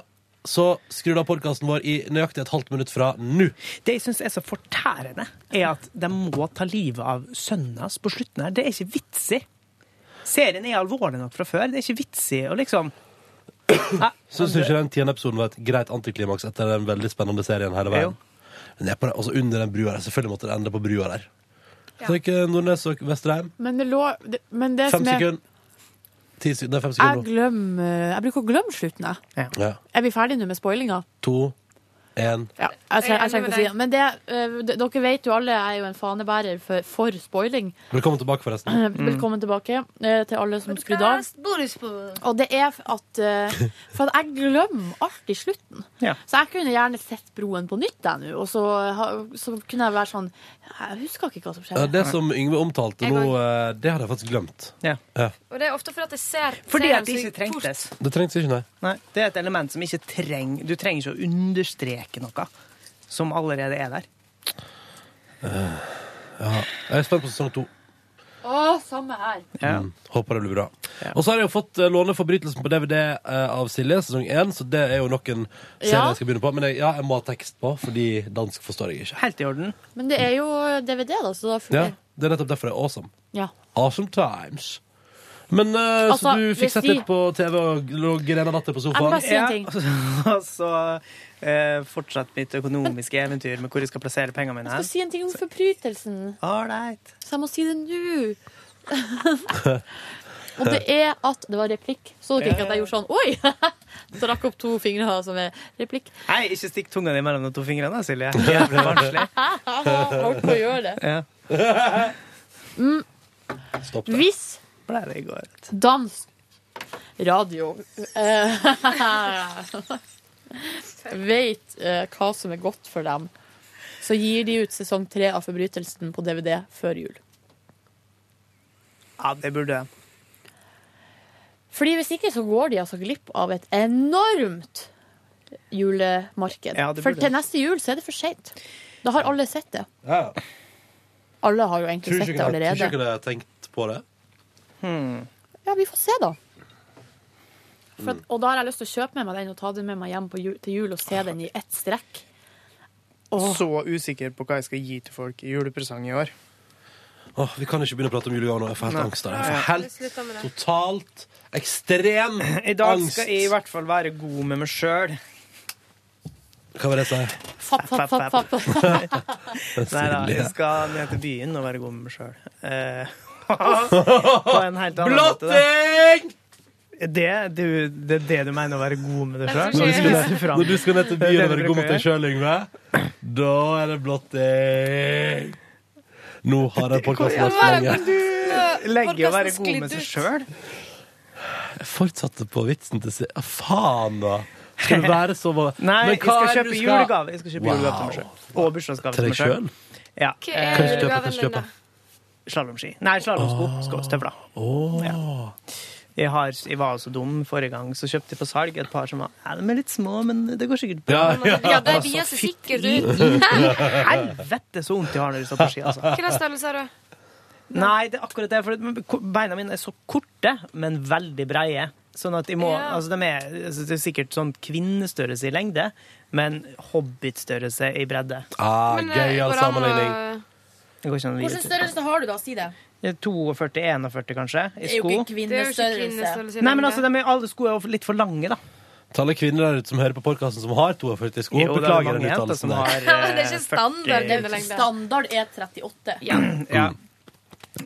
A: så skru av podkasten vår i nøyaktig et halvt minutt fra nå.
C: Det jeg syns er så fortærende, er at de må ta livet av sønnen hans på slutten her. Det er ikke vits i. Serien er alvorlig nok fra før. Det er ikke vits i å liksom
A: Syns du ikke den tiende episoden var et greit antiklimaks etter den veldig spennende serien hele veien? Den er på den, altså under den brua der. Selvfølgelig måtte den ende på brua der. Så ikke Nordnes og Vesterheim.
D: Men det lå det, men det
A: Fem
D: som er-
A: sekunder. Ti sekunder. Nei, fem
D: Jeg,
A: sekunder nå.
D: glemmer,
B: eh,
D: jeg bruker å glemme slutten, jeg.
A: Ja.
D: Er vi ferdige nå med spoilinga?
A: To, én
D: Ja, jeg, tre- jeg
H: Jeg er enig
D: trenger
H: med
D: ikke å si
H: deg.
D: det. Men det, eh, d- dere vet jo alle, jeg er jo en fanebærer for, for spoiling.
A: Velkommen tilbake, forresten.
D: Velkommen tilbake eh, til alle som skrudde av. Og det er at eh, For at jeg glemmer alt i slutten.
C: Ja.
D: Så jeg kunne gjerne sett Broen på nytt, jeg nå. Og så, ha- så kunne jeg være sånn Jeg husker ikke hva som
A: Ja,
D: skjedde.
A: det som Yngve omtalte
H: Jeg
A: nå, eh, det hadde jeg faktisk glemt. Ja.
H: Og det er ofte fordi at jeg ser
C: Fordi
H: ser
C: at det
H: den så
C: ikke trengtes.
A: Det trengtes ikke, nei.
C: Nei, det er et element som ikke trenger Du trenger ikke å understreke noe som allerede er der.
A: Eh, ja. Jeg er spent på sesong to.
B: Å, samme her.
A: Mm, håper det blir bra. Og så har jeg jo fått eh, låne Forbrytelsen på DVD eh, av Silje, sesong én, så det er jo nok en serie
B: Ja.
A: jeg skal begynne på. Men jeg, ja, jeg må ha tekst på, fordi dansk forstår jeg ikke.
C: Helt i orden.
B: Men det er jo DVD, da, så da
A: Ja,
B: fungerer
A: det er nettopp derfor det er awesome.
B: Ja.
A: Awesome times. Men eh,
B: Altså,
A: så du fikk
B: hvis
A: sett
B: de-
A: litt på TV og lå grena natta på sofaen?
C: Ja, og så eh, fortsatt mitt økonomiske eventyr med hvor jeg skal plassere pengene mine.
B: Jeg skal si en ting om forbrytelsen. Så jeg må si det nå. Og det er at Det var replikk. Så dere ikke at jeg gjorde sånn? Oi! Så rakk opp to fingre som er replikk.
C: Nei, ikke stikk tunga di mellom de to fingrene, Silje. Jævlig barnslig.
B: Holdt på å gjøre det.
C: Ja.
B: Mm.
A: Stopp
C: det.
B: Hvis
C: Ble det i går.
B: dans radio eh, vet eh, hva som er godt for dem, så gir de ut sesong tre av Forbrytelsen på DVD før jul.
C: Ja, det burde jeg.
B: Fordi hvis ikke så går de altså glipp av et enormt julemarked.
C: Ja, det
B: for
C: burde
B: til
C: det.
B: neste jul så er det for seint. Da har alle sett det. Alle har jo egentlig
A: Tror ikke jeg- tror
B: sett det
A: ikke
B: allerede.
A: jeg kunne tenkt på det.
B: Ja, vi får se, da. For at, og da har jeg lyst til å kjøpe med meg den og ta den med meg hjem på jul, til jul og se den i ett strekk.
C: Så usikker på hva jeg skal gi til folk i julepresang i år.
A: Åh, vi kan ikke begynne å prate om julegaver nå. Jeg får helt
C: Nei.
A: angst av det. Jeg får
C: Ja.
A: helt
C: Vi slutter med det.
A: totalt ekstrem
C: I dag
A: angst.
C: skal jeg i hvert fall være god med meg sjøl.
A: Hva var det jeg sa?
B: Fapp, fapp, fapp, fapp.
C: Nei da,
A: Silje.
C: jeg skal ned til byen og være god med meg sjøl. på en helt annen måte.
A: Blotting!
C: Det, det, det er det du mener å være god med deg sjøl?
A: Når du, skal, når du skal ned til byen og være god mot deg sjøl, Yngve, da er det blotting. Nå har jeg podkasten vært for lenge.
C: Legge å være god med seg sjøl?
A: Jeg fortsatte på vitsen til si... Ah, Faen, da! Skal du være så va-
C: Nei,
A: Men
C: jeg
A: hva
C: skal
A: er det
C: kjøpe
A: du
C: julegave. Jeg skal kjøpe
A: Wow.
C: julegave til meg sjøl. Og bursdagsgave
A: Til
C: til
A: deg
C: meg sjøl.
A: sjøl?
C: Ja.
A: Hva er Hva skal du kjøpe? Hva skal du kjøpe?
C: Slalåmski. Nei, slalåmsko. sko- Støvler. Ja. Jeg, har, jeg var så dum forrige gang, så kjøpte jeg på salg et par som var ja, de er litt små, men det går sikkert bra.
A: Ja, ja. altså, Ja, de vier
H: seg sikkert
C: i-
H: ut.
C: i- Helvete, så vondt jeg har når jeg står på ski, altså.
H: Hvilken størrelse har du?
C: Nei, det er akkurat det. For det- ko- beina mine er så korte, men veldig breie. Sånn at jeg må,
H: Ja.
C: altså de er, altså det er sikkert sånn kvinnestørrelse i lengde, men hobbitstørrelse i bredde.
A: Ah,
B: Men, eh, gøyal går det an å- sammenligning.
C: Det går ikke an å gi
B: Hvilken
C: ut.
B: størrelse har du, da? Si det.
C: 42-41, kanskje,
B: Det
C: i
B: er jo
C: sko.
B: ikke kvinnestørrelse.
C: Nei, men altså, de er, alle sko er jo litt for lange, da.
A: Tallet kvinner der ute som hører på podkasten som har 42 sko,
C: Jo, det er
A: beklager
C: mange
A: den
C: jenter
A: uttalelsen
C: som
A: der.
C: har, eh, Men det er ikke standard
B: Standard E er 38.
C: Ja.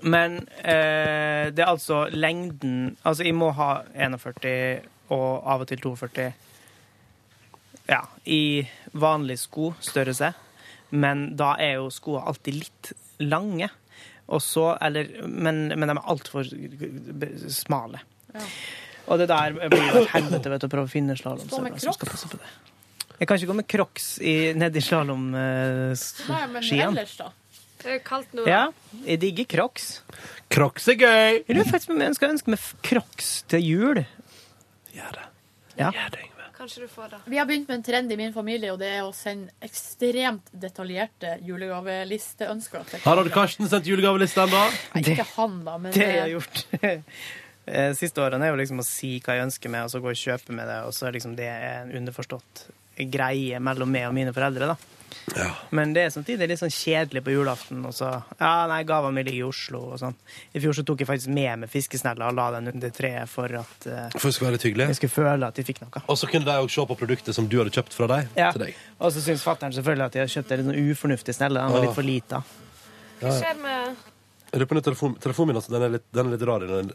C: Men eh, det er altså lengden Altså, jeg må ha 41 og av og til 42 Ja, i vanlig skostørrelse. Men da er jo skoene alltid litt lange. Og så, eller Men, men de er altfor smale. Og det der blir jo et helvete vet du, å prøve å finne
B: Stå med
C: slalåmstøvler som skal
B: crocs.
C: passe på det. Jeg kan ikke gå med crocs i- nedi
H: Nei, men
C: slalåmskien.
H: ellers, da? Det er jo kaldt nå.
C: Ja, jeg digger crocs.
A: Crocs er gøy!
C: Jeg lurer faktisk på om jeg skal ønske meg f- crocs til jul. Gjør det. Ja.
H: Kanskje du får det.
B: Vi har begynt med en trend i min familie, og det er å sende ekstremt detaljerte julegavelisteønsker. til
A: Har Odd Karsten sendt julegaveliste ennå?
B: Nei, Ikke han, da, men
C: Det jeg har gjort eh, siste årene, er jo liksom å si hva jeg ønsker meg, og så gå og kjøpe med det, og så er liksom det en underforstått greie mellom meg og mine foreldre, da. Men det er samtidig litt sånn kjedelig på julaften. Og så, ja, nei, gavene mine ligger i Oslo og sånn. I fjor så tok jeg faktisk med meg fiskesnella og la den under treet for at eh,
A: For det skal være litt hyggelig.
C: Jeg skulle føle at de fikk noe.
A: Og så kunne de òg se på produktet som du hadde kjøpt fra deg.
C: Ja.
A: til deg.
C: Og så syns fatter'n selvfølgelig at jeg har kjøpt en litt sånn ufornuftig snelle. Den var litt for lita.
A: Ja,
H: Hva
A: ja.
H: skjer med
A: Jeg lurer på om telefon, telefonen min altså, den, er litt, den er litt rar. Den.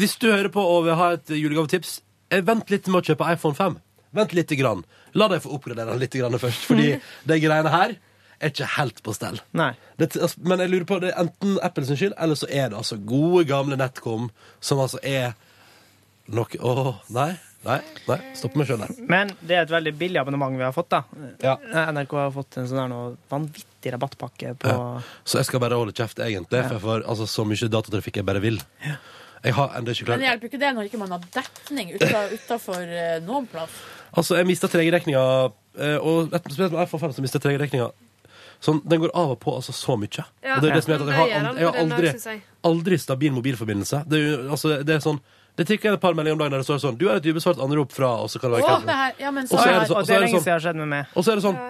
A: Hvis du hører på og vil ha et julegavetips, eh, vent litt med å kjøpe iPhone 5. Vent litt. Grann. La deg få oppgradere den litt grann først, fordi de greiene her er ikke helt på stell.
C: Nei.
A: Det, altså, men jeg lurer på, det er enten Apple sin skyld, eller så er det altså gode, gamle NetCom, som altså er noe Åh, nei, nei, nei, stopp meg sjøl der.
C: Men det er et veldig billig abonnement vi har fått, da.
A: Ja.
C: NRK har fått en sånn her noe vanvittig rabattpakke på
A: Ja. Så jeg skal bare holde kjeft, egentlig, for jeg får altså, så mye datatrafikk jeg bare vil. Jeg har enda ikke
B: Men
A: klart
B: det hjelper jo ikke det når ikke man har dekning utafor noen plass.
A: eh, Altså, jeg mista 3G-dekninga, eh, og et- spesielt med iPhone 5 så mista jeg 3G-dekninga Sånn, den går av og på altså så mye.
U: Ja,
A: og det er det som gjør at jeg har,
U: det gjør den på
A: jeg har
U: den
A: aldri,
U: dag, synes jeg.
A: aldri stabil mobilforbindelse. Det er, jo- altså, det er sånn det tikker inn et par meldinger om dagen der det står sånn Du har et ubesvart anrop fra Og så kan det være
B: Å,
A: hvem-
B: det her, ja, men
A: Og
B: så
A: så er
B: er
A: det sånn-
C: Og det er
A: sånn-
C: lenge siden det har skjedd med meg.
A: Og så er det sånn eh,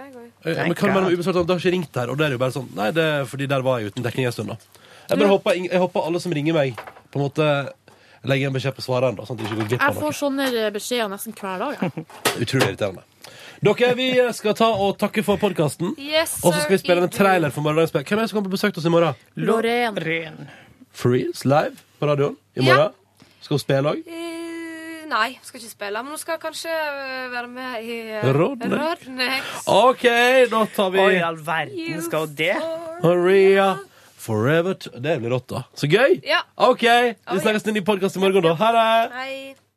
A: Men hva mener du med ubesvart anrop? Du har ikke ringt her. Og da er det jo bare sånn Nei, det er fordi der var jeg uten dekning en stund, da. Jeg bare
B: Ja.
A: håper, ing- jeg håper alle som ringer meg, på en måte legger en beskjed på svareren, da, sånn at de ikke går glipp av
B: Jeg
A: noe.
B: får sånne eh, beskjeder nesten hver dag. jeg.
A: Utrolig irriterende. Dere, vi skal ta og takke for podkasten.
B: Yes,
A: og så skal vi
B: sir.
A: spille en trailer for morgendagens spill. Hvem er det som kommer på besøk til oss i morgen?
B: Lorraine.
A: Freeze live på radioen i morgen. Skal hun spille òg?
H: Eh, nei, skal ikke spille. Men hun skal kanskje eh, være med i eh,
A: Rodnex.
H: Rodnex.
A: OK, da tar vi
C: Oi, all verden skal jo det.
A: Maria Forever t Det blir rått, da. Så gøy!
H: Ja.
A: OK, vi snakkes i en ny podkast i morgen, da. Ha det!
H: Hei.